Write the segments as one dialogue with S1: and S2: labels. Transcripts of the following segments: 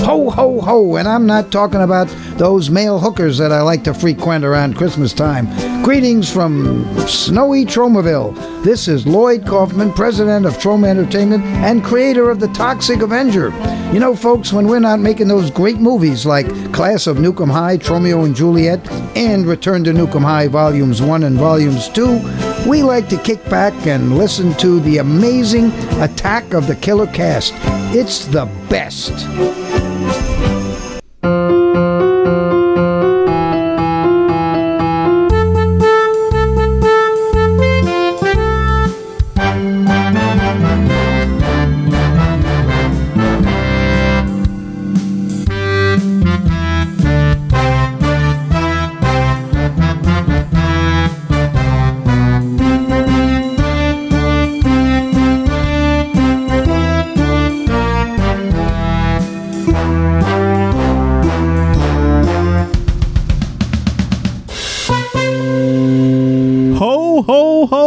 S1: ho, ho, ho, and I'm not talking about those male hookers that I like to frequent around Christmas time. Greetings from snowy Tromaville. This is Lloyd Kaufman, president of Troma Entertainment and creator of The Toxic Avenger. You know, folks, when we're not making those great movies like Class of Nukem High, Romeo and Juliet, and Return to Nukem High Volumes 1 and Volumes 2, we like to kick back and listen to the amazing Attack of the Killer cast. It's the best.
S2: Ho, ho, ho!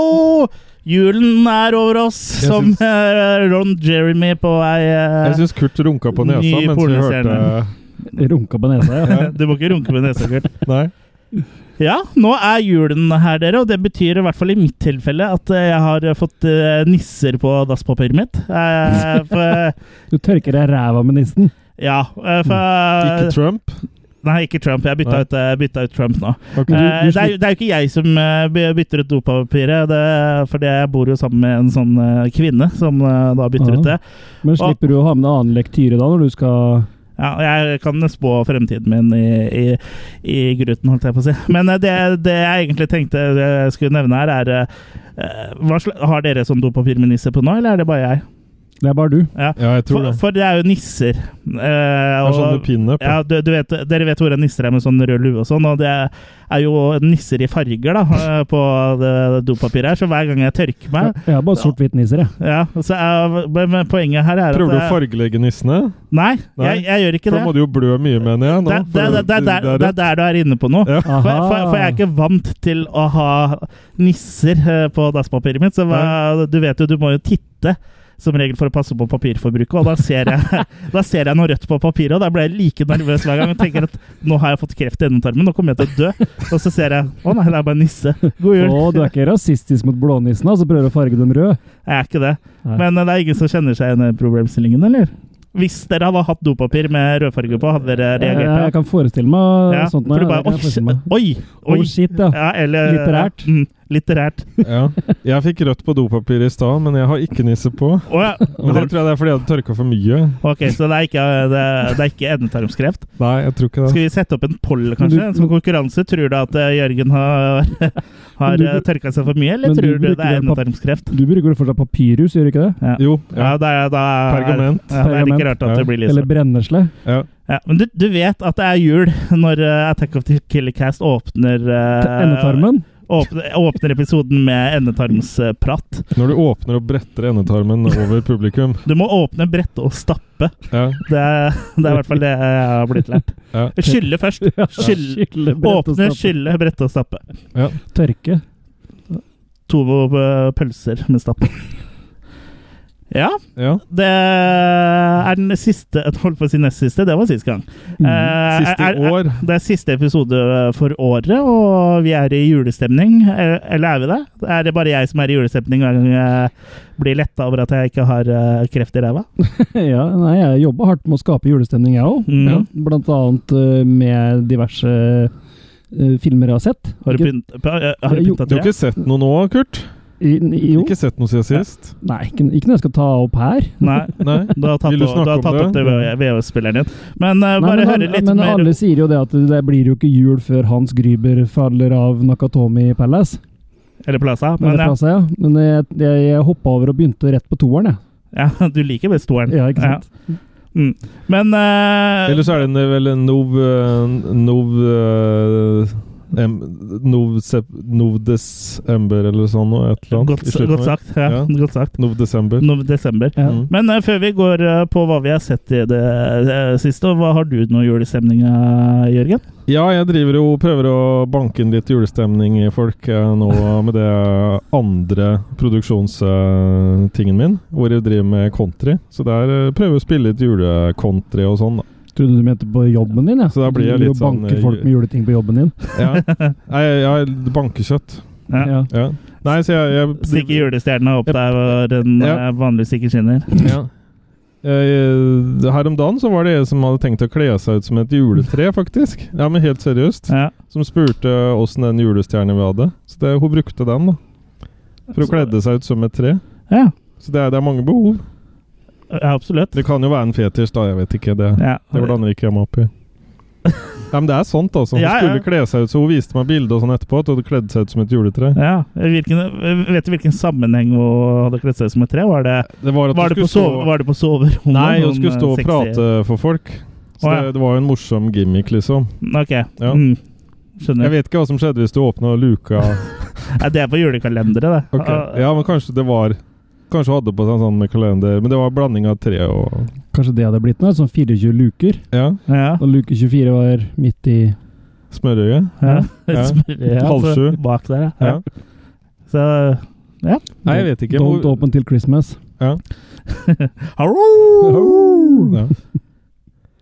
S2: Julen er over oss, som
S3: syns-
S2: eh, Ron Jeremy på ei eh,
S3: Jeg syns Kurt runka på nesa
S2: Ny
S3: mens vi hørte
S2: pornostjerne.
S4: Runka på nesa, ja.
S2: Du må ikke runke med nesa, Kurt.
S3: Nei.
S2: Ja, nå er julen her, dere, og det betyr i hvert fall i mitt tilfelle at eh, jeg har fått eh, nisser på dasspapiret mitt. Eh, for,
S4: Du tørker deg i ræva med nissen.
S2: ja, eh, for
S3: Ikke Trump.
S2: Nei, ikke Trump. Jeg bytta
S3: Nei.
S2: ut, eh, bytta ut Trump nå.
S3: Ok.
S2: Eh, det, er, jo- det er jo ikke jeg som eh, by- bytter ut dopapiret, det, er fordi jeg bor jo sammen med en sånn eh, kvinne som eh, da bytter
S4: Ja.
S2: ut det.
S4: Men slipper du å ha med deg annen lektyre da, når du skal
S2: Ja, og jeg kan spå fremtiden min i, i, i gruten, holdt jeg på å si. Men eh, det, det jeg egentlig tenkte jeg skulle nevne her, er eh, eh, hva sla- Har dere sånn dopapirminister på nå, eller er det bare jeg?
S4: Det er bare du.
S3: Ja, jeg tror
S2: For,
S3: det.
S2: for det er jo nisser. eh,
S3: Det er sånn
S2: og-
S3: med pinup.
S2: ja, du, du vet, dere vet hvor en nisser er med sånn rød lue og sånn, og det er jo nisser i farger da, eh, på det dopapiret her, så hver gang jeg tørker meg
S4: Jeg har bare sort-hvitt-nisser, jeg.
S2: ja, så er, men men poenget her er at
S3: Prøver du å
S2: jeg-
S3: fargelegge nissene?
S2: Nei,
S3: Nei.
S2: jeg, jeg gjør ikke
S3: For da
S2: det.
S3: må du jo blø mye, mener jeg. Nå,
S2: Det er- det er- det er der- det er der du er inne på noe.
S3: Ja.
S2: For, for, for jeg
S4: Ah.
S2: er ikke vant til å ha nisser eh, på dasspapiret mitt. Så hva, du vet jo, du må jo titte som regel for å passe på papirforbruket. Og da ser jeg, da ser jeg noe rødt på papiret, og da blir jeg like nervøs hver gang. Og tenker at nå har jeg fått kreft i endetarmen, nå kommer jeg til å dø. Og så ser jeg å nei, det er bare en nisse. God jul.
S4: Å, du er ikke rasistisk mot blånissene, altså prøver å farge dem røde?
S2: Jeg er ikke det.
S4: Nei.
S2: Men eh, det er ingen som kjenner seg igjen i problemstillingen, eller? Hvis dere hadde hatt dopapir med rødfarge på, hadde dere
S4: Jeg, Eh, jeg
S2: reagert?
S4: kan forestille meg
S2: Ja,
S4: sånt.
S2: for du bare,
S4: jeg kan forestille
S2: oi,
S4: meg.
S2: oi, oi.
S4: Oh, shit, ja.
S2: Ja, eller,
S4: Litterært.
S2: Mm, litterært.
S3: Ja. Jeg fikk rødt på dopapir i stad, men jeg har ikke nisse på.
S2: Å ja.
S3: Men det tror jeg det er fordi jeg hadde tørka for mye.
S2: Ok, så det er ikke, det, det er ikke endetarmskreft.
S3: Nei, jeg tror ikke det.
S2: Skal vi sette opp en poll, kanskje?
S4: Men du-
S2: Som konkurranse? Tror du at eh, Jørgen har,
S4: Men
S2: har
S4: du-
S2: eh, tørka seg for mye, eller
S4: Men du
S2: tror du det
S4: bruker
S2: er
S4: en pap-
S2: endetarmskreft?
S4: Du bruker jo fortsatt papirhus, gjør du ikke det?
S3: Jo. Ja.
S2: Ja, da er, da er,
S3: Pergament.
S2: Ja, det er ikke rart at
S3: Ja.
S2: det blir litt
S4: Eller
S2: sånn.
S4: brennesle?
S3: ja.
S2: Ja, men du, du vet at det er jul når eh, Attack of the Killer Cast åpner eh,
S4: Til endetarmen?
S2: Åpner, åpner episoden med endetarmsprat.
S3: Når du åpner og bretter endetarmen over publikum.
S2: Du må åpne, brette og stappe.
S3: Ja.
S2: Det er, det er i hvert fall det jeg har blitt lært.
S3: Ja.
S2: Skylle først. Skylle,
S4: Skylle, brett og
S2: åpne,
S4: stappe.
S2: skylle, brette og stappe.
S4: Tørke.
S2: to eh, pølser med stapp. Ja,
S3: ja.
S2: det er den siste Jeg Holdt på å si nest siste, det var sist gang. Eh,
S3: Siste
S2: er- er-
S3: år.
S2: Det er siste episode for året, og vi er i julestemning. Eh, Eller er vi det? Er det bare jeg som er i julestemning hver gang jeg blir letta over at jeg ikke har eh, kreft i ræva?
S4: Ja, nei, jeg jobba hardt med å skape julestemning, jeg òg.
S2: Mm.
S4: Ja. Blant annet eh, med diverse eh, filmer jeg har sett.
S2: Har du
S4: Ikke-
S2: pynt- eh, har du
S4: Jo.
S2: pynta
S3: Du har
S2: tre?
S3: ikke sett noe nå, Kurt?
S4: i- i- Jo.
S3: Ikke sett noe siden sist?
S4: Nei, ikke, ikke noe jeg skal ta opp her.
S2: Nei.
S3: Nei?
S2: Du har tatt,
S3: Vil du
S2: du har
S3: snakke om
S2: tatt opp det
S3: det?
S2: VHS-spilleren din. Men eh,
S4: Nei,
S2: bare
S4: men,
S2: høre litt
S4: men
S2: mer
S4: alle sier jo det at det blir jo ikke jul før Hans Gryber faller av Nakatomi Palace.
S2: Eller Plaza.
S4: Men,
S2: Men ja,
S4: plass, ja. men jeg, jeg, jeg hoppa over og begynte rett på toeren, jeg.
S2: ja, du liker best toeren.
S4: Ja, ikke sant?
S2: Men eh,
S3: Eller så er det en- vel en nov... eh, Nov... eh, em, nov, sep- nov desember eller sånn noe, et eller annet.
S2: Godt,
S3: i slutten
S2: godt
S3: av-
S2: sagt. Ja,
S3: Ja.
S2: Godt sagt.
S3: Nov desember.
S2: Nå desember.
S4: Ja.
S3: Mm.
S2: Men eh, før vi går eh, på hva vi har sett i det eh, siste, og hva har du noe julestemning av, Jørgen?
S3: Ja, jeg driver jo prøver å banke inn litt julestemning i folk eh, nå med det andre produksjonstingen min, hvor jeg driver med country. Så der eh, prøver jeg å spille litt julecontry og sånn, da.
S4: Trodde du mente på jobben din, jeg.
S3: Så da blir jeg
S4: du
S3: litt sånn,
S4: banker
S3: eh,
S4: folk med juleting på jobben din.
S3: Ja. Nei, ja, bankekjøtt.
S2: Ja.
S4: Ja.
S3: Ja. Nei, så jeg, jeg
S2: Stikke julestjerna opp der hvor den
S3: Ja.
S2: eh, vanligvis ikke skinner.
S3: Ja. Jeg, eh, her om dagen så var det en som hadde tenkt å kle seg ut som et juletre, faktisk. Ja, men helt seriøst.
S2: Ja.
S3: Som spurte åssen den julestjerna vi hadde. Så det, hun brukte den, da. For hun kledde seg ut som et tre.
S2: ja.
S3: Så det er, det er mange behov.
S2: Ja, absolutt.
S3: Det kan jo være en fetisj, da. Jeg vet ikke. Det,
S2: Ja.
S3: det blander ikke jeg meg opp i. Ja, men det er sant, altså. Hun
S2: Ja, ja.
S3: skulle kle seg ut, så hun viste meg bilde og sånn etterpå at hun hadde kledd seg ut som et juletre.
S2: Ja. Hvilken, vet du hvilken sammenheng hun hadde kledd seg som et tre? Var det,
S3: Det var at
S2: var det,
S3: hun
S2: på,
S3: skulle stå
S2: sove, var det på soverommet?
S3: Nei, hun
S2: Noen,
S3: skulle stå
S2: eh,
S3: og
S2: sexy-
S3: prate for folk. Så
S2: Å, ja.
S3: det, det var jo en morsom gimmick, liksom.
S2: Ok.
S3: Ja.
S2: Mm.
S3: Jeg
S2: Skjønner.
S3: vet ikke hva som skjedde hvis du åpna luka.
S2: Ja, det er på julekalenderet, det.
S3: Ok.
S2: Ah,
S3: Ja, men kanskje det var Kanskje hun hadde på seg en sånn med kalender, men det var en blanding av tre og
S4: Kanskje det hadde blitt noe? Sånn 24 luker.
S3: Ja.
S2: ja.
S4: Og luke 24 var midt i
S3: Smørøye.
S2: Ja.
S3: Ja.
S2: Smørje,
S3: Halv
S2: altså,
S3: sju.
S2: Bak der, ja.
S3: Ja.
S2: ja. Så
S3: Nei, jeg vet ikke.
S4: Don't open till Christmas.
S2: Hallo!
S3: Ja.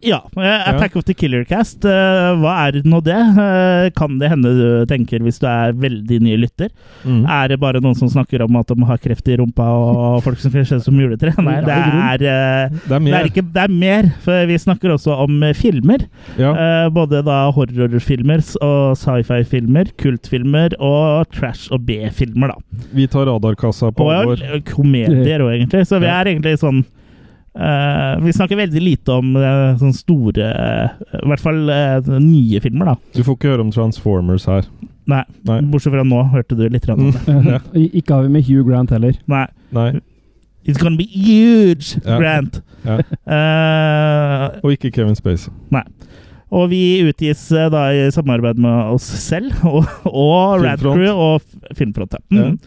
S2: Ja. eh, Attack of the Killer Cast. eh, Hva er nå det? Eh, Kan det hende du tenker, hvis du er veldig ny lytter?
S3: Mm.
S2: Er det bare noen som snakker om at de har kreft i rumpa, og folk som kler seg som juletre? Nei, det er, eh,
S3: Det er
S2: det
S3: mer.
S2: er, ikke, det er mer. For vi snakker også om eh, filmer.
S3: ja.
S2: Eh, både da horrorfilmer s- og sci-fi-filmer, kultfilmer og trash og B-filmer, da.
S3: Vi tar radarkassa på
S2: Og
S3: alvor.
S2: ja, komedier òg, egentlig. Så vi
S3: Ja.
S2: er egentlig sånn eh, Vi snakker veldig lite om eh, sånne store eh, I hvert fall eh, nye filmer, da.
S3: Du får ikke høre om Transformers her.
S2: Nei,
S3: Nei. Mm.
S2: Bortsett fra nå, hørte du litt grann om det.
S3: Ja.
S4: I- Ikke har vi med Hugh Grant heller.
S2: Nei.
S3: Nei.
S2: It's gonna be huge,
S3: Ja.
S2: Grant!
S3: Ja.
S2: Eh,
S3: Og ikke Kevin Spacey.
S2: og vi utgis eh, da i samarbeid med oss selv og, og Rad
S3: Filmfront.
S2: Crew og F- Filmfront. ja. Mm.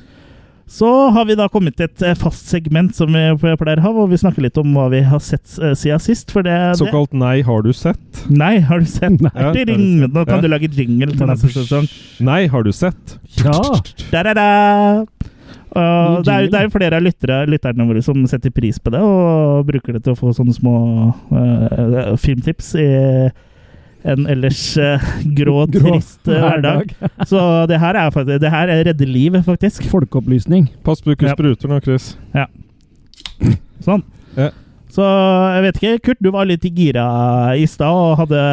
S2: Så har vi da kommet til et eh, fast segment som vi pleier å ha, hvor vi snakker litt om hva vi har sett eh, siden sist. For det, det
S3: Såkalt Nei, har du sett?
S2: Nei, har du sett?
S4: Nei.
S3: Ja, har du
S2: Ding!
S3: sett?
S2: Nå kan
S3: Ja.
S2: du lage jingle til neste sesong.
S3: Sånn. Nei, har du sett?
S4: Ja!
S2: Da, da, da. Og
S4: Ny
S2: det, er,
S4: jingle.
S2: det er jo flere av lyttere, lytterne våre som setter pris på det, og bruker det til å få sånne små eh, filmtips i en ellers eh, grå, trist eh, hverdag. Så det her, er faktisk, det her redder livet, faktisk.
S4: Folkeopplysning.
S3: Pass på du ikke
S2: Ja.
S3: spruter nå, Chris.
S2: Sånn.
S3: Ja.
S2: Så jeg vet ikke, Kurt, du var litt i gira i stad og hadde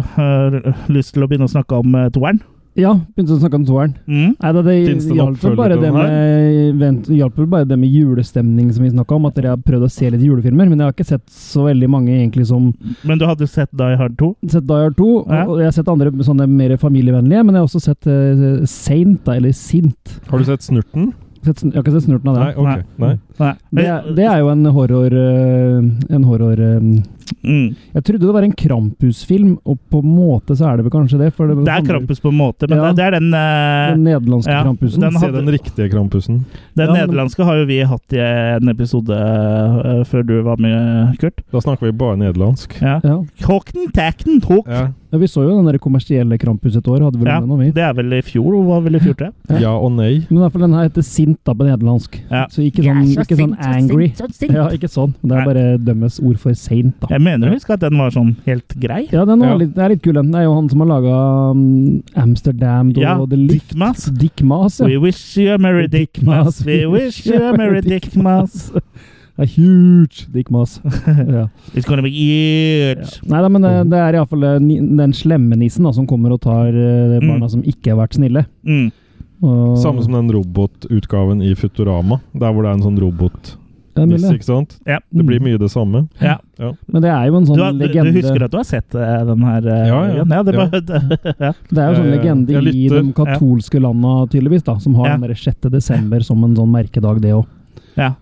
S2: øh, øh, lyst til å begynne å snakke om øh, toeren.
S4: Ja, begynte å snakke om toeren.
S2: Mm.
S4: Nei, da, det
S3: Finnes det en
S4: hjalp vel
S3: oppfølger
S4: bare
S3: til
S4: det
S3: den
S4: med, vent, hjalp vel bare det med julestemning som vi snakka om, at dere har prøvd å se litt julefilmer, men jeg har ikke sett så veldig mange egentlig som
S2: Men du hadde sett Die Hard 2?
S4: sett Die Hard 2, og-
S2: Ja.
S4: og jeg har sett andre sånne mer familievennlige, men jeg har også sett eh, Saint, da, eller Sint.
S3: Har du sett Snurten?
S4: Sett, sn- jeg har ikke sett snurten av
S3: Nei,
S4: det.
S3: ok. Nei.
S2: Nei.
S4: Det, er- det er jo en horror... eh, en horror... eh,
S2: mm.
S4: jeg trodde det var en Krampus-film, og på en måte så er det vel kanskje det. For det,
S2: Det er Krampus på en måte, men
S4: Ja.
S2: det, det er den øh,
S4: Den nederlandske
S2: Ja,
S4: Krampusen.
S2: den
S3: Se
S2: hadde-
S3: den riktige Krampusen.
S2: Den
S4: Ja, men-
S2: nederlandske har jo vi hatt i eh, en episode øh, før du var med, Kurt.
S3: Da snakker vi bare nederlandsk.
S2: Ja.
S4: Ja.
S2: Håkten, Tækten, Håk.
S3: Ja,
S4: Ja, vi så jo den der kommersielle Krampus et år, hadde vel
S2: Ja,
S4: den om vi.
S2: det er vel i fjor? Hun var vel i fjor, tror jeg.
S3: ja og nei.
S4: Men i hvert fall den her heter Sint da, på nederlandsk.
S2: Ja.
S4: Så ikke sånn, ikke sånn angry. Ja, ikke sånn. Det
S2: Nei.
S4: er bare dømmes ord for saint, da.
S2: Jeg mener å huske at den var sånn helt grei.
S4: Ja, den var
S3: Ja.
S4: Litt, det er litt kul. Den Det er jo han som har laga Amsterdam Door
S2: Ja,
S4: og The Lift.
S2: Dickmas.
S4: Dick Mas, ja.
S2: We wish you a merry
S4: Dick
S2: Dickmas.
S4: Mas.
S2: We wish you a merry Dickmas.
S4: Det er huge Dick Mas. Ja.
S2: It's gonna be huge.
S4: Nei da, men det,
S2: Mm.
S4: det er iallfall eh, den slemme nissen da, som kommer og tar eh, barna
S2: Mm.
S4: som ikke har vært snille.
S2: Mm.
S4: Og,
S3: Samme som den robotutgaven i Futurama, der hvor det er en sånn robotnisse,
S4: det er mulig. Mm.
S3: ikke sant?
S2: Ja.
S3: Det blir mye det samme.
S2: ja.
S4: Men det er jo en sånn
S2: Du, har- du,
S4: legende
S2: du husker at du har sett eh, den her? eh,
S3: Ja, ja.
S2: igjen? ja det
S3: Ja.
S2: bare, ja.
S4: Det er jo sånn
S3: Jeg-
S4: legende
S3: jeg
S4: i
S3: lytter.
S4: de katolske landa, tydeligvis, da, som har
S2: Ja.
S4: den der 6. desember som en sånn merkedag, det òg.
S2: ja.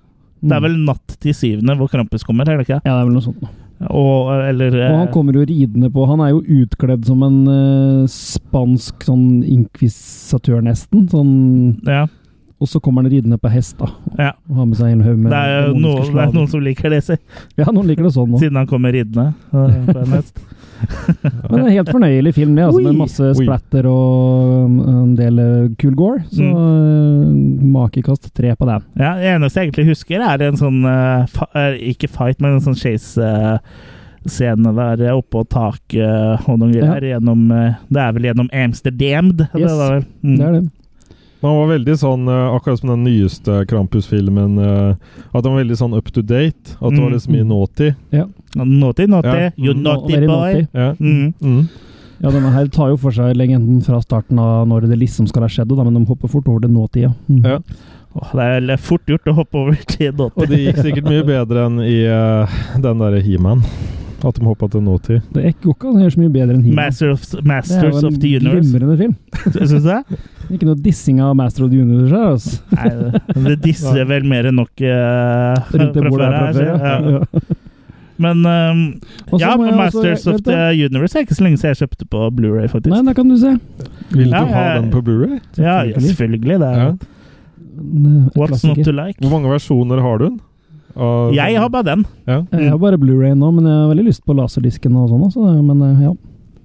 S2: Det
S4: Mm.
S2: er vel natt til syvende hvor Krampus kommer, er det ikke?
S4: Ja, det er vel noe sånt. da.
S2: Og, eller eh,
S4: Og han kommer jo ridende på Han er jo utkledd som en eh, spansk sånn inkvisatør, nesten. Sånn,
S2: ja,
S4: og så kommer han ridende på hest, da.
S2: ja.
S4: Og har med seg en haug med
S2: Det er jo
S4: demoniske
S2: noen, det
S4: slaver.
S2: er noen som liker det, si.
S4: Ja, noen liker det sånn òg.
S2: siden han kommer ridende. eh, på en hest.
S4: Men en helt fornøyelig film, det. Altså,
S2: Oi.
S4: med masse
S3: Oi.
S4: splatter og um, en del eh, cool gore. Så
S2: Mm.
S4: eh, makekast tre på den.
S2: Ja, det eneste jeg egentlig husker, er en sånn eh, fa eh, Ikke fight, men en sånn chase eh, scene der eh, oppå taket eh, og noen greier. Gjennom, eh, det er vel gjennom Amsterdam? Det,
S4: Yes,
S2: da vel? Mm.
S4: Det er det.
S3: Men han var veldig sånn, eh, akkurat som den nyeste Krampus-filmen, eh, at han var veldig sånn up to date. At det var liksom i
S4: Mm.
S3: nåtid.
S2: Naughty, naughty,
S3: Ja.
S2: you
S3: Mm.
S2: naughty
S4: Very
S2: boy.
S4: naughty.
S3: Ja.
S2: Mm.
S3: Mm.
S4: Ja, denne her tar jo for seg legenden fra starten av når det liksom skal ha skjedd, og da, men de hopper fort over til nåtida. Mm.
S3: Ja.
S2: Åh, det er vel fort gjort å hoppe over til
S3: Og
S2: naughty.
S3: det gikk sikkert mye bedre enn i eh, den derre He-Man. At de hoppa til nåtid.
S4: Det er ikke går ikke an å gjøre så mye bedre enn He-Man.
S2: Master of,
S4: Det er
S2: Masters
S4: jo en
S2: of the Universe,
S4: glimrende film.
S2: syns du det?
S4: Ikke noe dissing av Master of the Universe her, altså.
S2: Nei, det- det disser vel mer enn nok eh,
S4: Rundt det
S2: fra
S4: bordet
S2: før
S4: her fra
S2: her,
S4: før,
S2: så-
S4: ja.
S2: ja. Men ehm,
S4: Og så
S2: ja,
S4: må
S2: men
S4: jeg også-
S2: Masters of
S4: vet du-
S2: the Universe er ikke så lenge siden jeg kjøpte på Blu-ray faktisk.
S4: Nei, der kan du se.
S3: Vil
S2: Ja,
S3: du ha
S2: jeg-
S3: den på Blu-ray?
S2: ja, ja, selvfølgelig. Det er
S3: Ja.
S4: En, eh,
S2: What's
S4: klassiker.
S2: not to like?
S3: Hvor mange versjoner har du den? Av-
S2: Jeg har bare den.
S3: ja.
S4: Eh, Jeg har bare Blu-ray nå, men jeg har veldig lyst på laserdisken og sånn også, men eh, ja.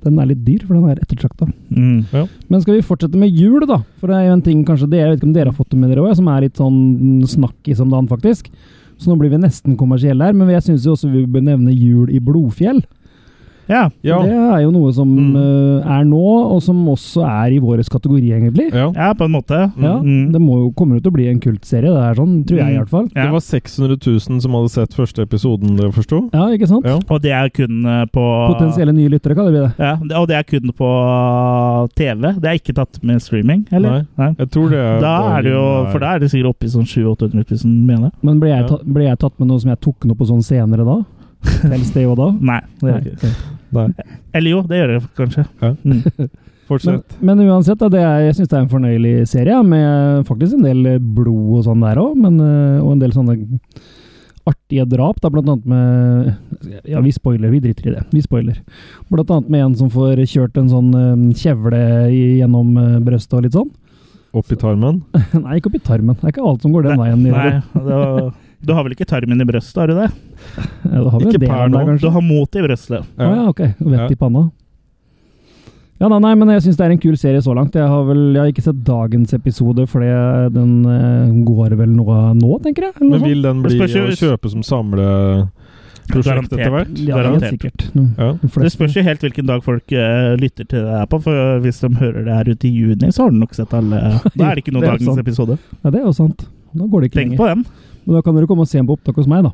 S4: Den er litt dyr, for den er ettertrakta.
S2: Mm.
S4: Men skal vi fortsette med jul, da? For det er jo en ting kanskje dere, jeg vet ikke om dere har fått det med dere òg, som er litt sånn snakkis om dagen, faktisk. Så nå blir vi nesten kommersielle her, men jeg syns jo også vi bør nevne jul i Blodfjell.
S2: Ja.
S3: Ja.
S4: Det er jo noe som
S3: Mm.
S4: eh, er nå, og som også er i vår kategori, egentlig.
S3: ja.
S2: ja, på en måte.
S4: Ja,
S2: Mm.
S4: Det må jo kommer jo til å bli en kultserie, det er sånn, tror jeg i
S2: Mm.
S4: hvert fall.
S2: Ja.
S3: Det var 600 000 som hadde sett første episoden, dere forsto?
S4: Ja, ikke sant?
S3: Ja.
S2: Og det er kun eh, på
S4: Potensielle nye lyttere, kaller vi det.
S2: ja, det- Og det er kun på TV. Det er ikke tatt med streaming, eller? Nei.
S3: Jeg tror det er
S2: Da er det jo, For da er det sikkert oppe i sånn 700 000-800 000, mener jeg.
S4: Men ble jeg,
S3: Ja.
S4: ta, ble jeg tatt med noe som jeg tok noe på sånn senere da? Tels det jo da?
S2: Nei. det gjør det ikke.
S4: Nei.
S3: Nei,
S2: Eller jo, det gjør det kanskje.
S3: Ja.
S2: Mm.
S4: Men,
S3: fortsett.
S4: men uansett, da, det er, jeg syns det er en fornøyelig serie, ja, med faktisk en del eh, blod og sånn der òg, og en del sånne artige drap, da, blant annet med Ja, vi spoiler, vi driter i det. Vi spoiler. Blant annet med en som får kjørt en sånn eh, kjevle i- gjennom eh, brøstet og litt sånn.
S3: Opp i tarmen.
S4: Nei, ikke opp i tarmen. Det er ikke alt som går den veien. i
S2: Nei,
S4: det.
S2: det var, du har vel ikke tarmen i brøstet, har du det?
S4: Ja, da har vi
S3: Ikke
S4: en del
S3: per
S4: om det,
S3: nå.
S4: kanskje.
S2: Du har mot i brøstet.
S4: Å ja,
S3: Ja.
S4: ok. Vett
S3: Ja.
S4: i panna. Ja, da, nei, men jeg syns det er en kul serie så langt. Jeg har vel jeg har ikke sett dagens episode, fordi den eh, går vel noe nå, tenker jeg? Eller
S3: Men
S4: noe sånt?
S3: vil den bli
S2: Det spørs jo-
S3: å kjøpe som samleprosjekt
S2: Garantert.
S3: etter hvert?
S4: Ja, helt
S2: garantert.
S4: sikkert. Mm.
S3: Ja.
S4: De
S2: Det
S4: fleste-
S2: spørs jo helt hvilken dag folk eh, lytter til det her på, for hvis de hører det her ute i juni, så har de nok sett alle Da er det ikke noen
S4: Det er
S2: dagens
S4: sant.
S2: episode.
S4: Ja, det er jo sant. Da går det ikke
S2: Tenk
S4: lenger.
S2: på Oh. den.
S4: Men da kan dere komme og se den på opptak hos meg, da.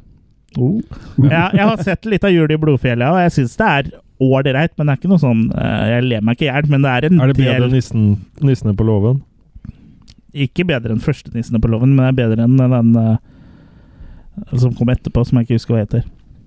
S2: Ja, jeg har sett litt av Jul i blodfjellet, og jeg syns det er ålreit, men det er ikke noe sånn eh, Jeg ler meg ikke i hjel, men det er en
S3: Er det bedre
S2: del
S3: enn nissen, Nissene på låven?
S2: Ikke bedre enn Førstenissene på låven, men det er bedre enn den eh, som kom etterpå, som jeg ikke husker hva heter.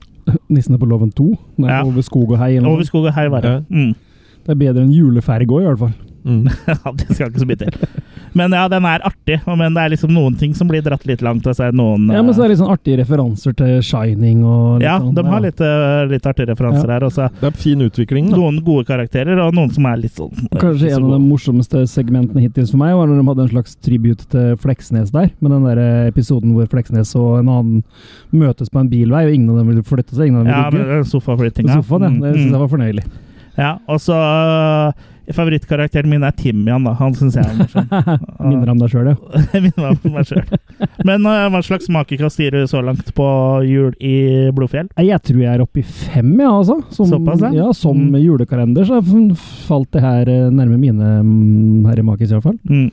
S4: Nissene på låven 2. Nei,
S2: Ja.
S4: Over skog og hei. Eller noe.
S2: Over skog og hei være.
S3: Ja.
S2: Mm.
S4: sånt. Det er bedre enn juleferge òg, i hvert fall.
S3: Mm.
S2: Ja, det skal ikke så mye til. Men ja, den er artig, men det er liksom noen ting som blir dratt litt langt. Altså, noen, eh,
S4: Ja, Men så er det litt sånn artige referanser til Shining og litt
S2: ja,
S4: sånn.
S2: de har
S4: Ja.
S2: litt, eh, litt artige referanser
S4: Ja.
S2: her. Også.
S3: Det er fin utvikling, da.
S2: Noen gode karakterer, og noen som er litt sånn eh,
S4: Kanskje
S2: ikke så
S4: en av de
S2: gode.
S4: morsomste segmentene hittil for meg var når de hadde en slags tribute til Fleksnes der, med den der eh, episoden hvor Fleksnes og en annen møtes på en bilvei, og ingen av dem ville flytte seg, ingen av dem
S2: Ja,
S4: ville
S2: men eh, Mm,
S4: ligge.
S2: den
S4: På
S2: sofaflyttinga.
S4: sofaen, ja. Det synes jeg var fornøyelig.
S2: ja, og så eh, Favorittkarakteren min er Timian, da. Han syns jeg er morsom.
S4: Minner om deg sjøl, ja.
S2: Jeg minner meg om meg selv. Men eh, hva slags makekast gir du så langt på jul i Blodfjell?
S4: Nei, Jeg tror jeg er oppe i fem, ja, altså. Som,
S2: Såpass, ja.
S4: ja. Som
S2: Mm.
S4: julekalender så f- falt det her eh, nærme mine mm, herremakis, i hvert fall.
S2: Mm.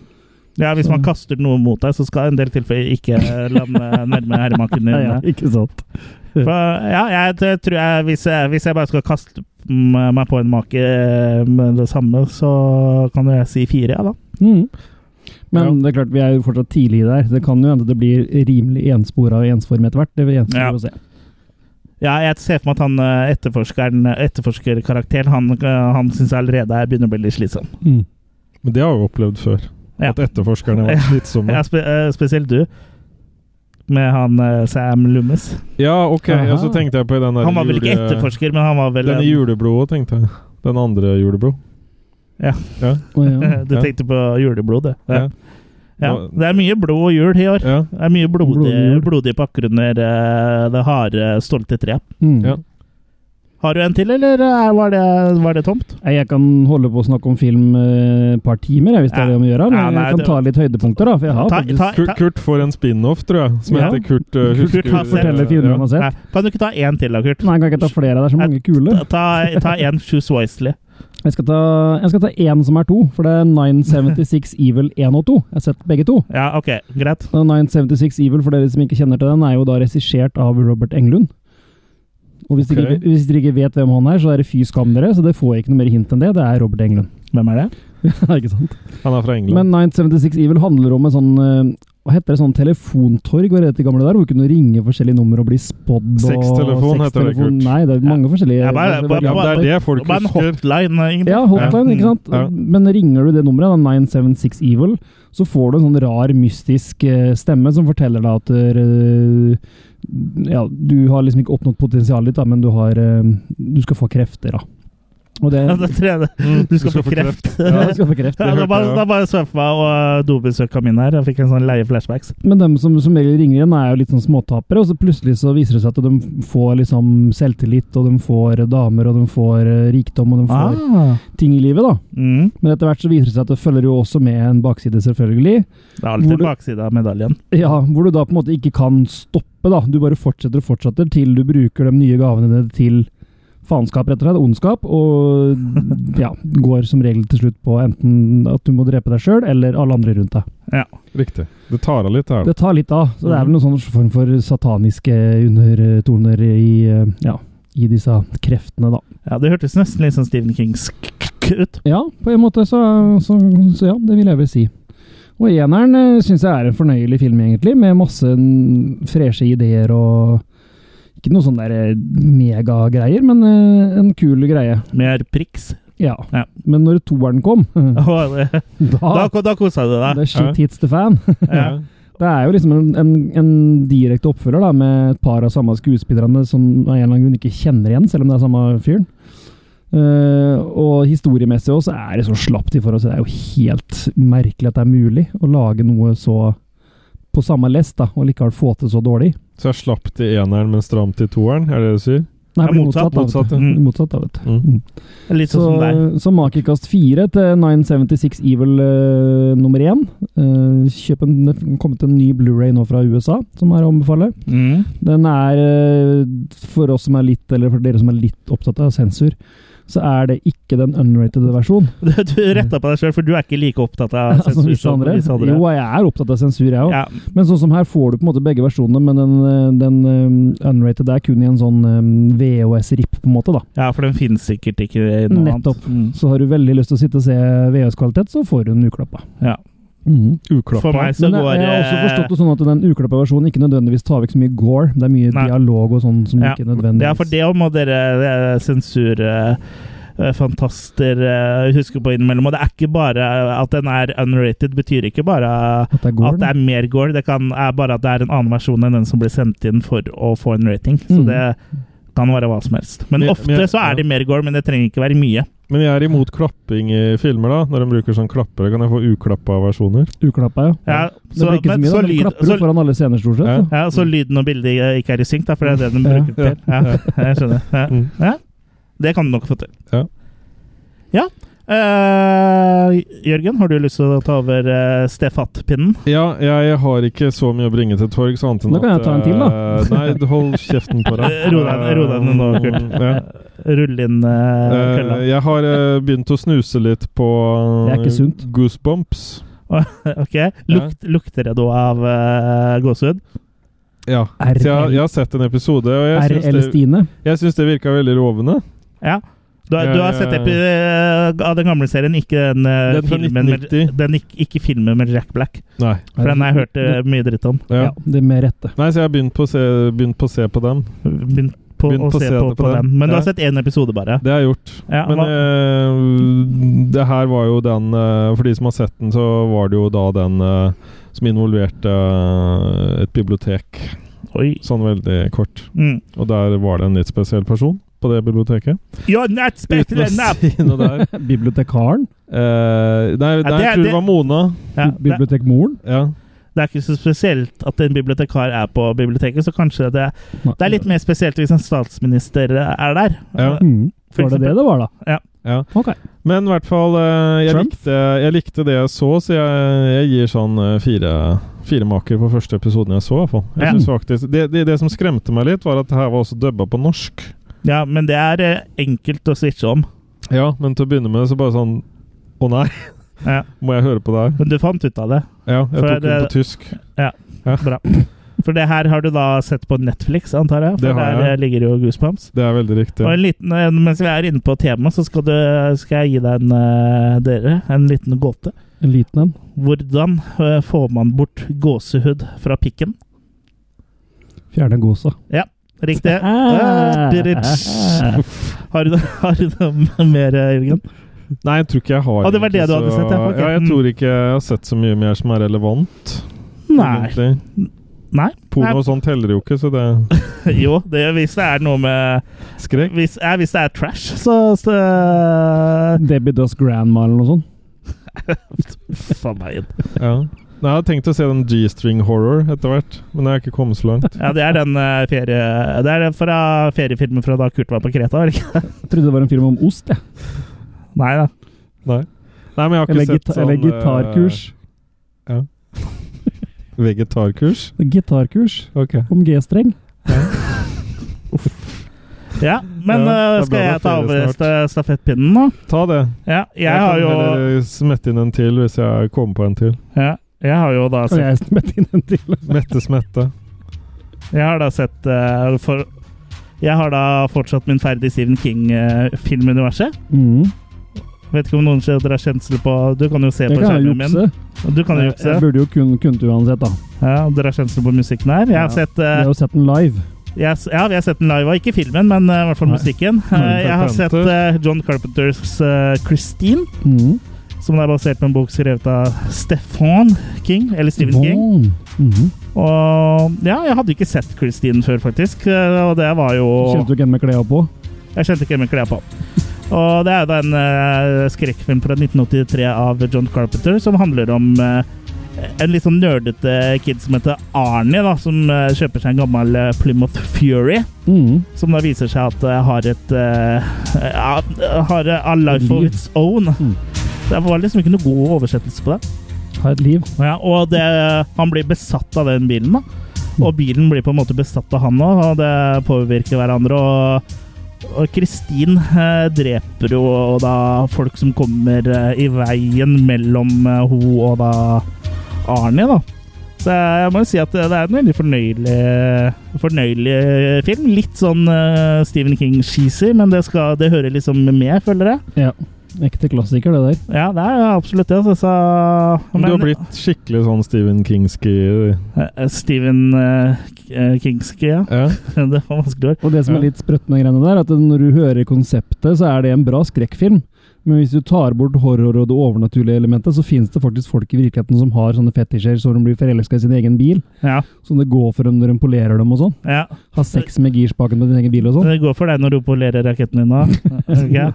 S2: Ja, Hvis
S4: Så-
S2: man kaster noe mot deg, så skal en del tilfeller ikke lande Eh, nærme herremaken din. eh.
S4: Ja, ja, ikke sant.
S2: For, ja, jeg t- tror jeg hvis, jeg hvis jeg bare skal kaste m- meg på en make eh, med det samme, så kan jo jeg si fire, ja da.
S4: Mm. Men det er klart, vi er jo fortsatt tidlig der. Det kan jo hende det blir rimelig enspora og ensform etter hvert. Det gjenstår
S2: Ja.
S4: å se.
S2: Ja, jeg ser for meg at han eh, etterforskeren, etterforskerkarakteren, han, eh, han syns allerede jeg begynner å bli litt slitsom.
S4: Mm.
S3: Men det har vi opplevd før.
S2: Ja.
S3: At etterforskerne har vært slitsomme.
S2: Ja, spe, eh, spesielt du. Med han eh, Sam Lummes.
S3: Ja, ok.
S4: Aha.
S3: Og så tenkte jeg på den der
S2: Han var vel ikke
S3: jule-
S2: etterforsker, men han var vel
S3: Den i juleblodet, tenkte jeg. Den andre juleblod.
S4: Å, ja.
S2: Du
S3: Ja.
S2: tenkte på juleblod, du. Ja.
S3: Ja.
S2: Ja. Det er mye blod og jul i år.
S3: Ja.
S2: Det er mye
S4: Blodig
S2: blodige,
S4: jul.
S2: blodige bakgrunner. eh, Det harde, stolte treet.
S4: Mm.
S3: Ja.
S2: eh, Har du en til, eller eh, var det, var det tomt?
S4: Nei, Jeg kan holde på å snakke om film eh, et par timer, jeg, hvis det
S2: Ja.
S4: er det om å gjøre. Men
S2: Ja, nei,
S4: jeg kan
S2: det-
S4: ta litt høydepunkter, da. For jeg har
S2: Ta-
S4: faktisk
S2: ta-
S3: Kurt, Kurt får en spin-off, tror jeg, som
S4: Ja.
S3: heter Kurt uh,
S2: Kurt
S3: husker-
S2: har sett-
S4: fortelle filmer man har
S2: Nei.
S4: sett.
S2: Kan du ikke ta én til, da, Kurt?
S4: Nei, jeg kan ikke ta flere. Det er så mange kule.
S2: Ta- Ta ta én Shoes Wisely.
S4: Jeg skal ta, jeg skal ta én som er to, for det er 976 Evil 1 og 2. Jeg har sett begge to.
S2: Ja, OK. Greit.
S4: Og 976 Evil, for dere som ikke kjenner til den, er jo da regissert av Robert Englund. Og hvis, dere,
S3: Ok.
S4: ikke- hvis dere ikke vet hvem han er, så er det fy skam dere, så dere får ikke noe mer hint enn det. Det er Robert Englund.
S2: Hvem er det?
S4: ikke sant?
S3: Han er fra England.
S4: Men 976 Evil handler om en sånn eh, hva heter det, sånn telefontorg hva er det det gamle der, hvor du kunne ringe forskjellige numre og bli spådd. og-
S3: Sextelefon heter det,
S4: sextelefon.
S3: Kurt.
S4: Nei, det er mange forskjellige.
S2: Ja, bare-
S4: det er
S2: bare-
S3: ja, men det er det folk
S2: Bare en
S3: husker.
S2: hotline, eh, egentlig.
S4: Ja, hotline, ikke sant?
S3: Ja.
S4: Men ringer du det nummeret, da, 976 Evil, så får du en sånn rar, mystisk eh, stemme som forteller deg at eh, ja, du har liksom ikke oppnådd potensialet ditt, da, men du, har, eh, du skal få krefter, da. Og det,
S2: Ja, det tror jeg det.
S3: Mm,
S2: Du skal få kreft.
S3: Ja.
S4: du skal få krefter.
S2: Ja, da
S3: Det hørte jeg
S2: bare,
S3: også.
S2: da bare så jeg for meg og dobesøka mine her. Jeg fikk en sånn leie flashbacks.
S4: Men dem som som regel ringer igjen, er jo litt sånn småtapere, og så plutselig så viser det seg at de får liksom selvtillit, og de får damer, og de får eh, rikdom, og de får ting i livet, da.
S2: Mm.
S4: Men etter hvert så viser det seg at det følger jo også med en bakside, selvfølgelig.
S2: Det er alltid
S4: Hvor du-
S2: en bakside av medaljen.
S4: Ja, hvor du da på en måte ikke kan stoppe, da. Du bare fortsetter og fortsetter til du bruker de nye gavene dine til faenskap, rett og slett, ondskap, og ja, går som regel til slutt på enten at du må drepe deg sjøl, eller alle andre rundt deg.
S3: Riktig. Det tar av litt her. da.
S4: Det tar litt av. Så det er vel noen sånn form for sataniske undertoner i, eh, ja, i disse kreftene, da.
S2: Ja, Det hørtes nesten litt sånn Stephen Kings ut.
S4: Ja, på en måte, så, så, så ja, det vil jeg vel si. Og eneren syns jeg er en fornøyelig film, egentlig, med masse mm, freshe ideer og Ikke noe sånn der eh, megagreier, men eh, en kul greie.
S2: Mer priks.
S4: Ja.
S2: Ja.
S4: Men når toeren kom, da,
S2: Og det-
S4: Ah.
S2: Da, da kosa du deg.
S4: da shit hits the fan.
S2: Ja.
S4: Det er jo liksom en, en, en direkte oppfølger da, med et par av samme skuespillerne som av en eller annen grunn ikke kjenner igjen, selv om det er samme fyren. Eh, og historiemessig også er det så slapt i forhold til Det er jo helt merkelig at det er mulig å lage noe så på samme lest, da, og likevel få til så dårlig.
S3: Så jeg slapp til eneren, men stramt til toeren, er det det du sier?
S4: Nei,
S2: Det er
S4: det blir
S2: motsatt,
S3: motsatt,
S4: motsatt,
S2: ja.
S4: da, vet du. Motsatt, da, vet du.
S3: Mm.
S2: Litt
S4: Så,
S2: sånn som deg.
S4: så makekast fire til 976 Evil eh, nummer én. Eh, kjøp en, det er kommet en ny Blu-ray nå fra USA, som er å anbefale.
S2: Mm.
S4: Den er eh, For oss som er litt, eller for dere som er litt opptatt av sensur, så er det ikke den unrated versjonen.
S2: Du, du retta på deg sjøl, for du er ikke like opptatt av
S4: Altså,
S2: sensur
S4: visse
S2: som
S4: andre.
S2: visse andre.
S4: Jo, jeg er opptatt av sensur, jeg òg.
S2: Ja.
S4: Men sånn som her får du på en måte begge versjonene, men den, eh, den eh, unrated er kun i en sånn eh, VHS-ripp, på en måte. da.
S2: ja, for den finnes sikkert ikke i noe
S4: Nettopp.
S2: annet. Mm.
S4: Så har du veldig lyst til å sitte og se VHS-kvalitet, så får du den uklappa.
S2: Mm. Ja.
S4: Mhm.
S3: Uklappa.
S2: For meg så
S4: Men jeg,
S2: går
S4: jeg har også
S2: eh,
S4: forstått det sånn at den uklappa versjonen ikke nødvendigvis tar vekk så mye gore. Det er mye
S2: Nei.
S4: dialog og sånn som
S2: Ja,
S4: ikke nødvendigvis
S2: Ja, for det må dere eh, sensur... eh, Fantaster eh, huske på innimellom. Og det er ikke bare at den er unrated, betyr ikke bare
S4: At det er gore.
S2: at det er mer gore. Det kan, er bare at det er en annen versjon enn den som ble sendt inn for å få en rating. Så
S4: Mm.
S2: det kan være hva som helst. Men
S3: Men-
S2: ofte
S3: men-
S2: så er det mer gore, men det trenger ikke være mye.
S3: Men jeg er imot klapping i filmer, da. Når de bruker sånn klappere, kan jeg få uklappa versjoner?
S4: Uklappa, ja.
S2: Ja,
S4: Det
S2: så,
S4: blir ikke så
S2: men,
S4: mye,
S2: så,
S4: da, men du
S2: lyd,
S4: klapper Mm.
S2: så,
S4: jo foran alle scener, stort sett.
S3: Ja.
S4: så.
S2: ja, så lyden og bildet eh, ikke er i synk, da, for det er det
S4: Mm.
S2: den bruker
S3: Ja.
S2: til. Ja, jeg skjønner. Ja.
S3: Mm.
S2: Det kan du nok få til.
S3: Ja.
S2: Ja. Eh, Jørgen, har du lyst til å ta over uh, stefatt-pinnen?
S3: Ja, jeg har ikke så mye å bringe til torgs, annet enn
S4: Da kan jeg ta en til, da.
S3: eh, Nei, hold kjeften på deg.
S2: Eh, Ro deg ro deg ned nå, Kurt.
S3: Ja.
S2: Rull inn eh, kølla.
S3: Eh, jeg har eh, begynt å snuse litt på
S4: Det er ikke sunt.
S3: eh, goosebumps.
S2: ok. Lukt, Lukter det da av eh, gåsehud?
S3: Ja. Så jeg, jeg har sett en episode, og jeg
S4: RL
S3: syns det,
S4: Stine.
S3: jeg syns det virka veldig lovende.
S2: Ja. Du, har- du har sett epi eh, av den gamle serien, ikke den, eh,
S3: Den fra
S2: filmen med,
S3: 1990.
S2: den, ikk- ikke filmen med Jack Black.
S3: Nei.
S2: For den har jeg hørt eh, mye dritt om.
S3: Ja.
S4: Ja, det med rette.
S3: Nei, så jeg har begynt på å se, begynt på, å se på dem.
S2: Begynt på
S3: Begynt
S2: å se på, på den. Men du
S3: Ja.
S2: har sett én episode, bare.
S3: Det har jeg gjort.
S2: Ja,
S3: Men
S2: hva-
S3: eh, det her var jo den eh, For de som har sett den, så var det jo da den eh, som involverte eh, et bibliotek.
S2: Oi.
S3: Sånn veldig kort.
S2: Mm.
S3: Og der var det en litt spesiell person på det biblioteket.
S2: You're not
S3: Uten
S2: special
S3: å
S2: enough!
S3: si noe der.
S4: Bibliotekaren.
S3: Eh, nei,
S2: Ja,
S3: nei,
S2: det er-
S3: jeg tror det
S2: det-
S3: var Mona.
S2: Ja, det-
S4: Bibliotekmoren.
S3: Ja.
S2: Det er ikke så spesielt at en bibliotekar er på biblioteket, så kanskje det, det er litt mer spesielt hvis en statsminister eh, er der.
S3: Ja.
S4: Mm.
S2: For
S4: Var det det
S2: eksempel.
S4: det var, da?
S3: Ja.
S4: Ok.
S3: Men i hvert fall, eh, jeg
S4: Trump?
S3: likte, jeg likte det jeg så, så jeg, jeg gir sånn eh, fire, fire maker på første episoden jeg så. i hvert fall. Jeg
S2: Ja.
S3: synes faktisk, det, det, det som skremte meg litt, var at det her var også dubba på norsk.
S2: Ja, men det er eh, enkelt å switche om.
S3: Ja, men til å begynne med så bare sånn Å nei,
S2: Ja.
S3: må jeg høre på det her?
S2: Men du fant ut av det.
S3: Ja, jeg
S2: For
S3: tok den
S2: det-
S3: på tysk.
S2: Bra. For det her har du da sett på Netflix, antar jeg? For
S3: Det har
S2: der
S3: jeg.
S2: eh, ligger jo Goosebumps.
S3: Det er veldig riktig.
S2: Og en liten, eh, mens vi er inne på temaet, så skal, du, skal jeg gi deg en, eh, dere en liten gåte.
S4: En liten en.
S2: Hvordan eh, får man bort gåsehud fra pikken?
S4: Fjerne gåsa.
S2: Riktig.
S4: Ah.
S2: Ah. Har du, har du noe mer, eh, Jørgen?
S3: Nei, jeg tror ikke jeg har
S2: Å, det var det
S3: egentlig
S2: du hadde
S3: så-
S2: sett, ja. Ok.
S3: ja. Jeg
S2: Mm.
S3: tror ikke jeg har sett så mye mer som er relevant.
S2: Nei.
S3: egentlig.
S2: Nei.
S3: Porno og sånn teller jo ikke, så det
S2: Jo, det, hvis det er noe med
S3: Skrekk.
S2: Hvis, ja, hvis det er trash, så, så eh,
S4: Debbie Does Grandma eller noe sånt.
S2: Faen meg.
S3: Ja. Nei, jeg hadde tenkt å se den G-string horror etter hvert, men jeg har ikke kommet så langt.
S2: Ja, det er den eh, ferie... Det er den fra feriefilmen fra da Kurt var på Kreta, var det ikke?
S4: Jeg trodde det var en film om ost, jeg.
S2: Nei da.
S3: Nei. Nei, men jeg har ikke
S4: Eller,
S3: sett
S4: gita
S3: sånn
S4: eller gitarkurs.
S3: eh, vegetarkurs?
S4: Gitarkurs
S3: Ok.
S4: om G-streng.
S2: Ja, men eh,
S3: Ja, det er bra
S2: skal
S3: det er
S2: jeg ta over
S3: ferie
S2: sta- stafettpinnen nå?
S3: Ta det.
S2: Ja, jeg
S3: kan
S2: har jo
S3: heller eh, smette inn en til hvis jeg kommer på en til.
S2: ja, Jeg har jo da
S4: Kan
S2: sett
S4: jeg smette inn en til?
S3: Mette smette.
S2: Jeg har da sett eh, for, Jeg har da fortsatt min ferd i Stephen King-filmuniverset.
S4: Mm.
S2: Vet ikke om noen ser- dere har kjensel på Du kan jo se
S4: Jeg
S2: på
S4: kan jo
S2: skjermen min.
S4: jukse.
S2: Du kan jo jukse.
S4: Jeg burde jo kun, kunnet uansett, da.
S2: Ja, dere har kjensel på musikken her. Jeg har
S4: Ja.
S2: sett
S4: Jeg
S2: eh,
S4: har jo sett den live.
S2: Jeg, s- ja, vi har sett den live, og ikke filmen, men eh, i hvert fall
S4: Nei.
S2: musikken. Eh,
S4: Nei,
S2: jeg har sett
S3: Carpenter.
S2: eh, John Carpenters eh, 'Christine',
S4: Mm.
S2: som er basert på en bok skrevet av Stefan King, eller Stephen King.
S4: Vaughn. Mhm.
S2: Og ja, jeg hadde ikke sett 'Christine' før, faktisk, eh, og det var jo
S4: Kjente du ikke en med klærne på?
S2: Jeg kjente ikke med klær på. Og det er jo da en eh, skrekkfilm fra 1983 av John Carpenter som handler om eh, en litt sånn nerdete kid som heter Arnie, da, som eh, kjøper seg en gammel eh, Plymouth Fury.
S4: Mm.
S2: Som da viser seg at det har et eh, ja, Har a life of
S4: Liv.
S2: its own.
S4: Mm.
S2: Det var liksom ikke noe god oversettelse på det.
S4: Har et liv.
S2: Ja, og det, han blir besatt av den bilen, da. Og bilen blir på en måte besatt av han òg, og det påvirker hverandre. Og og Kristin eh, dreper jo og da folk som kommer eh, i veien mellom eh, hun og da Arnie, da. Så jeg må jo si at det er en veldig fornøyelig, fornøyelig film. Litt sånn eh, Stephen King-cheesy, men det, skal, det hører liksom med, føler jeg.
S4: Ja. Ekte klassiker, det der.
S2: Ja, det er absolutt det. Altså, så,
S3: Du har
S2: men-
S3: blitt skikkelig sånn Stephen Kingsky.
S2: Eh, Stephen uh, Kingske, ja.
S3: Ja.
S2: Det var vanskelig ord.
S4: Og det som
S3: Ja.
S4: er litt sprøtt med greiene der, at når du hører konseptet, så er det en bra skrekkfilm. Men hvis du tar bort horror og det overnaturlige elementet, så finnes det faktisk folk i virkeligheten som har sånne fetisjer, så de blir forelska i sin egen bil.
S2: Ja,
S4: Som det går for dem når de polerer dem og sånn.
S2: ja.
S4: Har sex med girspaken på din egen bil og sånn.
S2: Det går for deg når du polerer raketten din nå. Ok, ja.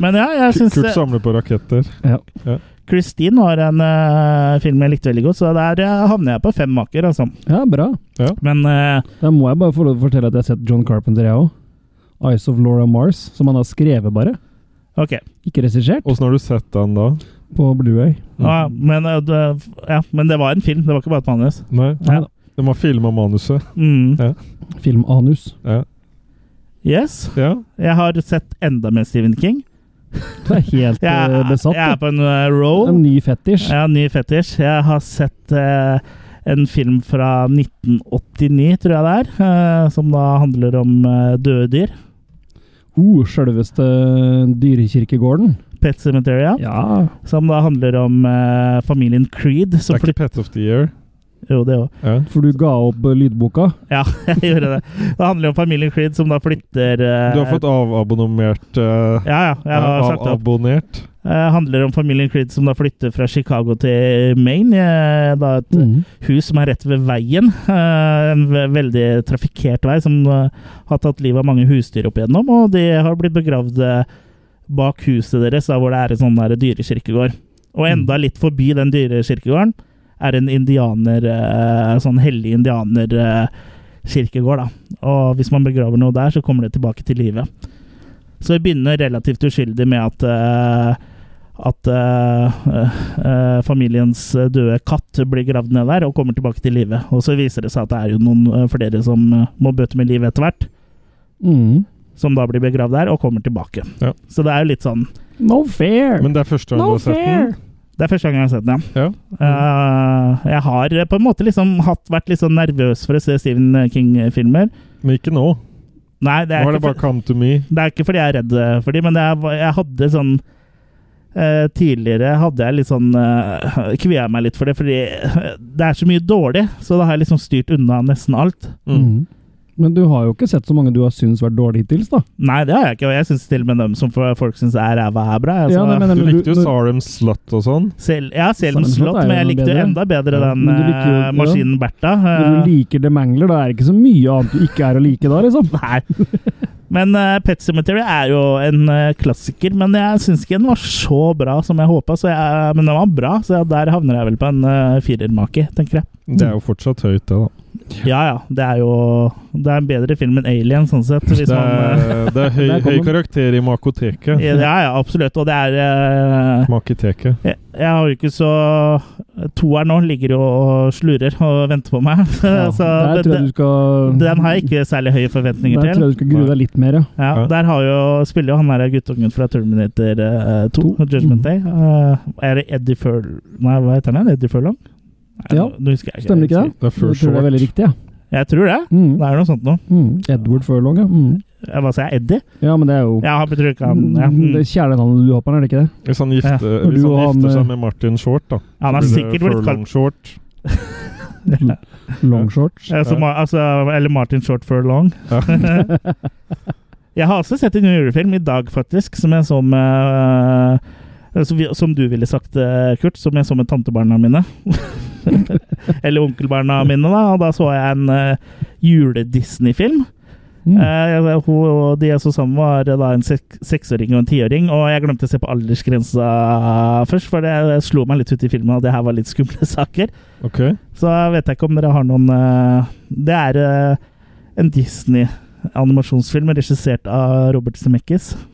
S2: Men ja, jeg syns
S3: Kurt samler på raketter.
S2: Christine var en eh, film jeg likte veldig godt, så der eh, havner jeg på fem maker, altså.
S4: Ja, bra.
S2: Men eh,
S4: Da må jeg bare få lov til å fortelle at jeg har sett John Carpenter, jeg òg. 'Eyes of Laura Mars', som han har skrevet, bare.
S2: OK.
S4: Ikke regissert.
S3: Åssen har du sett den da?
S4: På Blueway.
S2: Ja, men, eh, det, ja, men det var en film, det var ikke bare et manus.
S3: Nei,
S2: Ja.
S3: De har filma manuset.
S2: Mm.
S4: Filmanus.
S3: Ja.
S2: Yes.
S3: ja.
S2: Jeg har sett enda mer Stephen King.
S4: Du er helt
S2: Jeg,
S4: eh,
S2: er-
S4: besatt.
S2: jeg er
S4: du.
S2: på en eh, roll.
S4: En ny fetisj.
S2: Ja, ny fetisj. Jeg har sett eh, en film fra 1989, tror jeg det er, eh, som da handler om eh, døde dyr.
S4: Oh, sjølveste dyrekirkegården.
S2: Pet Cemetery, ja.
S4: Ja.
S2: Som da handler om eh, familien Creed.
S3: Det
S2: Som
S3: er ikke
S2: flyt-
S3: Pet of the Year.
S2: jo, det òg.
S3: Ja.
S4: For du ga opp eh, lydboka.
S2: Ja, jeg gjorde det. Det handler om familien Creed som da flytter eh,
S3: Du har fått avabonnement eh,
S2: Ja, ja. Jeg har
S3: av-
S2: sagt det opp.
S3: Abonnert.
S2: Eh, handler om familien Creed som da flytter fra Chicago til Maine. eh, da et hus som er rett ved veien. eh, En ve- veldig trafikkert vei som eh, har tatt livet av mange husdyr opp igjennom. Og de har blitt begravd eh, bak huset deres, da, hvor det er en sånn der dyrekirkegård. Og enda litt forbi den dyrekirkegården er en indianer eh, Sånn hellig indianer eh, kirkegård, da. Og hvis man begraver noe der, så kommer det tilbake til live. Så vi begynner relativt uskyldig med at eh, at eh, eh, familiens døde katt blir gravd ned der og kommer tilbake til live. Og så viser det seg at det er jo noen eh, flere som eh, må bøte med livet etter hvert.
S4: Mm.
S2: Som da blir begravd der og kommer tilbake.
S3: Ja.
S2: Så det er jo litt sånn
S4: No fair!
S3: Men det er første gang du
S4: no
S3: har sett den?
S4: fair!
S2: Det er første gang jeg har sett den, ja.
S3: Ja.
S2: Eh, jeg har eh, på en måte liksom hatt, vært litt sånn nervøs for å se Stephen King-filmer.
S3: Men ikke nå.
S2: Nei, det
S3: Nå
S2: er,
S3: er
S2: ikke
S3: det bare
S2: for,
S3: Come to me.
S2: det er ikke fordi jeg er redd eh, for dem, men jeg, jeg hadde sånn eh, Tidligere hadde jeg litt sånn uh, Kvia meg litt for det, fordi eh, det er så mye dårlig, så da har jeg liksom styrt unna nesten alt.
S3: Mm.
S4: Mm. Men du har jo ikke sett så mange du har syntes vært dårlige hittils, da.
S2: Nei, det har jeg ikke, og jeg syns til og med dem som for- folk syns er ræva, er bra. Altså,
S4: Ja, nei, men-
S3: Du
S4: men
S3: likte jo
S4: når-
S3: Sarem Slut og sånn.
S2: selv, ja, selv om
S4: Silent Slot
S2: slått,
S4: er jo
S2: men jeg
S4: noe
S2: likte jo
S4: bedre.
S2: enda bedre
S4: Ja,
S2: den
S4: men du liker jo-
S2: eh,
S4: ja.
S2: maskinen Bertha.
S4: Når
S2: eh.
S4: du liker The Mangler, da er det ikke så mye annet du ikke er å like da, liksom.
S2: Nei. Men eh, Pet Cemetery er jo en eh, klassiker, men jeg syns ikke den var så bra som jeg håpa. Men den var bra, så jeg, der havner jeg vel på en uh, firermake, tenker jeg.
S3: Det er jo fortsatt høyt, det, da.
S2: Ja ja, det er jo Det er en bedre film enn Alien, sånn sett. Hvis
S3: Det
S2: man,
S3: er, det er høy,
S4: Der kom
S3: høy
S4: den.
S3: karakter i
S2: eh,
S3: makoteket.
S2: ja ja, absolutt. Og det er eh,
S3: Makiteket.
S2: jeg, jeg har jo ikke så Toeren nå ligger jo og slurer og venter på meg.
S4: Ja,
S2: så
S4: der
S2: altså, det,
S4: tror jeg du skal
S2: den- den har jeg ikke særlig høye forventninger
S4: Der
S2: til.
S4: tror jeg du skal grue deg litt mer, ja.
S2: Ja,
S3: Ja.
S2: Der har jo, spiller jo han der guttungen fra Terminator eh, 2,
S4: To.
S2: Judgment
S4: Mm.
S2: Day. Eh, er det Eddie Furl... Nei, hva heter han? igjen? Eddie Furlong? Nei,
S4: Ja.
S2: nå- nå husker jeg
S4: Stemmer ikke det?
S3: Det er
S4: Det
S3: First
S4: tror jeg er veldig
S3: Short.
S4: riktig, ja.
S2: Jeg tror det.
S4: Mm.
S2: Det er noe sånt noe.
S4: Mm. Edward Furlong, ja. Mm.
S2: Eh, Hva sa jeg? Eddie?
S4: Ja, men det er jo
S2: Ja, han betyr ikke han ja.
S4: Mm, Det
S2: mm.
S4: er kjælenavnet du har på den, er det ikke det?
S3: Hvis han gifter,
S4: Når
S3: hvis
S4: du
S3: han
S4: og
S3: gifter
S4: han,
S3: seg
S4: eh,
S3: med Martin Short, da
S2: Han har
S3: blir det
S2: sikkert blitt
S3: Furlong
S2: kalt
S3: Short.
S4: Long shorts.
S2: ja, som, altså, Eller Martin Short Furlong.
S3: Ja.
S2: jeg har også sett en julefilm i dag, faktisk, som jeg så med eh, som vi- Som du ville sagt, eh, Kurt, som jeg så med tantebarna mine. Eller onkelbarna mine, da. Og da så jeg en eh, jule-Disney-film.
S4: Mm.
S2: Eh, hun og de jeg så sammen, var eh, da en sek seksåring og en tiåring. Og jeg glemte å se på aldersgrensa først, for det slo meg litt ut i filmen at det her var litt skumle saker.
S3: Ok.
S2: Så jeg vet ikke om dere har noen eh, Det er eh, en Disney-animasjonsfilm regissert av Robert Zemeckis. Mm.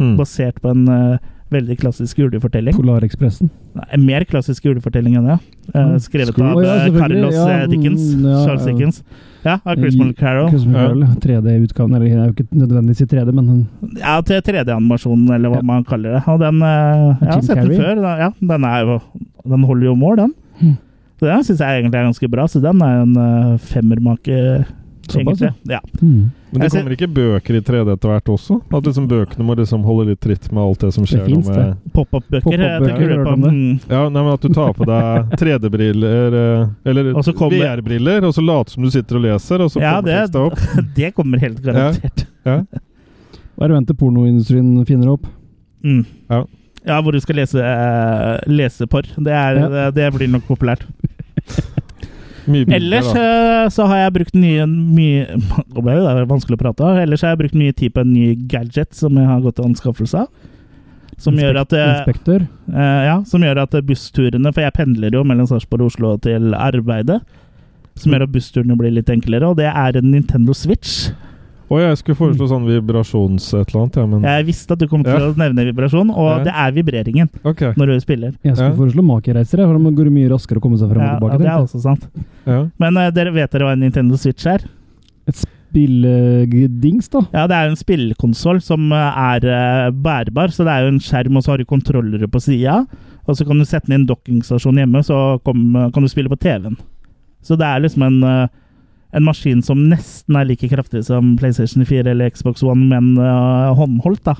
S3: Hmm.
S4: Mm.
S2: Basert på en eh, veldig klassisk julefortelling.
S4: Polarekspressen.
S2: Nei, en mer klassisk julefortelling enn det. eh, skrevet
S4: Skru-
S2: av
S4: Å, Mm. ja,
S2: eh,
S4: selvfølgelig.
S2: Carlos
S4: Ja,
S2: eh, Dickens.
S4: mm, ja, Mm.
S2: Charles
S4: ja.
S2: Dickens. Ja, av Chris Carroll.
S4: Christopher Carroll, ja. 3D-utgaven. Eller det er jo ikke nødvendigvis i 3D, men mm. den-
S2: Ja, til 3D-animasjonen, eller hva
S4: Ja.
S2: man kaller det. Og den eh, Jeg har
S4: Jim
S2: sett den
S4: Carrey.
S2: før. da. Ja, den, er jo, den holder jo mål, den.
S4: Mm.
S2: Så Den syns jeg egentlig er ganske bra, så den er en eh, femmermake.
S4: såpass.
S2: egentlig. Ja.
S4: ja. Mm.
S3: Men det
S2: Jeg ser-
S3: kommer ikke bøker i 3D etter hvert også? At liksom bøkene må liksom holde litt tritt med alt det som skjer?
S4: Det finnes
S3: nå
S4: det.
S3: med,
S2: Pop-up-bøker.
S4: Pop-up-bøker,
S2: tenker du
S4: hørt
S2: på?
S4: om det?
S2: Mm.
S3: Ja, nei, men At du tar på deg 3D-briller, eh, eller
S2: Og så kommer-
S3: VR-briller, og så later som du sitter og leser, og så
S2: Ja,
S3: kommer
S2: det-
S3: teksten opp.
S2: Det kommer helt garantert.
S4: Hva er det venter pornoindustrien finner opp?
S2: Mm.
S3: Ja.
S2: Ja, hvor du skal lese uh, leseporr. Det, er,
S4: Ja.
S2: det, det blir nok populært.
S3: Mye bilder,
S2: Ellers
S3: da.
S2: eh, så har jeg brukt nye, mye Nå ble det vanskelig å prate av. Ellers har jeg brukt mye tid på en ny gadget som jeg har gått til anskaffelse av. Som gjør, at, eh,
S4: Inspektør?
S2: eh, ja, som gjør at bussturene For jeg pendler jo mellom Sarpsborg og Oslo til arbeidet. Som gjør at bussturene blir litt enklere, og det er en Nintendo Switch.
S3: Å, jeg skulle foreslå
S2: Mm.
S3: sånn vibrasjons-et eller annet, ja, men
S2: Jeg visste at du kom til
S3: Mm. Ja.
S2: å nevne vibrasjon, og
S3: Ja.
S2: det er vibreringen
S3: Ok.
S2: når du spiller.
S4: Jeg skulle
S3: Ja.
S4: foreslå makerreiser, jeg, for da går det mye raskere å komme seg frem
S2: Ja,
S4: og tilbake.
S2: det er
S4: tenkte jeg.
S2: også sant.
S3: Ja.
S2: Men eh, dere vet dere hva en Nintendo Switch er?
S4: Et spilledings, da.
S2: Ja, det er jo en spillkonsoll som eh, er eh, bærbar, så det er jo en skjerm, og så har du kontrollere på sida. Og så kan du sette den i en dockingstasjon hjemme, så kom, eh, kan du spille på TV-en. Så det er liksom en, eh, en maskin som nesten er like kraftig som PlayStation 4 eller Xbox One, men eh, håndholdt, da.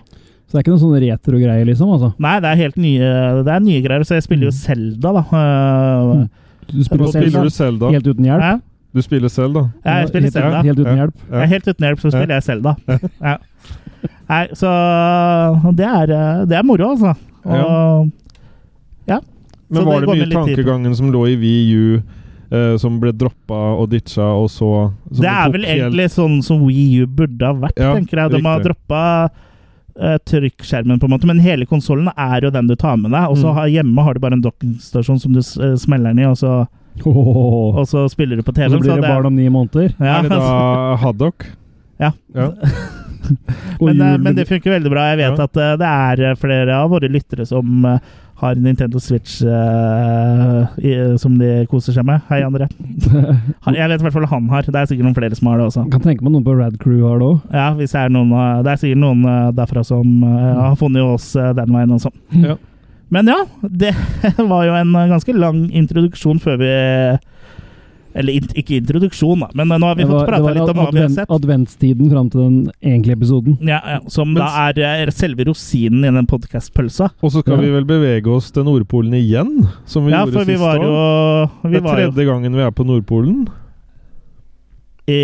S4: Så det er ikke noen sånn retro-greie, liksom? altså.
S2: Nei, det er helt nye, det er nye greier, så jeg spiller jo Selda, da. Eh,
S4: Mm. Du
S2: Nå
S4: spiller
S3: Nå
S4: selv,
S3: spiller
S4: da.
S3: du selv, da.
S4: Helt uten hjelp?
S2: Hæ?
S3: Du spiller selv, da.
S2: Ja, jeg spiller
S4: helt,
S2: Zelda.
S4: Helt uten
S3: Ja.
S4: hjelp.
S2: Jeg er helt uten hjelp, så spiller jeg Selda. Ja. Nei, så det er, eh, det er moro, altså. Og,
S3: Men
S2: Så det
S3: var det
S2: går
S3: mye
S2: med litt tid på.
S3: tankegangen som lå i VU, eh, som ble droppa og ditcha, og så som
S2: det er
S3: tok
S2: vel
S3: helt-
S2: egentlig sånn som Wii U burde ha vært,
S3: Ja,
S2: tenker jeg. De har
S3: riktig.
S2: droppa eh, trykkskjermen, på en måte, men hele konsollen er jo den du tar med deg. Og så
S4: Mm.
S2: har, hjemme har du bare en dockingstasjon som du s- eh, smeller den i, og så,
S4: Og
S2: og så spiller du på
S4: så
S2: TV-en.
S4: blir det barn om ni måneder.
S2: ja,
S3: Er det da Haddock?
S2: Ja.
S3: Ja.
S4: Og
S2: men, det,
S4: jul
S2: men det funker veldig bra. Jeg vet
S3: Ja.
S2: at eh, det er eh, flere av våre lyttere som eh, har Nintendo Switch eh, i, som de koser seg med. Hei, André. Han, jeg vet i hvert fall han har. Det er sikkert noen flere som har det også.
S4: Kan tenke meg noen på Rad Crew har det òg.
S2: Ja, hvis det er noen eh, Det er sikkert noen eh, derfra som eh, har funnet oss eh, den veien også.
S3: Ja.
S2: Men ja, det var jo en eh, ganske lang introduksjon før vi Eller int- ikke introduksjon, da, men eh, nå har vi fått prata litt om hva vi har sett.
S4: adventstiden fram til den egentlige episoden.
S2: Ja, ja, som
S3: Men
S2: da er eh, selve rosinen i den podkastpølsa.
S3: Og så skal
S4: Ja.
S3: vi vel bevege oss til Nordpolen igjen, som vi
S2: Ja,
S3: gjorde
S2: for vi
S3: sist
S2: var jo
S3: år.
S2: Vi
S3: Det er
S2: var jo
S3: tredje gangen vi er på Nordpolen.
S2: i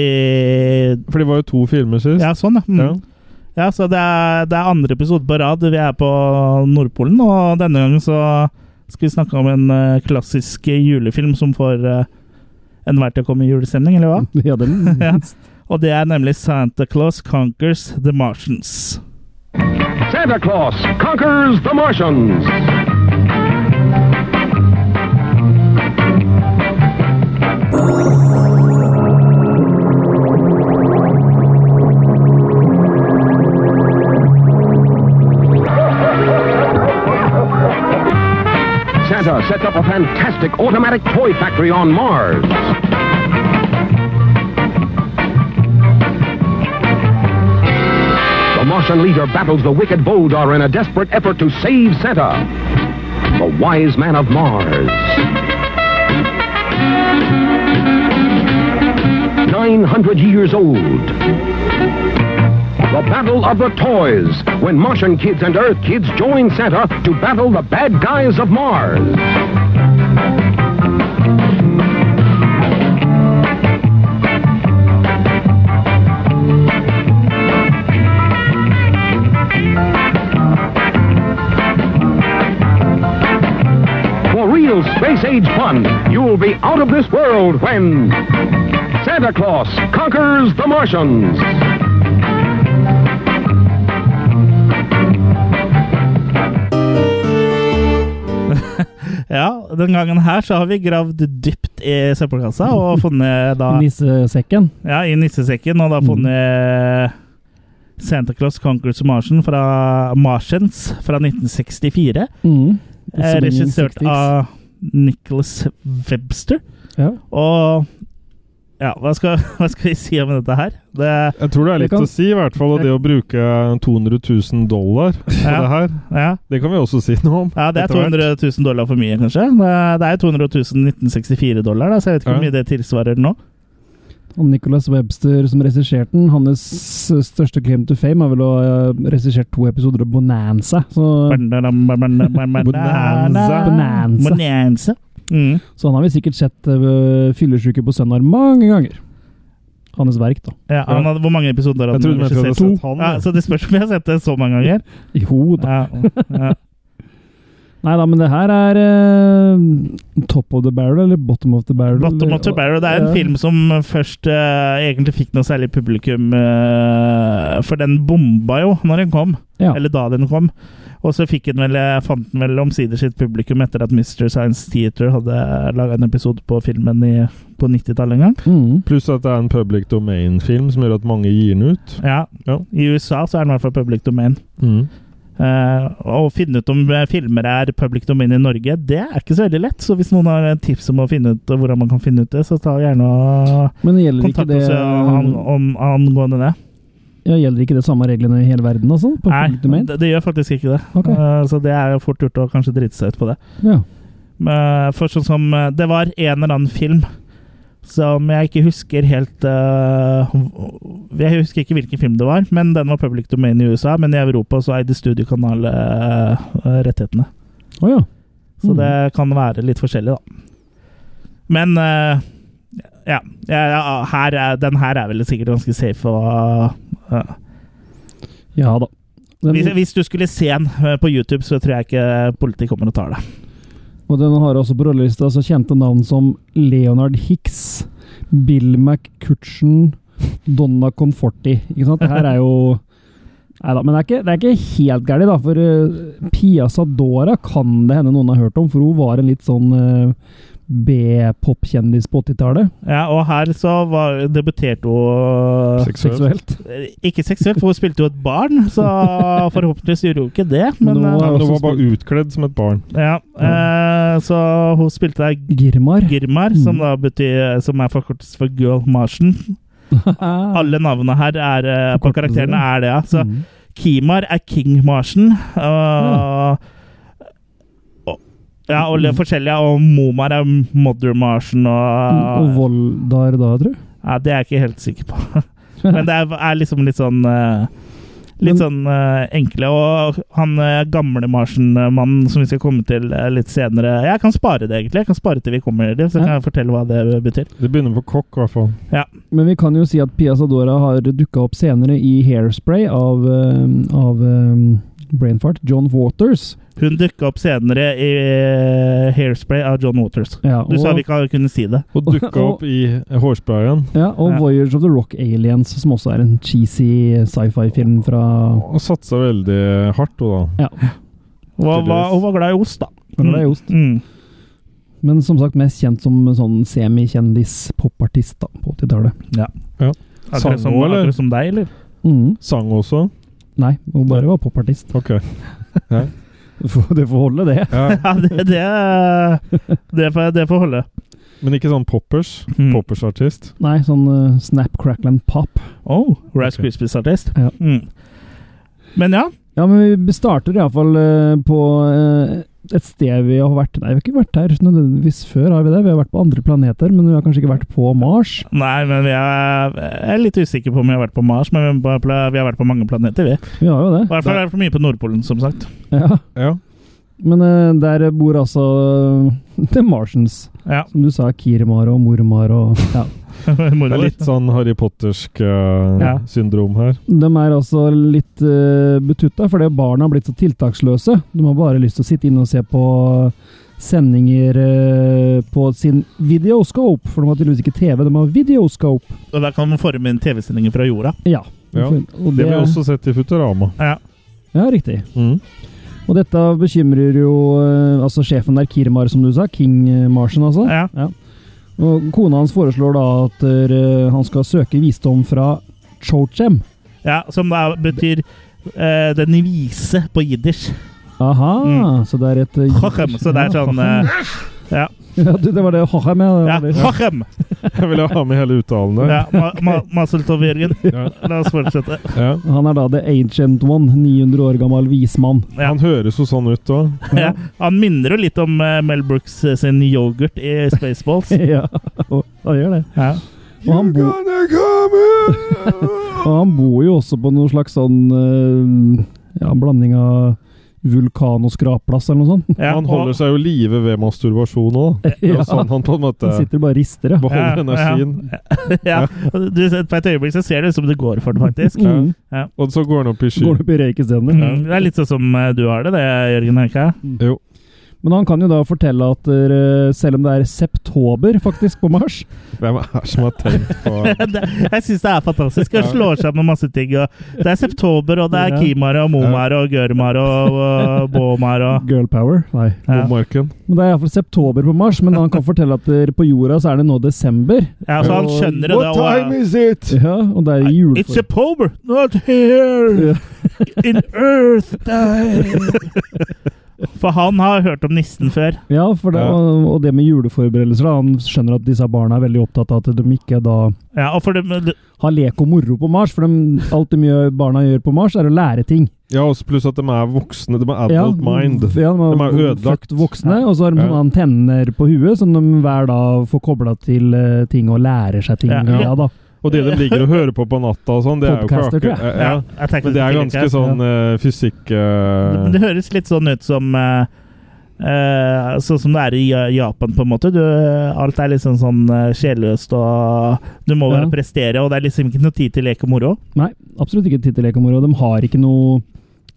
S3: For det var jo to filmer sist.
S2: Ja, sånn, ja.
S3: Ja.
S2: Mm. Ja, så det er, det er andre episode på rad. Vi er på Nordpolen, og denne gangen så skal vi snakke om en eh, klassisk julefilm som får uh, enhver til å komme i julestemning, eller hva?
S4: Ja,
S3: Mm.
S4: den
S2: Ja. Og det er nemlig Santa Claus Conquers The Martians.
S5: Santa Claus conquers the Martians. Santa sets up a fantastic automatic toy factory on Mars. The Martian leader battles the wicked Voldar in a desperate effort to save Santa, the wise man of Mars. 900 years old. The Battle of the Toys, when Martian kids and Earth kids join Santa to battle the bad guys of Mars. For real space age fun, you'll be out of this world when Santa Claus conquers the Martians.
S2: Ja, den gangen her så har vi gravd dypt i søppelkassa og funnet da
S4: nissesekken.
S2: Ja, i nissesekken, og da funnet eh, Santa Claus Conquers the Martian fra Martians fra 1964.
S4: Mm.
S2: Eh, Regissert
S4: 60s.
S2: av Nicholas Webster.
S4: ja.
S2: Og ja, hva skal, hva skal vi si om dette her? Det,
S3: Jeg tror det er
S4: Det
S3: litt
S4: kan-
S3: å si, i hvert fall. Og det å bruke 200 000 dollar på
S2: Ja.
S3: det her,
S2: ja,
S3: det kan vi også si noe om.
S2: ja, det er
S3: etter
S2: 200
S3: hvert.
S2: 000 dollar for mye, kanskje. Det er- Det er 200 000 1964-dollar, da, så jeg vet ikke hvor
S3: Ja.
S2: mye det tilsvarer nå.
S4: Og Nicholas Webster som regisserte den. Hans største claim to fame er vel å ha eh, regissert to episoder av Bonanza. Så,
S2: Bonanza.
S4: Bonanza.
S2: Bonanza. Mm.
S4: så han har vi sikkert sett uh, fyllesyke på søndag mange ganger. Hans verk, da.
S2: Ja, han hadde, hvor mange episoder hadde
S3: Jeg trodde
S2: han
S3: vi hadde
S2: regissert?
S3: sett han.
S2: Ja,
S3: jeg.
S2: så det spørs om jeg har sett det så mange ganger.
S4: Jo da.
S2: Ja, ja.
S4: Nei da, men det her er eh, top of the barrel, eller bottom of the barrel?
S2: Bottom
S4: eller-
S2: of the Barrel. Det er en
S4: Ja.
S2: film som først eh, egentlig fikk noe særlig publikum, eh, for den bomba jo når den kom.
S4: Ja.
S2: Eller da den kom. Og så fikk den vel, eh, fant den vel omsider sitt publikum etter at Mr. Science Theater hadde laga en episode på filmen i, på 90-tallet en gang.
S4: Mm.
S3: Pluss at det er en public domain-film som gjør at mange gir den ut.
S2: Ja.
S3: Ja.
S2: I USA så er den i hvert fall public domain.
S3: Mm.
S2: Eh, å finne ut om eh, filmer er public domain i Norge, det er ikke så veldig lett. Så hvis noen har eh, tips om å finne ut eh, hvordan man kan finne ut det, så ta gjerne og
S4: Men gjelder ikke,
S2: Kontakt
S4: det,
S2: oss ja, an, om angående det.
S4: ja, gjelder ikke det samme reglene i hele verden, altså? På public
S2: Nei,
S4: domain?
S2: det, det gjør faktisk ikke det.
S4: Ok.
S2: Eh, så det er jo fort gjort å kanskje drite seg ut på det.
S4: Ja.
S2: Men, for sånn som eh, Det var en eller annen film som jeg ikke husker helt eh, hv- Jeg husker ikke hvilken film det var, men den var public domain i USA. Men i Europa så eide Studiokanal eh, rettighetene.
S4: Å ja.
S2: Så
S4: Mm.
S2: det kan være litt forskjellig, da. Men eh, ja, ja, ja her er, den her er vel sikkert ganske safe. Og, eh,
S4: Ja da. Den,
S2: hvis, hvis du skulle se den eh, på YouTube, så tror jeg ikke politiet kommer og tar det.
S4: og den har også på rollelista så kjente navn som Leonard Hicks, Bill McCutcheon, Donna Conforti. Ikke sant? Det her er jo Neida, men det er ikke, det er ikke helt gærent, da. For eh, Pia Sadora kan det hende noen har hørt om, for hun var en litt sånn eh, B-pop-kjendis på 80-tallet.
S2: Ja, og her så var, debuterte hun
S3: Seksuelt.
S2: Ikke seksuelt, for hun spilte jo et barn, så forhåpentligvis gjorde hun ikke det. Men
S4: Nå-
S3: Nei,
S2: eh,
S3: men hun
S4: Også
S3: var bare utkledd som et barn.
S2: ja, eh, så hun spilte da
S4: Girmar.
S2: Girmar, som da betyr Som er forkortelse for Girl Marsen. Alle navnene her er, eh, på
S4: Forkortelser,
S2: karakterene er det, ja. Så
S4: Mm.
S2: Kimar er King Marsen. Og, og, ja, og le- forskjellige. Og Momar er Mother Marsen.
S4: Mm, Og
S2: Og,
S4: Voldar da, tror jeg.
S2: ja, det er jeg ikke helt sikker på. Men det er, er liksom litt sånn eh, Litt
S4: Men-
S2: sånn eh, enkle. Og han eh, gamle Marsen-mannen som vi skal komme til eh, litt senere Jeg kan spare det, egentlig. Jeg kan spare til vi kommer dit, så
S4: Ja.
S2: kan jeg fortelle hva det betyr.
S3: Det begynner på kokk, i hvert fall.
S4: Men vi kan jo si at Pia Sadora har dukka opp senere i Hairspray av, eh, av eh, Brainfart. John Waters.
S2: Hun dukka opp senere i eh, Hairspray av John Waters.
S4: Ja,
S2: Du sa
S4: og-
S2: vi ikke kunne si det.
S3: Og dukka
S4: Og-
S3: opp i hårsprayen.
S4: Ja, og
S2: Ja.
S4: Voyage of the Rock Aliens, som også er en cheesy sci-fi-film fra
S3: Og satsa veldig hardt, hun da.
S2: Hun var,
S3: Tydeligvis.
S2: hun var glad i ost, da.
S4: Hun var glad i ost.
S2: Mm.
S4: Men som sagt mest kjent som en sånn semikjendis-popartist da, på 80-tallet.
S2: Akkurat,
S3: Sang
S2: som,
S3: hun, eller?
S2: akkurat som deg, eller?
S4: Mm.
S3: Sang også.
S4: Nei, hun bare var popartist.
S3: Ok.
S4: Du får holde det.
S3: Ja.
S2: Ja, det, det, det, får, det får holde.
S3: Men ikke sånn poppers.
S2: Mm.
S3: Poppersartist.
S4: Nei, sånn eh, snap, crackle and pop.
S2: Oh, Rice
S3: Ok.
S2: Krispies-artist.
S4: Ja.
S2: Mm. Men ja,
S4: Ja, men vi starter iallfall uh, på eh, et sted vi har vært Nei, vi har ikke vært her nødvendigvis før, har vi det? Vi har vært på andre planeter, men vi har kanskje ikke vært på Mars.
S2: Nei, men vi er, jeg er litt usikker på om vi har vært på Mars, men vi har bare pla- vi har vært på mange planeter, vi. I
S4: Vi har jo det.
S2: hvert fall er det for mye på Nordpolen, som sagt.
S4: Ja.
S3: Ja.
S4: Men eh, der bor altså eh, The Martians.
S2: Ja.
S4: Som du sa, Kirmar og Mormar og ja.
S3: Det er litt sånn Harry Pottersk eh,
S2: Ja.
S3: syndrom her.
S4: De er altså litt uh, betutta, fordi barna har blitt så tiltaksløse. De har bare lyst til å sitte inne og se på sendinger eh, på sin videoscope. For de har tydeligvis ikke TV, de har videoscope.
S2: Og da kan man forme inn TV-sendinger fra jorda.
S4: Ja.
S3: Ja,
S4: og
S3: Det har vi også sett i Futurama.
S2: Ja.
S4: Ja, riktig.
S3: Mm.
S4: Og dette bekymrer jo eh, altså sjefen der, Kirmar, som du sa. King Marsen, altså.
S2: Ja.
S4: Og kona hans foreslår da at eh, han skal søke visdom fra Chochem.
S2: ja, som da betyr eh, den vise på jiddisch.
S4: Aha,
S2: Mm.
S4: så det er et eh,
S2: Hachem. Så det er sånn eh, Ja.
S4: Ja, du, det var det Hachem, ja. Det
S2: ja.
S4: var det.
S2: Hachem!
S3: Jeg ville ha med hele uttalen der.
S2: Ja, ma ma Mazeltov, Jørgen.
S3: Ja.
S2: La oss fortsette.
S3: Ja.
S4: Han er da The Ancient One, 900 år gammel vismann.
S2: Ja.
S3: Han høres jo sånn ut òg.
S2: Ja. Han minner jo litt om eh, Mel Brooks eh, sin yoghurt i Spaceballs.
S4: ja, og, han gjør det.
S2: Ja.
S4: Og han, bo, og han bor jo også på noen slags sånn eh, ja, blanding av vulkan og skrapplass eller noe sånt.
S2: Ja,
S3: Han
S2: og-
S3: holder seg jo live ved masturbasjon òg. Det er
S4: Ja.
S3: jo sånn han på en måte
S4: Han sitter bare og rister, ja.
S3: beholder energien.
S2: ja. Du, på et øyeblikk så ser det ut som det går for det, faktisk.
S4: Mm.
S3: Og så går han opp i sky.
S4: Går det opp i røyk isteden?
S2: Mm, det er litt sånn som eh, du har det, det, Jørgen. er det Ikke?
S3: Jo.
S4: Men han kan jo da fortelle at eh, selv om det er septober faktisk på Mars
S3: Hvem er det som har tenkt på
S2: det? Jeg syns det er fantastisk. Jeg slår sammen masse ting. Og det er Septober, og det er
S4: Ja.
S2: Kimar og Momar og Gørmar og, og Båmar og
S4: Girl power? Nei.
S2: ja.
S3: Bomarken?
S4: Men Det er iallfall septober på Mars, men han kan fortelle at eh, på jorda så er det nå desember.
S2: ja, så han skjønner jo det. Og,
S3: is it?
S4: Ja, og det er
S2: It's
S4: julefor...
S2: Septober, not here!
S4: Ja.
S2: In Earth For han har hørt om nissen før.
S4: Ja, for det,
S3: Ja.
S4: Og, og det med juleforberedelser. da, Han skjønner at disse barna er veldig opptatt av at de ikke da
S2: Ja, og for det,
S4: har lek og moro på Mars. For de, alt de gjør, barna gjør på Mars, er å lære ting.
S3: Ja, også pluss at de er voksne. De er adult mind.
S4: Ja, de,
S3: De er
S4: er
S3: ødelagt.
S4: ødelagt. voksne, og så har de
S3: Ja.
S4: sånne antenner på huet som de hver dag får kobla til eh, ting og lærer seg ting.
S2: Ja.
S4: Ja, da.
S3: Og det de ligger og hører på på natta og sånn, det er jo
S4: Podcaster,
S3: ikke
S4: tror jeg.
S3: akkurat ja.
S2: jeg tenker
S3: Men det er
S2: ikke-
S3: ganske sånn eh, fysikk
S2: Det,
S3: eh,
S2: det høres litt sånn ut som eh, eh, Sånn som det er i Ja- Japan, på en måte. Du, eh, alt er liksom sånn eh, sjelløst, og du må bare
S4: Ja.
S2: prestere, og det er liksom ikke noe tid til lek og moro.
S4: Nei, absolutt ikke tid til lek og moro. De har ikke noe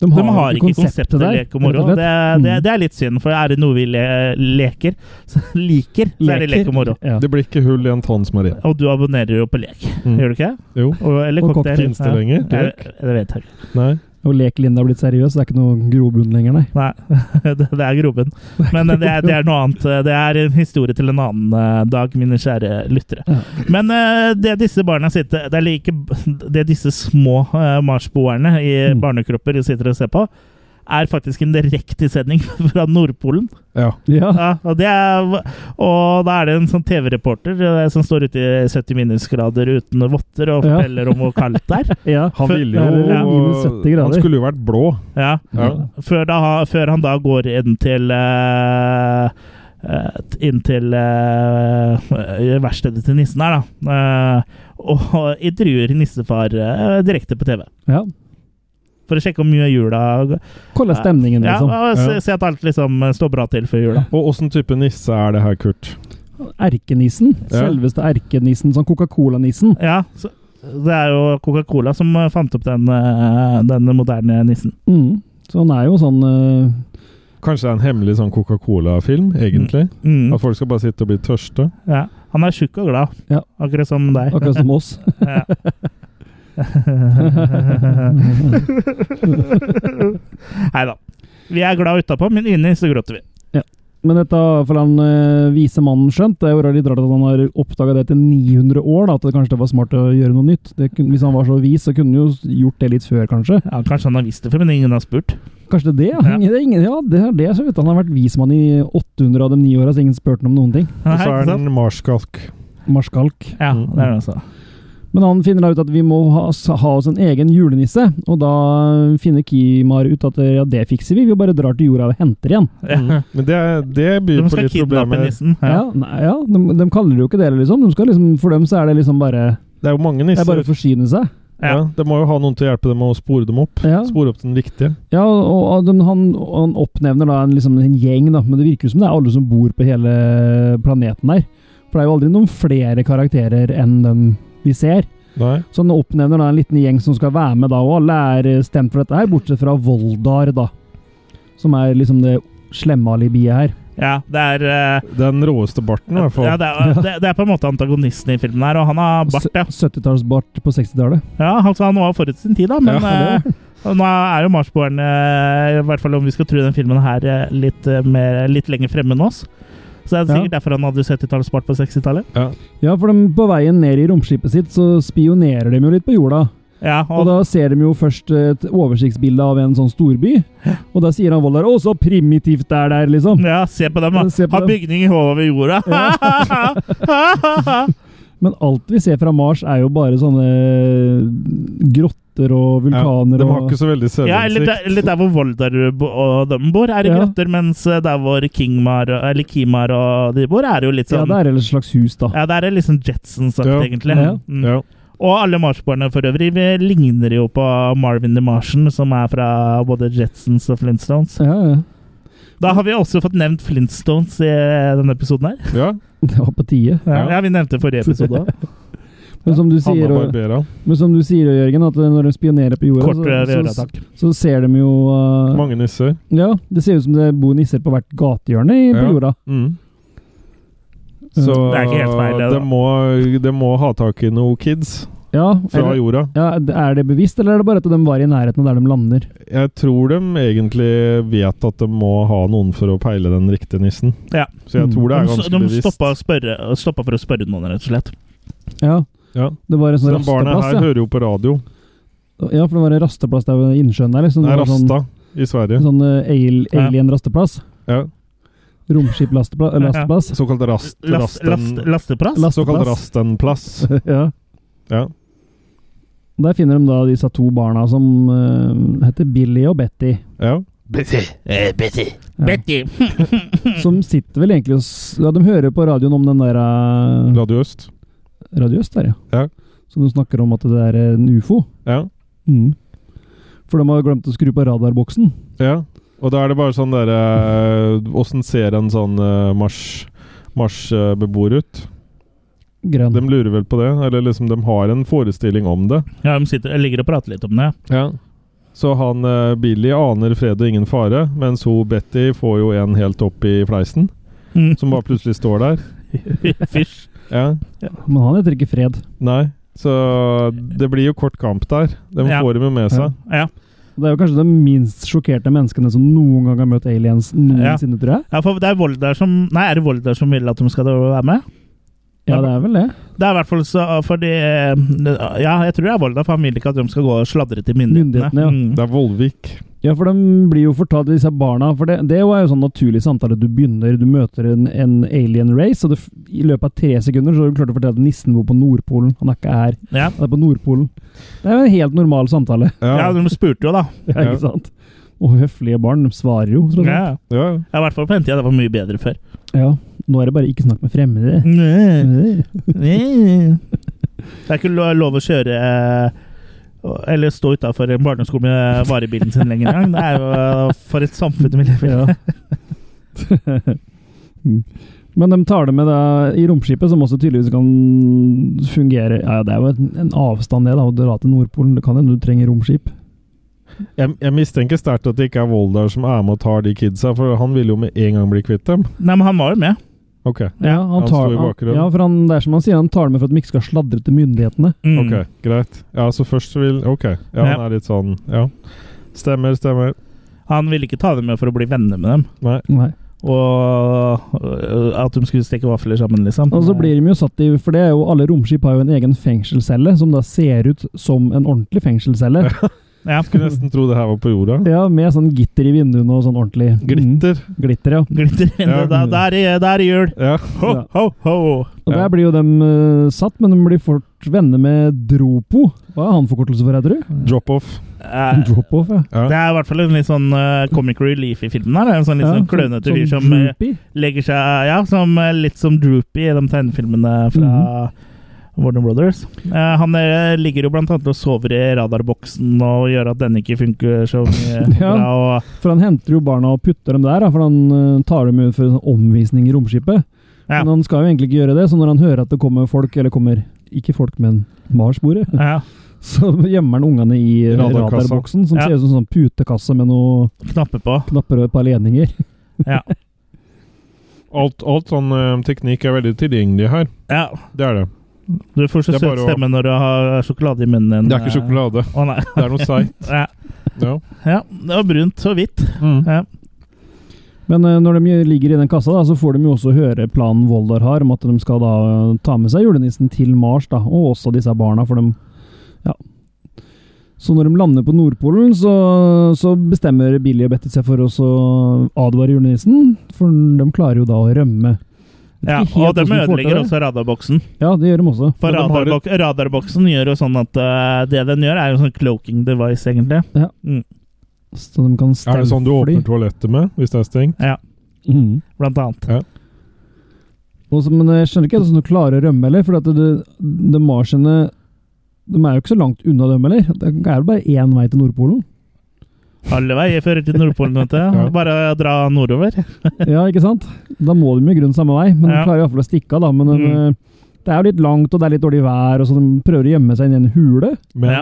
S4: De
S2: De har ikke konseptet
S4: der,
S2: lek og moro.
S4: rett og
S2: Det,
S4: slett.
S2: det,
S4: Mm.
S2: det er litt synd, for er det noe vi le, leker, så liker, så er det lek og moro.
S4: Ja.
S3: Det blir ikke hull i en tann, Marie.
S2: Og du abonnerer jo på lek,
S3: Mm.
S2: gjør du ikke?
S3: Jo.
S2: Og, eller
S4: Og
S2: cocktail.
S4: cocktail.
S3: Finnes det lenger?
S2: Ja. Jeg, jeg vet ikke.
S3: Nei.
S4: Og Lek-Linda har blitt seriøs, så det er ikke noe grobunn lenger, nei.
S2: Nei, det det er grobunn. Men eh, det er, det er noe annet. Eh, Det er en historie til en annen eh, dag, mine kjære lyttere.
S4: Ja.
S2: Men eh, det disse barna sitter Det er like det disse små eh, marsboerne i
S4: Mm.
S2: barnekropper sitter og ser på, er faktisk en direktesending fra Nordpolen.
S3: Ja.
S4: Ja.
S2: Ja, og, det er, og da er det en sånn TV-reporter eh, som står ute i 70 minusgrader uten votter og
S4: Ja.
S2: forteller om hvor kaldt det er.
S4: ja.
S3: Han
S2: For-
S3: ville
S4: Ja, minus 70
S3: jo
S4: grader.
S3: Han skulle jo vært blå.
S2: Ja.
S3: Ja.
S2: Før, da, før han da går inn til eh, eh, Inn til eh, verkstedet til nissen her, da. eh, og intervjuer nissefar eh, direkte på TV.
S4: ja.
S2: For å sjekke om jula
S4: Hvordan er stemningen,
S2: ja,
S4: liksom?
S2: og
S3: Ja.
S2: se, se at alt liksom står bra til før jula.
S3: Og åssen type nisse er det her, Kurt?
S4: Erkenissen.
S3: Ja.
S4: Selveste erkenissen. Sånn Coca-Cola-nissen.
S2: Ja, så, det er jo Coca-Cola som eh, fant opp den, eh, den moderne nissen.
S4: Mm. Så han er jo sånn eh,
S3: Kanskje det er en hemmelig sånn Coca-Cola-film, egentlig?
S2: Mm,
S3: At folk skal bare sitte og bli tørste?
S2: ja. Han er tjukk og glad,
S4: Ja.
S2: akkurat som deg.
S4: eh, akkurat som oss.
S2: Ja. Nei da. Vi er glad utapå, men inni så gråter vi.
S4: Men dette har iallfall han eh, vise mannen skjønt. Det er jo litt rart at han har oppdaga det etter 900 år, da, at det kanskje det var smart å gjøre noe nytt. Det kunne, hvis han var så vis, så kunne han jo gjort det litt før, kanskje.
S2: Ja, kanskje han har visst det før, men ingen har spurt.
S4: Kanskje det, ja.
S2: Ja.
S4: Ingen, det er ingen, ja, det er det. Så vet du. Han har vært vismann i 800 av de ni åra, så ingen spurte ham om noen ting.
S2: Nei,
S3: Og så
S2: ikke
S3: er
S2: sant?
S3: den marskalk.
S4: Marskalk.
S2: Ja, det er det altså.
S4: Men han finner da ut at vi må ha, ha oss en egen julenisse, og da finner Kimar ut at ja, det fikser vi, vi bare drar til jorda og henter igjen.
S2: Ja.
S3: Men det, det byr
S2: De
S3: Mm. på
S2: skal
S3: litt
S2: kidnappe
S3: problemer.
S2: nissen.
S4: Ja,
S2: Ja.
S4: nei, ja de, de kaller det jo ikke det, liksom. De skal liksom. For dem så er det liksom bare
S3: Det er jo mange
S4: Det er bare
S3: nisser.
S4: å forsyne seg.
S3: Ja. Det må jo ha noen til å hjelpe dem med å spore dem opp.
S4: Ja.
S3: Spore opp den viktige.
S4: Ja, og og de, han, og han oppnevner da en, liksom en gjeng, da, men det virker jo som det er alle som bor på hele planeten der. For det er jo aldri noen flere karakterer enn dem vi ser.
S3: Nei.
S4: Så han oppnevner da en liten gjeng som skal være med, da, og alle er eh, stemt for dette her, bortsett fra Voldar, da. Som er liksom det slemme alibiet her.
S2: ja, det er eh,
S3: Den råeste barten, i hvert fall.
S2: ja, det, er, det, det er på en måte antagonisten i filmen her, og han har bart, ja.
S4: Sø- 70-tallsbart på 60-tallet.
S2: ja altså, han var forut sin tid, da, men
S4: Ja, det
S2: eh, og nå er jo marsboerne, eh, i hvert fall om vi skal tro den filmen her, eh, litt, eh, mer, litt lenger fremme enn oss. Så det er sikkert derfor han hadde 70-tallsbart på 60-tallet.
S4: Ja, for de, på veien ned i romskipet sitt så spionerer de jo litt på jorda.
S2: Ja,
S4: Og da ser de jo først et oversiktsbilde av en sånn storby, og da sier han Voldar 'Å, så primitivt det er der', liksom.
S2: Ja, se på dem,
S4: Ja,
S2: da.
S4: se på
S2: Ha
S4: dem.
S2: bygning i hodet over jorda.
S4: Men alt vi ser fra Mars, er jo bare sånne grotter og vulkaner
S3: de har
S4: og
S3: ikke så veldig
S2: ja, eller,
S3: selvinnsikt.
S2: der, eller der hvor Voldar bo- og dem bor, er det
S4: Ja.
S2: grotter, mens eh, der hvor Kingmar, og- eller Kimar og de bor, er det jo litt
S4: Ja,
S2: sånn
S4: det er et slags hus, da.
S2: Ja, det er litt sånn Jetsons-sagt,
S3: Ja.
S2: egentlig.
S4: Ja.
S2: Mm.
S3: Ja.
S2: Og alle marsboerne for øvrig vi ligner jo på Marvin the Martian, som er fra både Jetsons og Flintstones.
S4: Ja, ja.
S2: Da har vi også fått nevnt Flintstones i denne episoden her.
S3: ja.
S4: Det var på tide.
S2: Ja,
S3: Ja.
S2: vi nevnte forrige episode òg.
S4: Men som du sier,
S3: Hanna
S4: og,
S3: Barbera.
S4: men som du sier Jørgen, at når de spionerer på jorda,
S2: Kort eh,
S4: så, så,
S2: øretak.
S4: så ser de jo uh,
S3: Mange nisser.
S4: Ja, det ser ut som det bor nisser på hvert gatehjørne i- på
S3: Ja.
S4: jorda.
S3: Mm. Så
S2: Det er ikke helt feil, det, da.
S3: det må, det må ha tak i noen kids
S4: Ja,
S3: fra
S4: eller,
S3: jorda.
S4: ja, er det bevisst, eller er det bare at de var i nærheten av der de lander?
S3: Jeg tror de egentlig vet at de må ha noen for å peile den riktige nissen.
S2: Ja. Mm.
S3: Så jeg tror det er
S2: De,
S3: ganske
S2: de
S3: bevisst.
S2: stoppa, å spørre, stoppa for å spørre noen, rett og slett.
S4: Ja,
S3: Ja.
S4: det var en
S3: Så
S4: sånn
S3: de barna
S4: rasteplass,
S3: her
S4: ja. Sånn
S3: hører jo på radio.
S4: ja. For det var en rasteplass der ved innsjøen der, liksom.
S3: Det
S4: Det
S3: er
S4: var sånn,
S3: Rasta i Sverige.
S4: sånn eh, al
S2: Ja.
S4: alien-rasteplass.
S3: Ja.
S4: Romskip-lasteplass.
S2: Ja, ja.
S4: Lasteplass.
S3: Såkalt rast,
S2: Last, last,
S3: rasten,
S2: lasteplass?
S4: Last-
S3: såkalt
S4: lasteplass.
S3: rastenplass.
S4: ja.
S3: Ja.
S4: Der finner de da disse to barna som eh, heter Billy og Betty.
S3: ja.
S4: Ja.
S2: Betty.
S4: Som sitter vel egentlig og s- Ja, de hører på radioen om den der eh,
S3: Radio Øst.
S4: Radio Øst der, ja.
S3: Ja.
S4: Som de snakker om at det er en ufo.
S3: Ja.
S4: Mm. For de har glemt å skru på radarboksen.
S3: Ja, og da er det bare sånn derre Åssen ser en sånn eh, mars Mars-beboer ut?
S4: Grønn.
S3: De lurer vel på det? Eller liksom, de har en forestilling om det.
S2: Ja, de sitter, jeg ligger og prater litt om det.
S3: Ja. Så han eh, Billy aner fred og ingen fare, mens hun Betty får jo en helt opp i fleisen.
S2: Mm.
S3: Som bare plutselig står der.
S2: Fysj.
S3: Ja.
S4: Men han heter ikke Fred.
S3: Nei. Så det blir jo kort kamp der. De
S2: Ja.
S3: får dem jo med seg.
S2: Ja.
S4: Det er jo kanskje de minst sjokkerte menneskene som noen gang har møtt aliens noensinne, tror jeg.
S2: Ja, for det er Volder som Nei, er det Volder som vil at de skal være med?
S4: Ja, det er vel det.
S2: Det er i hvert fall så fordi eh, Ja, jeg tror det er Volda, for han vil ikke at de skal gå og sladre til myndighetene.
S4: Myndighetene, ja.
S2: Mm.
S3: Det er Vollvik.
S4: Ja, for de blir jo fortalt, disse barna For det, det er jo en sånn naturlig samtale. Du begynner, du møter en, en alien race, og det, f- i løpet av tre sekunder så har du klart å fortelle at nissen bor på Nordpolen. Han er ikke her,
S2: Ja.
S4: han er på Nordpolen. Det er jo en helt normal samtale,
S2: ja, de spurte jo, da.
S4: ja.
S3: Ja.
S4: ikke sant? Og høflige barn de svarer jo. tross
S2: Ja.
S4: alt.
S3: ja.
S2: Ja, I hvert fall på den tida. Det var mye bedre før.
S4: Ja. Nå er det bare ikke snakk med fremmede.
S2: Mm. Det
S4: Ja,
S2: er ikke lo- lov å kjøre eh, eller stå utafor en barneskole med varebilen sin lenger engang. Det er jo eh, for et samfunn vi lever i.
S4: Men de tar det med da, i romskipet, som også tydeligvis kan fungere Ja, ja, det er jo en, en avstand det, da, å dra til Nordpolen. Det kan hende du trenger romskip.
S3: Jeg, jeg mistenker sterkt at det ikke er Voldar som er med og tar de kidsa, for han ville jo med en gang bli kvitt dem.
S2: Nei, men han var jo med.
S3: Ok.
S4: Ja, han,
S3: Han
S4: tar,
S3: står i bakgrunnen.
S4: ja, for han, det er som han sier, han tar det med for at de ikke skal sladre til myndighetene.
S2: Mm.
S3: Ok, greit. Ja, så først så vil Ok. Ja, han
S2: Ja.
S3: er litt sånn Ja. Stemmer, stemmer.
S2: Han ville ikke ta dem med for å bli venner med dem.
S3: Nei.
S4: Nei.
S2: Og øh, at de skulle stikke vafler sammen, liksom.
S4: Og så blir de jo satt i For det er jo, alle romskip har jo en egen fengselscelle, som da ser ut som en ordentlig fengselscelle.
S2: ja.
S3: Skulle nesten tro det her var på jorda.
S4: Ja, med sånn gitter i vinduene og sånn ordentlig
S3: Glitter.
S4: Mm, glitter, ja.
S2: Glitter i vinduet. Da- Der er- der er jul!
S3: Ja.
S2: Ho,
S4: Ja.
S2: ho, ho!
S4: Og
S3: Ja.
S4: Der blir jo de eh, satt, men de blir fort venner med Dropo. Hva er han forkortelse for, heter du?
S3: Drop-off.
S2: Eh,
S4: Drop-off, ja.
S2: Det er
S3: Ja.
S2: i hvert fall en litt sånn eh, comic relief i filmen. her. En sånn litt
S4: Ja,
S2: sånn klønete fyr som eh,
S4: droopy.
S2: legger seg Ja, som eh, litt som Droopy i de tegnefilmene
S4: Mhm.
S2: fra Warner Brothers. Eh, han eh, ligger jo blant annet og sover i radarboksen og gjør at den ikke funker så mye
S4: Ja.
S2: bra. Og,
S4: For han henter jo barna og putter dem der, da, for han eh, tar dem ut for en sånn omvisning i romskipet.
S2: Ja.
S4: Men han skal jo egentlig ikke gjøre det, så når han hører at det kommer folk, eller kommer ikke folk, men Mars-bordet,
S2: ja,
S4: så gjemmer han ungene i eh,
S3: Radarkassa.
S4: radarboksen, som
S2: Ja.
S4: ser ut som en sånn putekasse med noen
S2: knapper på.
S4: knapper og et par ledninger.
S2: Ja.
S3: Alt, alt sånn eh, teknikk er veldig tilgjengelig her.
S2: ja.
S3: Det er det.
S2: Du får så
S3: Det er
S2: søt
S3: bare å-
S2: stemme når du har sjokolade i munnen.
S3: Det er ikke sjokolade.
S2: Å nei.
S3: Det er noe seigt.
S2: Ja.
S3: Ja.
S2: ja, det var brunt og hvitt.
S3: Mm.
S2: Ja.
S4: Men eh, når de ligger i den kassa, da, så får de jo også høre planen Voldar har, om at de skal da eh, ta med seg julenissen til Mars, da, og også disse barna, for de Ja. Så når de lander på Nordpolen, så, så bestemmer Billy og Betty seg for å så advare julenissen, for de klarer jo da å rømme. Vet
S2: Ja,
S4: ikke helt
S2: og de
S4: hvordan de får til
S2: ødelegger
S4: det.
S2: også radarboksen.
S4: Ja, det gjør de også.
S2: For
S3: Men de har
S2: radarbok radarboksen gjør jo sånn at eh, det den gjør, er jo sånn cloaking device, egentlig.
S4: Så de kan
S3: Er det sånn du
S4: stealth-fly.
S3: åpner toalettet med hvis det er stengt?
S4: Mhm.
S2: Blant annet.
S4: Og så- men jeg skjønner ikke hvordan du klarer å rømme heller, for at det, det marsiene De er jo ikke så langt unna dem heller. Det er jo bare én vei til Nordpolen.
S2: Alle veier fører til Nordpolen, vet du.
S3: Ja.
S2: Bare dra nordover.
S4: Ja, ikke sant? Da må de jo i grunnen samme vei, men
S2: Ja.
S4: de klarer iallfall å stikke av, da. Men de,
S2: Mm.
S4: det er jo litt langt, og det er litt dårlig vær, og så de prøver å gjemme seg inn i en hule.
S3: Men
S2: Ja.